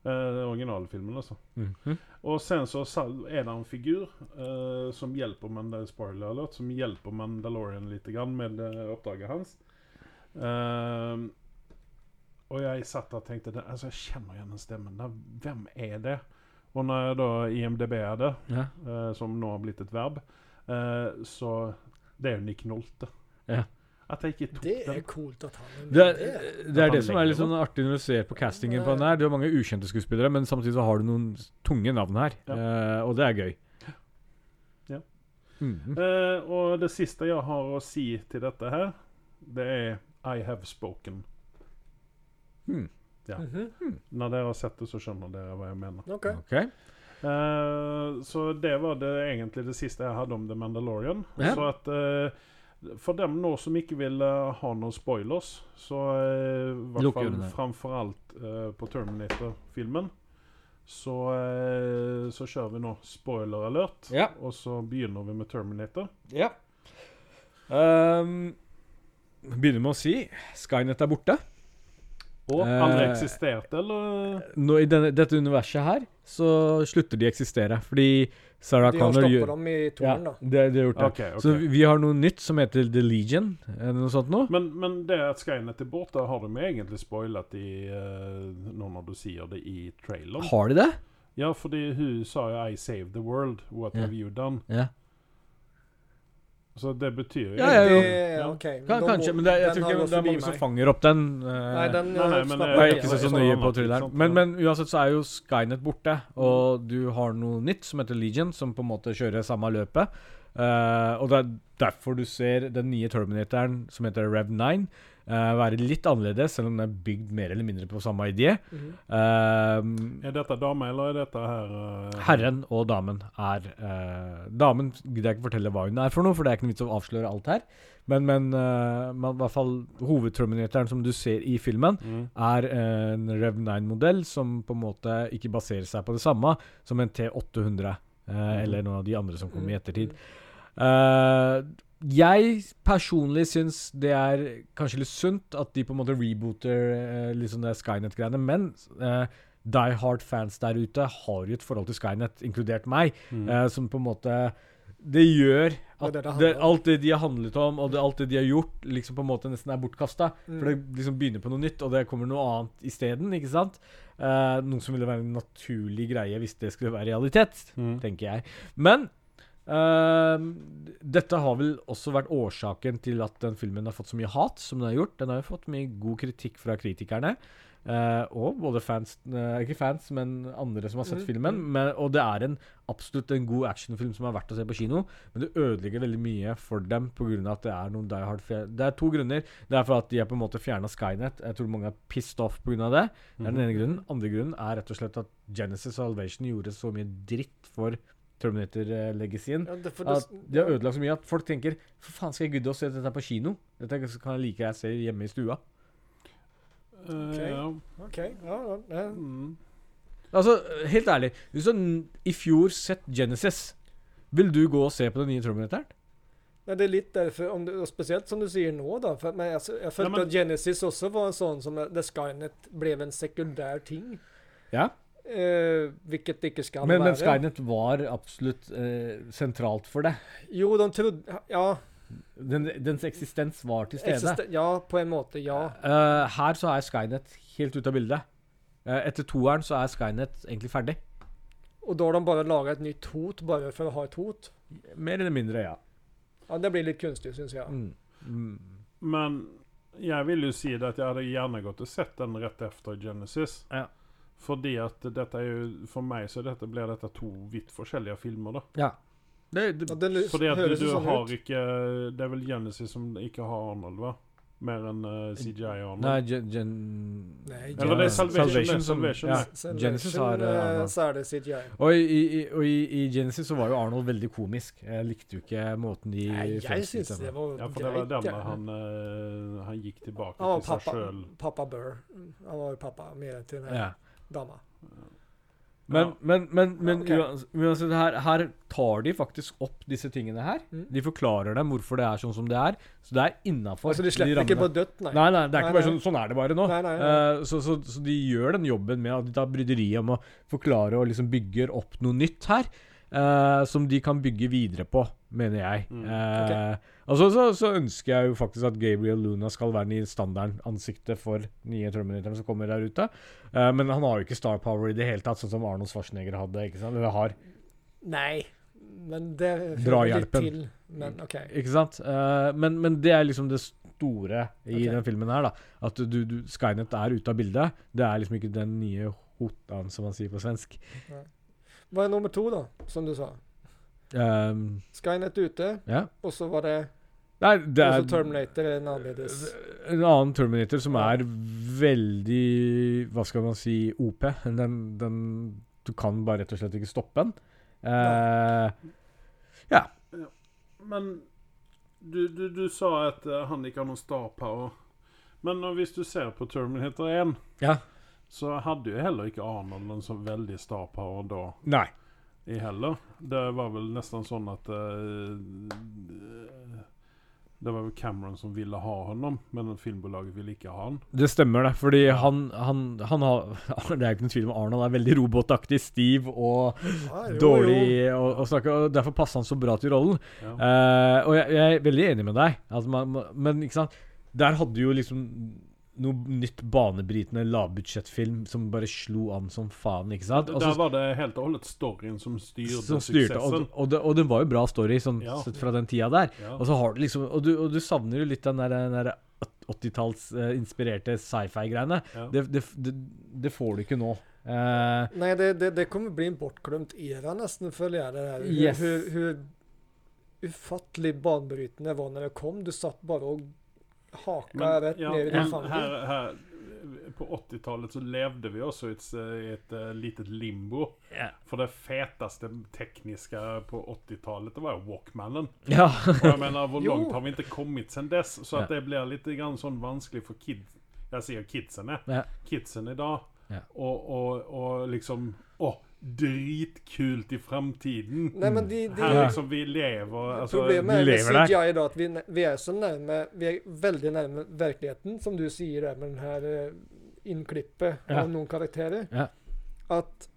S2: Eh, originalfilmen alltså.
S4: Mhm.
S2: Och sen så sa- är det en figur eh, som hjälper Mandal spoiler alert, som hjälper Mandalorian lite grann med eh, uppdraget hans. Ehm, och jag satt där och tänkte, "Den- alltså jag känner igen den stämmen. Den- Vem är det? Och när jag då IMDB-ade,
S4: Ja.
S2: eh, som nu har blivit ett verb, eh, så det är ju Nick Nolte.
S4: Ja.
S2: Att jag gick i toppen.
S3: Det är coolt att han är med
S4: Det er,
S3: där.
S4: det er det som er litt sånn artig når du ser på castingen på den her. Du har mange ukjente skuespillere, men samtidig så har du noen tunge navn her.
S2: Ja.
S4: Eh, og det er gøy.
S2: Ja.
S4: Mhm.
S2: Eh, och det sista jag har att säga till detta här, det är I have spoken.
S4: Hmm.
S3: Mhm.
S2: När ni har sett det så känner ni vad jag menar.
S3: Okej.
S4: Ok.
S2: Eh, så det var det egentligen det sista jag hade om The Mandalorian.
S4: Ja.
S2: Så att eh, för dem nå som inte vill eh, ha någon spoilers så eh, i vart
S4: Locka
S2: fall,
S4: ur den här.
S2: framförallt eh, på Terminator-filmen så, eh, så kör vi nå spoiler alert.
S4: Ja.
S2: Och så begynner vi med Terminator.
S4: ja. Ehm, begynner med å si Skynet er borte.
S2: Och
S4: Eh.
S2: aldrig existerat eller?
S4: Nå, I denne, dette universet her så slutter de å eksistere. Fordi Sarah
S3: De har
S4: Connor
S3: stoppat
S4: gjør
S3: dem i
S4: ja,
S3: torn då.
S4: det, det har gjort det.
S2: Okej,
S4: Så
S2: okej.
S4: vi vi har noe nytt som heter The Legion, eller noe sånt
S3: Mm.
S4: nå.
S2: Men, men det att Skynet är borta har de ju egentligen spoilat i eh, någon av du säger det i trailern.
S4: Har de det?
S2: Ja, för det är hur sa jag I saved the world, what
S4: Ja.
S2: have you done?
S4: Ja.
S2: Så det betyder ju
S4: Ja, ja,
S3: Det,
S4: jo.
S3: är-
S2: Ja.
S3: okej.
S4: Kan,
S3: De-
S4: kanskje, men det,
S3: den
S4: jeg tror
S3: har
S4: ikke
S3: gått
S4: det er
S3: förbi
S4: mange som
S3: mig.
S4: fanger opp den. eh,
S3: Nej, den
S2: Nej, nej, men
S3: snappar
S2: det-
S4: det er
S2: Ja,
S4: ikke så,
S2: det er
S4: så
S2: sånn
S4: nøye
S2: annet,
S4: på
S2: ikke
S4: thrilleren.
S2: sant?
S4: Men, men uansett så er jo Skynet borte, og du har noe nytt som heter Legion, som på en måte kjører samme løpet. Eh, og det er derfor du ser den nye Terminatoren, som heter Rev 9, eh, være litt annerledes, selv om den er bygd mer eller mindre på samme idé.
S3: Mhm.
S4: Eh,
S2: Är detta dam eller är detta här? eh,
S4: Herren og damen er eh, Damen gidder jeg ikke fortelle hva hun er for noe, for det er ikke noe vits å avsløre alt her. Men, men eh, man, i hvert fall hovedterminatoren som du ser i filmen,
S2: Mm.
S4: er eh, en Rev 9-modell som på en måte ikke baserer seg på det samme som en T800 eh, eller noen av de andre som kom i ettertid. Eh, Jeg personlig syns det er kanskje litt sunt at de på en måte rebooter eh, liksom det Skynet-greiene, men eh, Die Hard-fans der ute har jo et forhold til Skynet, inkludert meg, eh, som på en måte Det gjør at
S3: Mm. Det er det det
S4: det,
S3: handler om.
S4: alt det de har handlet om, og det, alt det de har gjort, liksom på en måte nesten er bortkasta. For det
S3: Mm.
S4: liksom begynner på noe nytt, og det kommer noe annet isteden, ikke sant? Eh, noe som ville være en naturlig greie hvis det skulle være realitet,
S3: Mm.
S4: tenker jeg. Men Ehm, dette har vel også vært årsaken til at den filmen har fått så mye hat som den har gjort. Den har jo fått mye god kritikk fra kritikerne. eh, og både fans eh, Ikke fans, men andre som har sett filmen. Men, og det er en, absolutt en god actionfilm som er verdt å se på kino. Men det ødelegger veldig mye for dem pga. at det er noen Die Hard fe- Det er to grunner. Det er for at de har på en måte fjerna Skynet. Jeg tror mange er pissed off pga. det. Det er den ene grunnen. Andre grunnen er rett og slett at Genesis og Salvation gjorde så mye dritt eh, for Terminator-legacyen.
S3: Ja, det, for det,
S4: At de har ødelagt så mye at folk tenker For faen skal jeg gidde å se dette på kino? Dette kan jeg like jeg ser hjemme i stua.
S2: Eh,
S3: Ok.
S2: ja.
S3: Ok, ja, ja, ja.
S2: Mm.
S4: Altså, helt ærlig, hvis du hadde i fjor sett Genesis, vil du gå og se på den nye Terminatoren?
S3: Men det är lite därför, om du, och speciellt som du säger nå då, för att man, alltså, jag följde
S2: men-
S3: att Genesis också var en sån som, eh, där Skynet blev en sekundär ting.
S4: Ja,
S3: Eh, vilket det inte ska
S4: men,
S3: vara.
S4: men Skynet var absolutt eh, sentralt for det.
S3: Jo, de trodde, ja,
S4: Den, dens eksistens var til stede.
S3: existen, ja, på en måte, ja.
S4: Eh, her så er Skynet helt ute av bildet. Eh, etter toeren så er Skynet egentlig ferdig.
S3: Och då har de bara lagat ett nytt hot bara för att ha ett hot.
S4: Mer eller mindre, ja.
S3: Ja, det blir lite konstigt syns jag.
S4: Mm. Mm.
S2: Men jeg vil jo si det at jeg hadde gjerne gått og sett den rett etter Genesis.
S4: Ja.
S2: Fordi at dette er jo For meg så dette blir dette to vidt forskjellige filmer, da.
S4: ja. Det, det,
S3: Ja, det l-
S2: Fordi at du,
S3: høres
S2: du
S3: jo sånn
S2: har
S3: ut.
S2: ikke Det er vel Genesis som ikke har Arnold, va? Mer enn eh, CGI Arnold.
S4: Nei, gen, gen...
S3: Nei,
S2: Eller det er Salvation, det er Salvation,
S4: ja.
S2: det.
S3: Sen-
S4: Genesis
S3: sen,
S4: har eh,
S3: eh,
S4: Arnold.
S3: Så är det CGI.
S4: Og, i, i, og i, i Genesis så var jo Arnold veldig komisk. Jeg likte jo ikke måten de
S3: Nej, jag
S4: fremstilte
S3: syns
S4: ham.
S3: det var
S2: Ja, for det var
S3: grejt,
S2: den
S3: ja.
S2: han, eh, han gikk tilbake
S3: Han var
S2: til seg
S3: pappa,
S2: sjøl.
S3: pappa Burr. Han var ju pappa mer till den här
S4: ja.
S3: damma.
S4: Men,
S2: Ja.
S4: men, men, men
S3: Ja,
S4: uans- uansett, her, her tar de faktisk opp disse tingene her.
S3: Mm.
S4: De forklarer dem hvorfor det er sånn som det er. Så det er innafor
S3: Alltså det släpper inte på dødt,
S4: Nei, nei, det er ikke
S3: Nei,
S4: bare
S3: nei.
S4: sånn, sånn er det bare nå.
S3: Nei, nei, nei.
S4: Eh, så, så, så de gjør den jobben med at de tar bryderiet om å forklare og liksom bygger opp noe nytt her. eh, som de kan bygge videre på, mener jeg.
S3: Mm,
S4: Eh, Altså så, så ønsker jeg jo faktisk at Gabriel Luna skal være den nye standardansiktet for nye Terminatoren som kommer der ute. Eh, men han har jo ikke star power i det hele tatt, sånn som Arnold Schwarzenegger hadde. ikke sant? Eller har.
S3: Nei, men det hører
S4: Drahjelpen.
S3: litt til.
S4: Mm.
S3: Men OK.
S4: Ikke sant? Eh, men, men det er liksom det store i
S3: Ok.
S4: den filmen her, da. At du, du, Skynet er ute av bildet. Det er liksom ikke den nye hotan, som man sier på svensk.
S3: Hva er nummer to, da, som du sa?
S4: Ehm,
S3: Skynet ute,
S4: ja.
S3: og så var det,
S4: Nei, det
S3: og
S4: er
S3: så Terminator er en annerledes
S4: en annen Terminator som er veldig Hva skal man si OP. Den, den Du kan bare rett og slett ikke stoppe den. Eh,
S2: Men du, du, du sa at eh, han ikke har noen star power. Men eh, hvis du ser på Terminator 1,
S4: ja.
S2: så hadde jo heller ikke Arnold en så veldig star power da
S4: Nei.
S2: i heller. Det var vel nesten sånn at eh, Det var vel Cameron som ville ha ham, men filmbolaget ville ikke ha ham.
S4: Det stemmer, det. Fordi han, han, han har Det er ikke noen tvil om Arnold er veldig robotaktig, stiv og
S3: ah, jo,
S4: dårlig å, å snakke, og derfor passer han så bra til rollen.
S2: Ja.
S4: Eh, og jeg, jeg er veldig enig med deg, at man, man- men ikke sant Der hadde jo liksom noe nytt banebrytende lavbudsjettfilm som bare slo an som faen, ikke sant? Og
S2: Der
S4: så-
S2: var det helt og holdent storyen som styrte,
S4: Alltså, som styrte,
S2: suksessen.
S4: og, og, det, og det var jo bra story, sånn
S2: Ja.
S4: sett fra den tida der.
S2: Ja.
S4: Og så har du liksom Og du, og du savner jo litt den der, den der 80-talls-inspirerte sci-fi-greiene.
S2: Ja.
S4: Det, det, det, det får du ikke nå. Eh,
S3: Nei, det, det, det kommer bli en bortglemt era, nesten, føler jeg. det her. Hur,
S4: Yes.
S3: hur, hur ufattelig banebrytende det var når det kom. Du satt bare og haka
S2: Men,
S3: rett
S2: ja,
S3: ned i
S2: men
S3: den fangen.
S2: her, her, på 80-talet så levde vi også i et, s- i et eh, litet limbo.
S4: Ja.
S2: For det feteste tekniske på 80-talet, det var jo Walkmanen.
S4: ja.
S2: Og jeg mener, hvor
S3: Jo.
S2: langt har vi ikke kommet siden dess? Så at
S4: Ja.
S2: det blir litt grann sånn vanskelig for kid, jeg sier kidsen, jeg.
S4: Ja.
S2: kidsen i dag.
S4: Ja.
S2: Og, og, og liksom Å, dritkult i framtiden.
S3: Nej men det, det
S2: Här liksom vi lever, alltså,
S3: Problemet
S4: vi
S3: är med
S4: lever där.
S3: CGI idag att vi, vi är så närme, vi är väldigt närme verkligheten som du säger där med den här eh, inklippet
S4: Ja.
S3: av någon karaktärer.
S4: Ja.
S3: Att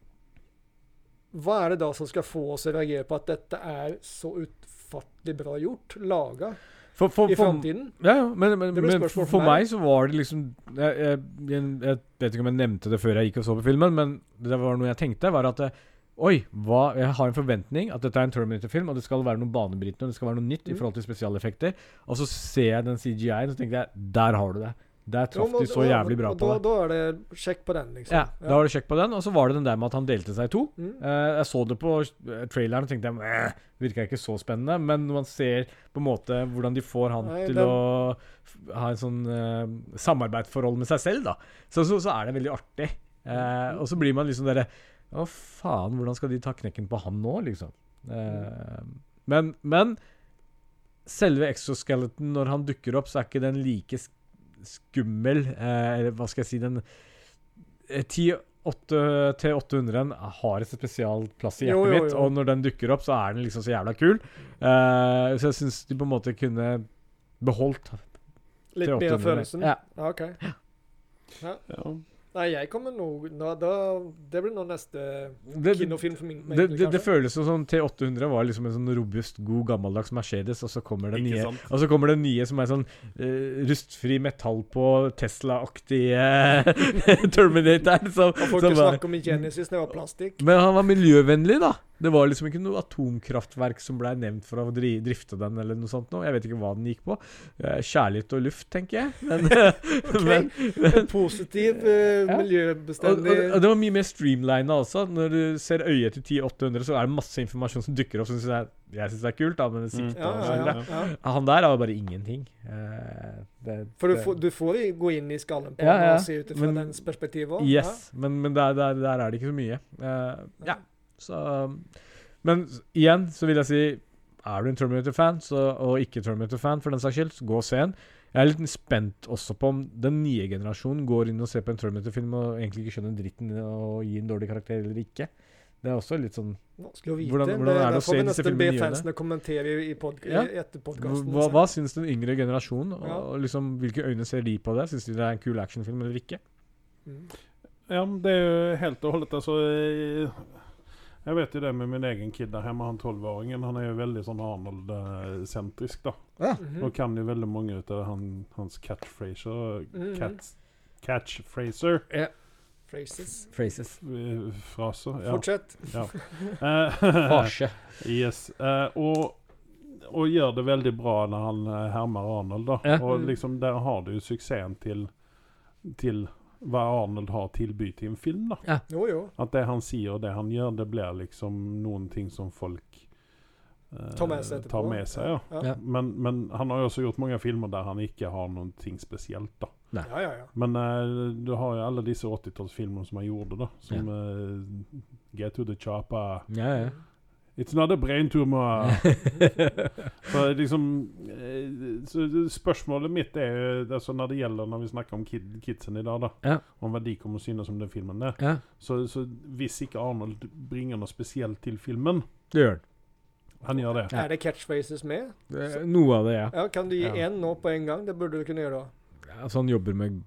S3: vad är det då som ska få oss att reagera på att detta är så utfattligt bra gjort, laga
S4: For, for,
S3: i
S4: for,
S3: framtiden?
S4: Ja, ja, men, men,
S3: Det blir
S4: men
S3: spørsmål
S4: for,
S3: for
S4: for
S3: meg.
S4: meg så var det liksom jeg, jeg, jeg, jeg vet ikke om jeg nevnte det før jeg gikk og så på filmen, men det var noe jeg tenkte, var at eh, Oi, hva, jeg har en forventning at dette er en Terminator-film, og det skal være noe banebrytende, og det skal være noe nytt i
S3: Mm.
S4: forhold til spesialeffekter. Og så ser jeg den CGI-en, og så tenkte jeg Der har du det! Der
S3: Jo,
S4: traff
S3: men-
S4: de så
S3: ja,
S4: jævlig bra
S3: och
S4: på
S3: då,
S4: det.
S3: Då är det check på den liksom.
S4: Ja, da var det sjekk på den. Og så var det den der med at han delte seg i to.
S3: Mm.
S4: Eh, jeg så det på eh, traileren og tenkte jeg, virka ikke så spennende, men når man ser på en måte hvordan de får han
S3: Nei,
S4: til
S3: det-
S4: å f- ha en sånn eh, samarbeidsforhold med seg selv, da, så, så, så er det veldig artig. Eh, og så blir man liksom derre Å, faen, hvordan skal de ta knekken på han nå, liksom? Eh,
S3: Mm.
S4: men, men selve exoskeleton, når han dukker opp, så er ikke den like sk- skummel. Eh, eller hva skal jeg si Den eh, 10 8 T800-en har et spesial plass i hjertet
S3: Jo, jo,
S4: mitt,
S3: jo.
S4: og når den dukker opp, så er den liksom så jævla kul. Eh, så jeg syns de på en måte kunne beholdt
S3: Lite mer
S4: T800.
S3: födelsen.
S4: Ja.
S3: Ja, okej.
S2: Ja.
S3: Nej, jag kommer nog, nå, då, det blir nog nästa
S4: Det, det,
S3: kinofilm för min
S4: det, det,
S3: kanske.
S4: føles som sånn T800 var liksom en sånn robust, god, gammeldags Mercedes, og så kommer det
S2: Ikke
S4: nye
S2: sant?
S4: Og så kommer det nye som er sånn eh, rustfri metall på Tesla-aktige Terminator. Som,
S3: Och folk
S4: som var,
S3: snackar om i Genesis när det var plastik.
S4: men han var miljøvennlig, da. Det var liksom ikke noe atomkraftverk som blei nevnt for å dri, drifte den, eller noe sånt. Nå. Jeg vet ikke hva den gikk på. Eh, kjærlighet og luft, tenker jeg. Men, men
S3: En positiv eh,
S4: og, og,
S3: miljöbeständig.
S4: og det var mye mer streamlina også. Når du ser øyet til 10800, så er det masse informasjon som dukker opp. Som synes jeg, jeg syns det er kult, da, men det sikter
S3: Mm. Ja, ja, ja, ja.
S4: Han der har jo bare ingenting. Eh, det,
S3: För du
S4: det-
S3: får, du får ju gå in i skallen på
S4: Ja,
S3: honom
S4: ja.
S3: och se utifrån
S4: Men-
S3: dens perspektiv. va?
S4: Yes, men, men der, der, der er det ikke så mye. Eh, ja, så um, Men s- igjen så vil jeg si Er du en Terminator-fan, så- og ikke Terminator-fan for den saks skyld, så gå og se den. Jeg er litt spent også på om den nye generasjonen går inn og ser på en Terminator-film og egentlig ikke skjønner dritten og gir en dårlig karakter eller ikke. Det er også litt sånn
S3: Ja. Skulle vi
S4: Hvordan-
S3: inte.
S4: hvordan er det
S3: där
S4: att
S3: får
S4: se
S3: vi
S4: disse
S3: nästan
S4: filmene
S3: be
S4: gjøre det?
S3: fansen att kommentera i, i, pod
S4: Ja.
S3: i efter podcasten.
S4: Hva,
S3: sen.
S4: hva syns den yngre generasjonen? Og,
S3: Ja.
S4: og liksom, hvilke øyne ser de på det? Syns de det er en kul actionfilm eller ikke?
S3: Mm.
S2: Ja, men det är ju helt och hållet alltså. eh, Jag vet ju det med min egen kid där hemma, han 12-åringen. Han är ju väldigt sån Arnold-centrisk då.
S4: Ah,
S3: Mhm.
S2: Och kan ju väldigt många utav han, hans catchphraser.
S3: Mhm.
S2: Cats, catchphraser.
S3: Phrases.
S4: Phrases.
S2: eh, Fraser. Ja.
S3: Fortsätt.
S2: Eh, yes. Eh, och, och gör det väldigt bra när han eh, härmar Arnold då.
S4: Ja.
S2: Och
S3: Mm.
S2: liksom där har du ju succén till, till vad Arnold har tillbytt i en film då.
S3: Jo, jo.
S2: Att det han säger och det han gör det blir liksom någonting som folk eh,
S3: Ta med sig.
S2: tar med sig ja.
S3: Ja,
S4: Ja.
S3: ja,
S2: Men, men han har ju också gjort många filmer där han inte har någonting speciellt då.
S3: ja. ja.
S2: Men eh, du har ju alla dessa 80-talsfilmer som han gjorde då. Som eh, Get to the Chopper.
S4: Ja, ja.
S2: It's not a brain tumor. For liksom eh, så Spørsmålet mitt er jo altså Når det gjelder når vi snakker om kid, kidsen i dag, da,
S4: Ja.
S2: om hva de kommer å synes om den filmen der
S4: ja.
S2: så, så hvis ikke Arnold bringer noe spesielt til filmen
S4: Det gjør den.
S2: Han gjør det.
S3: Är det catchphrases med?
S4: Det er Noe av det, ja.
S3: Ja, kan du ge
S4: Ja.
S3: en nå på en gång? Det borde du kunna göra.
S4: Altså, han jobber med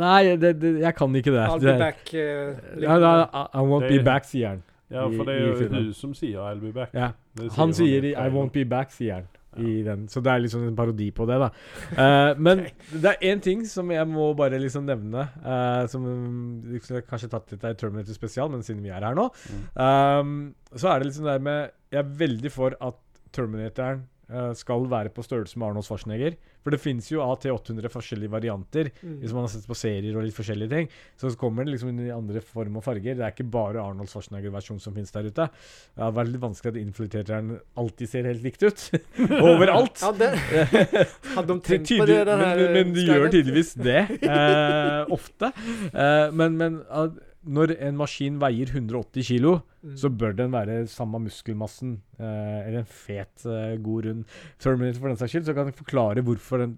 S4: Nei, det, det, jeg kan ikke det.
S3: I'll
S4: det
S3: be back. eh,
S4: Ja, da, I, I won't
S2: Det-
S4: be back, sier han.
S2: Ja,
S4: I-
S2: for det
S4: i
S2: er jo
S4: filmen.
S2: du som sier 'I'll be back'.
S4: Ja.
S2: Det
S4: Han sier
S2: jo
S4: i,
S2: det.
S4: 'I won't be back', sier han. I den. Så det er liksom en parodi på det, da. Eh, men det er én ting som jeg må bare liksom nevne, eh, som liksom, jeg kanskje tatt litt av i Terminator spesial, men siden vi er her nå, ehm, så er det liksom det her med Jeg er veldig for at Terminatoren eh, skal være på størrelse med Arnold Schwarzenegger. For det finnes jo AT800 forskjellige varianter.
S3: Mm.
S4: Hvis man har sett på serier og litt forskjellige ting, så kommer det liksom i andre form og farger. Det er ikke bare Arnold Schwarzenegger-versjonen som finnes der ute. Det har vært litt vanskelig at infiltrereren alltid ser helt likt ut. Overalt.
S3: Ja, det, hade de
S4: Ty-
S3: tänkt på
S4: tydelig,
S3: det den här
S4: men, men, men
S3: eh,
S4: du gjør
S3: skallen?
S4: tydeligvis det. Eh, ofte. Eh, men men at når en maskin veier 180 kilo,
S3: Mm.
S4: så bør den være samme muskelmassen. eh, eller en fet, eh, god rund Terminator for den saks skyld. Så kan jeg forklare hvorfor den,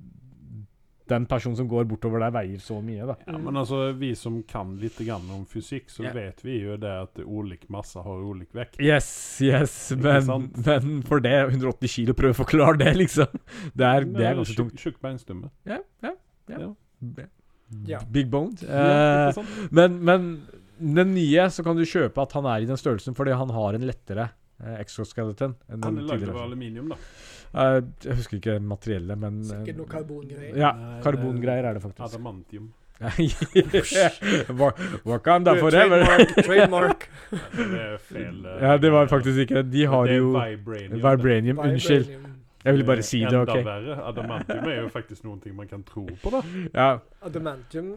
S4: den personen som går bortover der, veier så mye. da.
S2: Ja, men alltså vi som kan lite grann om fysik så
S4: Ja.
S2: vet vi ju det att olika massa har olika vekt.
S4: Yes, yes,
S2: Ikke
S4: men,
S2: sant?
S4: men for det, 180 kilo, prøve å forklare det, liksom. Det er, det er ganske tungt.
S2: Tjukk beinstumme.
S4: Ja, ja, ja.
S3: Ja.
S4: Big boned.
S2: Ja,
S4: Eh,
S2: ikke sant?
S4: men, men den nye så kan du kjøpe at han er i den størrelsen fordi han har en lettere eh, exoskeleton enn
S2: Han
S4: den
S2: är lagd av
S4: tidligere.
S2: aluminium då.
S4: Eh, jeg husker ikke materiellet, men
S3: Sikkert noe
S4: eh,
S3: karbongreier.
S4: Ja,
S2: Nei, det-
S4: karbongreier er det faktisk.
S2: Adamantium.
S4: Wa- Wakanda forever.
S3: Trademark. trademark.
S2: Det är fel. eh,
S4: Ja, det var faktisk ikke det. De har
S2: det är
S4: jo
S2: vibranium.
S4: Vibranium. Unnskyld.
S3: Vibranium.
S4: Jeg ville bare si det,
S2: Enda
S4: OK?
S2: värre. Adamantium är ju faktiskt någonting man kan tro på då.
S4: Ja,
S3: Adamantium.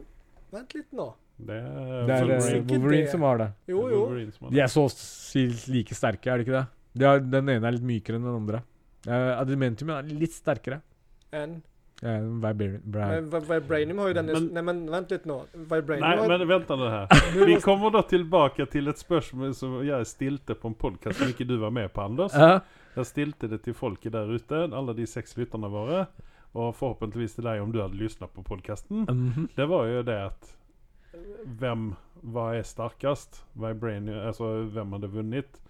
S3: Vent litt nå.
S2: Det är,
S4: det er eh,
S3: Sikkert
S4: Wolverine
S3: det.
S4: som har det.
S3: Jo, jo.
S4: De er så silt like sterke, er de ikke det? De er, den ene er litt mykere enn den andre. Uh, Adamantium er litt sterkere.
S3: En.
S4: Eh, Vibra- bra-
S3: Men vi- Vibranium har jo denne
S2: Men-
S3: Nei, men vent litt nå. Vibranium
S2: Nej,
S3: har
S2: men vänta nu här.
S3: Nu
S2: Vi
S3: måste-
S2: kommer då tillbaka till ett spörsmål som jag stilte på en podcast som mycket du var med på Anders.
S4: Ja,
S2: Jag stilte det till folket där ute, alla de sex lyssnarna var det. Och förhoppningsvis till dig om du hade lyssnat på podcasten.
S4: mhm.
S2: Det var ju det att vem, vad är starkast? Vibranium, alltså vem hade vunnit?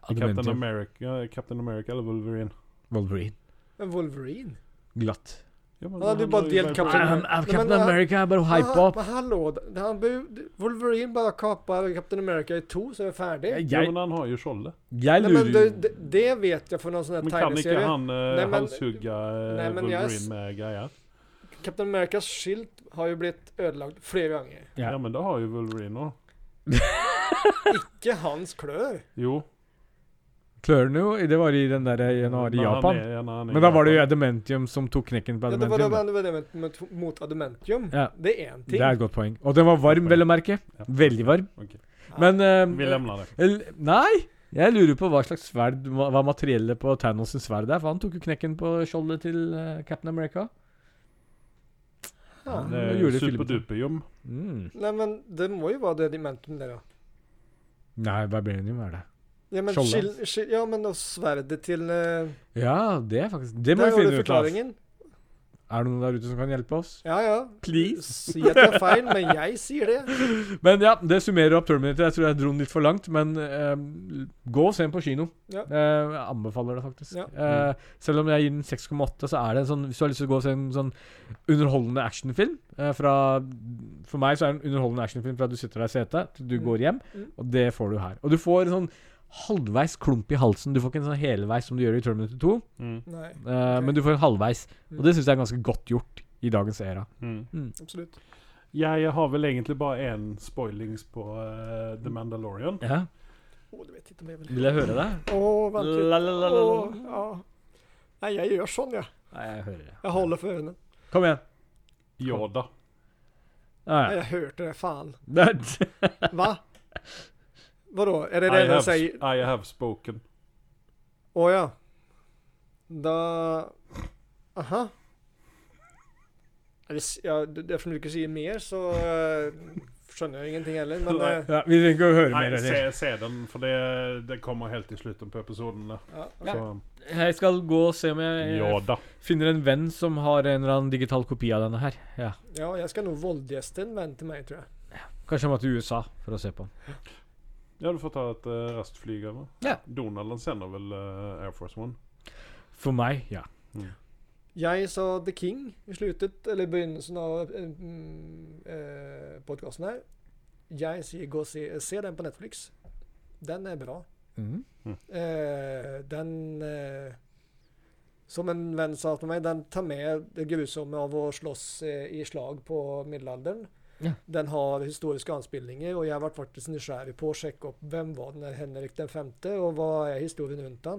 S2: Captain
S4: Adamantium.
S2: America, Captain America eller Wolverine?
S4: Wolverine.
S3: Men Wolverine?
S4: Glatt.
S2: Ja, men
S3: Han hade
S2: det
S3: ju bara
S2: handlar ju
S3: delt
S2: om
S3: Captain
S2: Vibranium.
S3: America. men Ah,
S4: Captain
S3: han-
S4: America er bare hypa
S3: Men
S4: opp.
S3: ha- Men hallå, d- han behöver- Wolverine bara kapar Captain America i to så är jag färdig.
S4: Jeg,
S2: Ja, men han har ju skjoldet.
S4: jeg
S3: Nej, men det,
S4: lurer
S3: det, det vet jag från någon sån
S2: Men
S3: här
S2: kan inte
S3: tegneserie.
S2: han eh,
S3: men-
S2: halshugga eh,
S3: Nej, men jag-
S2: Wolverine med grejer?
S3: Captain Americas skylt har ju blivit ödelagd flera gånger.
S4: Ja.
S2: Ja, men det har ju Wolverine også.
S3: Icke hans klör.
S2: Jo.
S4: Klør den jo. Det var i den der en var i
S2: Når han
S4: Japan.
S2: er- ja, når han er
S4: Men da
S2: i
S4: var det jo
S2: Japan.
S4: Adamantium som tok knekken på
S3: Ja, det var det,
S4: Adamantium. da.
S3: var- det, var det med, med, mot adamantium.
S4: Ja.
S3: Det är en ting.
S4: Det er et godt poeng. Og den var varm, vel å merke.
S2: Ja.
S4: Veldig varm.
S2: Ok.
S4: Men eh,
S2: Vi lemner det.
S4: el- Nei! Jeg lurer på hva slags sverd Hva hva materiellet på Thanos' sin sverd er. For han tok jo knekken på skjoldet til eh, Captain America.
S3: Ja.
S2: Det
S4: Nå
S2: er
S4: gjorde filmen.
S2: superduperjum.
S4: Mm.
S3: Nej men det må ju vara det adamantium där då.
S4: Nei, Vibranium er det.
S3: Ja men,
S4: Skjoldet.
S3: skil, skil, ja, men och svärdet till... Eh,
S4: Ja, det er faktisk Det må
S3: där
S4: vi
S3: har du
S4: finne ut av.
S3: förklaringen.
S4: Er det noen der ute som kan hjelpe oss?
S3: Ja ja.
S4: Please.
S3: Si att jag är fine, men jag ser det.
S4: Men ja, det summerer opp Terminator. Jeg tror jeg dro den litt for langt, men eh, gå og se den på kino.
S3: Ja.
S4: Eh, jeg anbefaler det faktisk.
S3: Ja.
S4: Eh, selv om jeg gir den 6,8, så er det en sånn Hvis du har lyst til å gå og se en sånn underholdende actionfilm eh, fra, For meg så er det en underholdende actionfilm fra du sitter deg i setet til du
S3: Mm.
S4: går hjem,
S3: Mm.
S4: og det får du her. Og du får en sånn halvveis klump i halsen. Du får ikke en sånn helveis som du gjør i Terminator 2,
S2: Mm.
S3: Nej,
S4: eh, men du får en halvveis.
S3: Mm.
S4: Og det syns jeg er ganske godt gjort i dagens era.
S2: Mm.
S3: absolut.
S2: Ja, jeg har vel egentlig bare én spoilings på eh, The Mandalorian.
S4: Ja,
S3: Åh, det vet inte om jag vill
S4: Vil jeg høre det?
S3: Åh, vänta.
S4: La, la, la, la, la.
S3: Åh, ja. Nej, jag gör sån jag.
S4: Nei, jeg hører det.
S3: Jag håller för öronen.
S4: Kom igjen.
S2: Yoda.
S4: Ja,
S3: Nej,
S4: ja.
S3: jag hörde det. Fan.
S4: Det er
S3: Va? Vadå? Är det det
S2: I
S3: den
S2: have,
S3: säger?
S2: I have spoken.
S3: Åh ja. Da... Aha. Eller, s- Ja, d- eftersom du inte säger mer så eh, skönjer jag ingenting heller. Men
S2: Nej.
S3: eh,
S4: Ja, vi trenger ikke å høre mer.
S2: Nei, se,
S4: eller?
S2: se den, for det, det kommer helt i slutten på episodene.
S3: ja,
S2: Så
S4: Jeg skal gå og se om jeg eh,
S2: Yoda.
S4: finner en venn som har en eller annen digital kopi av denne her. Ja.
S3: ja, jag ska nog våldgästa en vän till mig tror jag.
S4: Kanskje jeg må til USA for å se på den.
S2: Ja, du får ta et uh, rastflyg over.
S4: Ja.
S2: Donald han sender vel eh, Air Force One.
S4: For meg, ja.
S3: Jag sa The King i slutet, eller i begynnelsen av eh, mm, eh, podcasten här. Jag säger gå och se, se den på Netflix. Den är bra.
S4: Mm.
S3: Eh, den eh, Som en venn sa til meg, den tar med det grusomme av å slåss eh, i slag på middelalderen.
S4: Ja.
S3: Den har historiske anspillinger, og jeg ble faktisk nysgjerrig på å sjekke opp hvem var den der Henrik den femte, og hva er historien rundt han.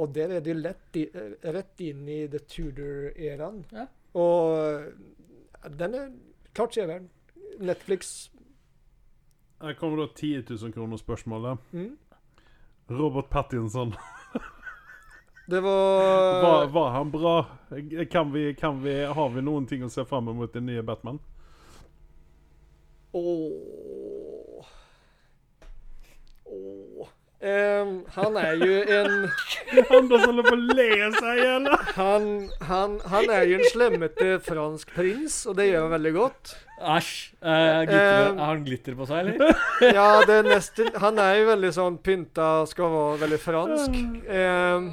S3: Og der er det jo lett i, eh, rett inn i The Tudor-æraen.
S4: Ja.
S3: Og eh, den er klart severen. Netflix.
S2: Her kommer da 10 000 kroner-spørsmålet.
S3: Mm.
S2: Robert Pattinson.
S3: Eh. Det var
S2: Var, var han bra? Kan vi, kan vi, har vi noenting å se fram mot den nye Batman?
S3: Åh. Åh. Ehm, han är ju en...
S2: Anders håller på att le sig eller?
S3: Han, han, han er jo en slemmete fransk prins, og det gjør han veldig godt.
S7: Æsj. Eh, glitter,
S3: Eh,
S7: har han glitter på seg, eller?
S3: Ja, det er nesten Han er jo veldig sånn pynta, skal være veldig fransk. Ehm,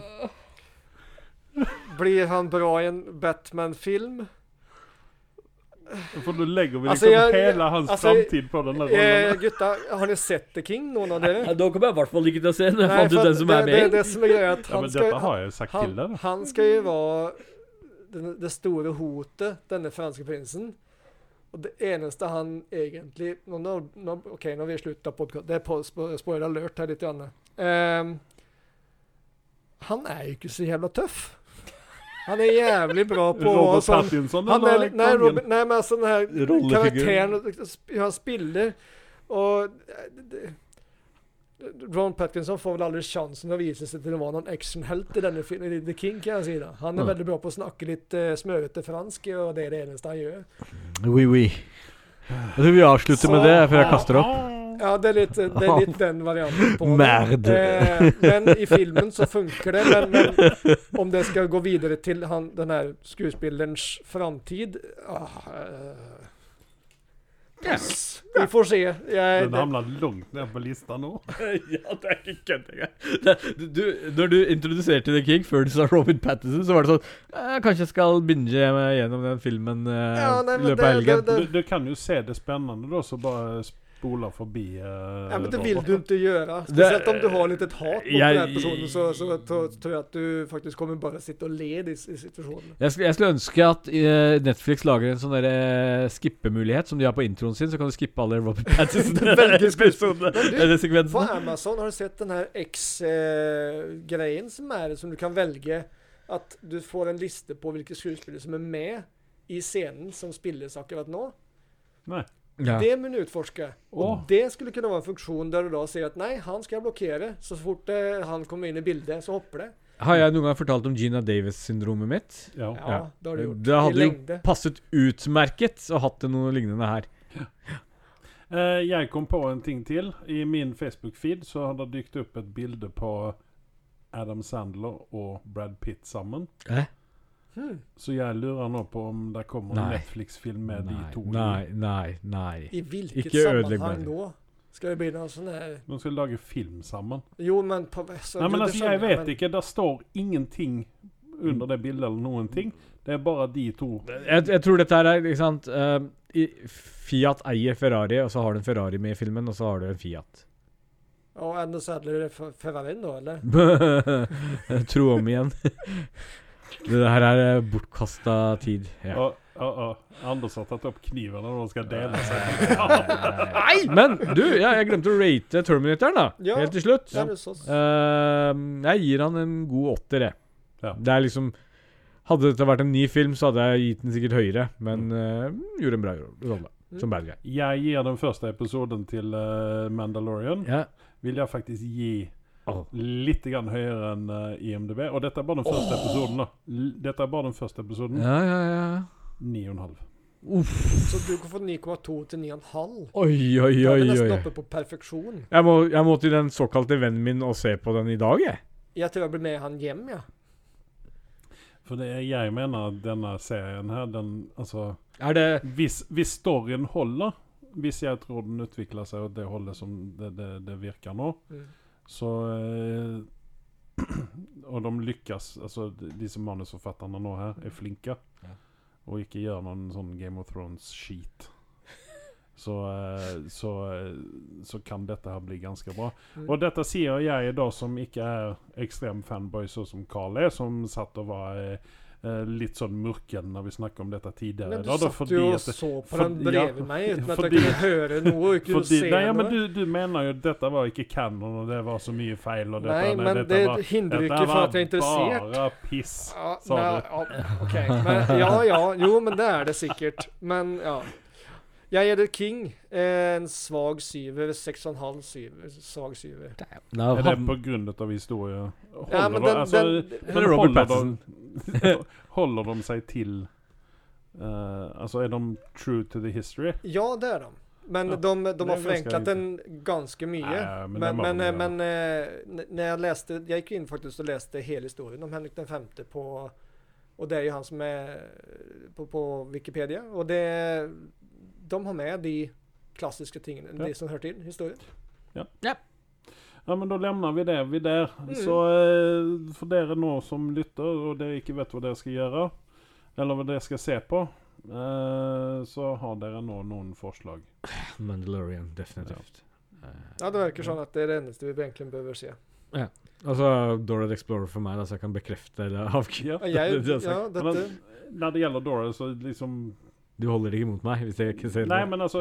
S3: blir han bra i en Batman-film?
S2: For nå legger vi
S3: Altså,
S2: liksom
S3: jeg-
S2: hele hans
S3: altså,
S2: framtid på den der
S3: Alltså, Eh,
S2: rollen.
S3: gutta, har ni sett The King, noen av dere?
S7: Ja, da kommer jeg i hvert fall ikke til å se den. Jeg
S3: Nei,
S7: fant ut
S3: for
S7: den som
S3: det,
S7: er
S3: det,
S7: med.
S3: det som er greia, er at
S2: Ja,
S3: han
S2: men dette
S3: skal,
S2: har jeg sagt til
S3: han,
S2: deg, da.
S3: han skal jo være den- det store hotet, denne franske prinsen. Og det eneste han egentlig nå, nå, nå, OK, nå har vi slutta podkasten. Det er på- spo- spoiler alert her litt. Grann. Ehm, han er jo ikke så jævla tøff. Han er jævlig bra på å
S2: Robert
S3: sånn
S2: Pattinson,
S3: han er,
S2: eller
S3: litt- nei,
S2: kongen?
S3: Robert, nei, men altså den her
S7: Rollefigur.
S3: karakteren liksom sp- han spiller Og eh, det- Ron Patkinson får vel aldri sjansen til å vise seg til å være noen actionhelt i denne filmen, i The King, kan jeg si. da. Han er veldig bra på å snakke litt uh, smørete fransk, og det er det eneste han gjør.
S4: Oui, oui. Jeg tror vi avslutter med det før jeg kaster opp.
S3: Ja, det er litt, det er litt den varianten på det.
S4: Merd.
S3: Eh, men i filmen så funker det. Men, men om det skal gå videre til han, den her skuespillerens framtid ah, eh, Pass. Vi får se. Jeg,
S2: Den
S3: det,
S2: hamner langt ned på lista nå.
S7: Ja, det er ikke kødd engang. Det- du- du- Når du introduserte The King før du sa Robin Pattinson, så var det sånn eh, Kanskje jeg skal binge meg gjennom den filmen eh,
S3: Ja, nei,
S7: i
S3: men
S7: løpet av
S3: det- det-
S7: helgen.
S3: det-
S2: Du, du kan jo se det spennende, da, så bare spoler forbi eh,
S3: ja, men det
S2: Robert.
S3: vil du ikke gjøre.
S7: Det-
S3: Spesielt om du har litt et hat mot
S7: Jeg-
S3: den personen, så, så, tro- tror jeg at du faktisk kommer bare sitte og le i disse situasjonene.
S4: Jeg skulle, jeg skulle ønske at eh, Netflix lager en sånn der, eh, skippemulighet som de har på introen sin, så kan du skippe alle Robert Pattinson-episodene. Eller
S3: På
S4: sekvensen.
S3: Amazon har du sett den her X-greien som er som du kan velge at du får en liste på hvilke skuespillere som er med i scenen som spilles akkurat nå.
S2: Nei.
S4: Ja.
S3: Det må du utforske. Og
S2: Åh.
S3: det skulle kunne være en funksjon der du da sier at nei, han skal jeg blokkere. Så fort eh, han kommer inn i bildet, så hopper det.
S4: Har jeg noen gang fortalt om Gina Davis-syndromet mitt?
S2: Ja.
S3: Ja,
S4: Ja.
S3: det har du gjort.
S4: Det hadde
S3: I
S4: jo
S3: lengde.
S4: passet utmerket å hatt noe lignende her.
S2: Eh, jeg kom på en ting til. I min Facebook-feed så har det dykt opp et bilde på Adam Sandler og Brad Pitt sammen.
S4: Hæ?
S2: Så jeg lurer nå på om det kommer en
S4: Nei.
S2: Netflix-film med
S4: Nei,
S2: de to.
S4: nei, nei. nei.
S3: I hvilket
S4: Ikke ødelegg
S3: sammenhang
S4: meg.
S3: nå? Skal vi begynne å sånn her
S2: De skal lage film sammen.
S3: Jo, men på, så,
S2: Nei,
S3: du-
S2: men
S3: du
S2: altså, jeg
S3: skjønner,
S2: vet
S3: men-
S2: ikke. Det står ingenting under det bildet eller noen ting. Det er bare de to.
S4: Jeg, jeg tror dette her er ikke sant eh, i, Fiat eier Ferrari, og så har du en Ferrari med i filmen, og så har du en Fiat.
S3: Og Anders Sadler er Ferrari nå, eller?
S4: Tro om igjen. det her er eh, bortkasta tid. Ja.
S2: Å, å, å. Anders har tatt opp kniven når de skal dele seg.
S4: Nei! Men du, ja, jeg glemte å rate Terminatoren, da.
S3: Ja.
S4: Helt til slutt.
S3: Ja. Det er sånn.
S4: Ehm, jeg gir han en god åtter, jeg.
S2: Ja.
S4: Det er liksom Hadde dette vært en ny film, så hadde jeg gitt den sikkert høyere, men eh, gjorde en bra ro- rolle
S3: Mm.
S4: som bad guy.
S2: Jeg gir den første episoden til eh, Mandalorian.
S4: Ja.
S2: Vil jeg faktisk gi
S4: Åh.
S2: litt grann høyere enn eh, IMDb. Og dette er bare den første episoden, da. L- Dette er bare den første episoden.
S4: ja, ja, ja.
S2: Ni og en halv.
S3: Så du kan få 9,2 til 9,5.
S4: Oi, oi,
S3: Da
S4: oi.
S3: er vi nesten
S4: oi.
S3: oppe på perfeksjon.
S4: Jeg, må, jeg må til den såkalte vennen min og se på den i dag, jeg.
S3: Jeg tror jeg blir med han hjem, ja.
S2: For det er, jeg mener at denne serien her, den alltså, altså
S4: Er det
S2: Hvis, hvis storyen holder, hvis jeg tror den utvikler seg åt det holdet som det, det, det virker nå,
S3: Mm.
S2: så eh, Og de lykkes Altså, de de som manusforfatterne nå her, er flinke. Og ikke gjør noen sånn Game of Thrones-skit. Så, eh, så, eh, så kan dette her bli ganske bra.
S3: Mm.
S2: Og dette sier jeg da som ikke er ekstrem fanboy, sånn som Carl er, som satt og var eh, eh, litt sånn mørken når vi snakket om dette tidligere.
S3: Men du
S2: i dag, da,
S3: satt jo og
S2: at det-
S3: så på
S2: for-
S3: den bredvid
S2: ja,
S3: meg uten at
S2: fordi-
S3: jeg kunne høre noe og ikke
S2: fordi,
S3: se
S2: nei, ja, men
S3: noe.
S2: du, du mener jo at dette var ikke canon, og det var så mye feil. Og dette,
S3: Nei,
S2: nei,
S3: men
S2: dette
S3: det
S2: var,
S3: hindrer
S2: dette
S3: ikke for
S2: var
S3: at jeg er interessert.
S2: Bare piss,
S3: Ja,
S2: sa
S3: nei,
S2: du.
S3: ja, ok. Men, ja, ja. Jo, men det er det sikkert. Men ja. Jeg gir The King eh, en svak syver. 6,5 syver. Svag syver.
S2: Er det på grunn av alltså, historien? Holder,
S3: Ja, men den-
S2: de- altså,
S3: den-
S2: men
S4: Eller Robert
S2: holder, de, holder de seg til eh, Altså, er de true to the history?
S3: Ja, det är de. Men
S2: Ja,
S3: de,
S2: det
S3: de har
S2: är
S3: förenklat
S2: ganska
S3: den ganska mycket.
S2: Nej, men det
S3: men
S2: må
S3: men,
S2: de
S3: eh,
S2: göra.
S3: men eh, n- när jag läste, jag gick in faktiskt och läste hela historien om Henrik den femte på Och det är ju han som är eh, på, på Wikipedia. Och det, de har med de klassiska tingen,
S2: Ja.
S3: de som hör till historien.
S2: Ja, men da lemner vi det vi der.
S3: Mm.
S2: Så eh, for dere nå som lytter, og dere ikke vet hva dere skal gjøre, eller hva dere skal se på, eh, så har dere nå noen forslag.
S4: Mandalorian, definitivt.
S3: Ja, det verkar som att det är det enda vi egentligen behöver se.
S4: Altså Dora the Explorer for meg, da, så jeg kan bekrefte eller avkrefte.
S3: Ja, jeg,
S4: det du har sagt.
S3: ja, dette,
S2: Når det gjelder Dora, så liksom
S4: Du holder ikke mot meg hvis jeg ikke ser
S2: Nei,
S4: det.
S2: men altså,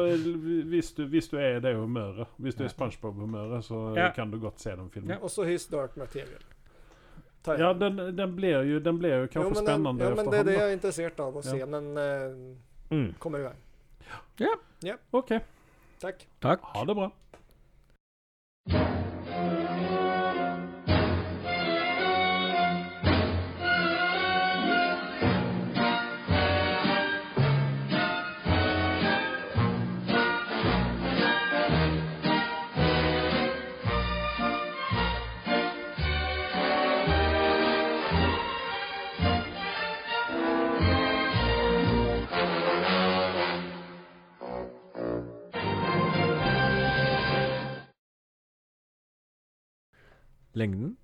S2: hvis du, hvis du er i det humøret, hvis du er i SpongeBob-humøret, så
S4: Ja.
S2: kan du godt se den filmen.
S3: och så His Dark Material.
S2: Ja,
S3: Tar jag.
S2: den, den blir jo, den blir jo kanskje
S3: men, den-
S2: spennende
S3: ja, men det är
S2: efterhand.
S3: det
S2: da.
S3: jag är intresserad av att se,
S2: Ja.
S3: men eh,
S4: Mm.
S3: kommer iväg.
S2: OK.
S3: Tack.
S4: Takk.
S2: Ha det bra.
S4: Lengden?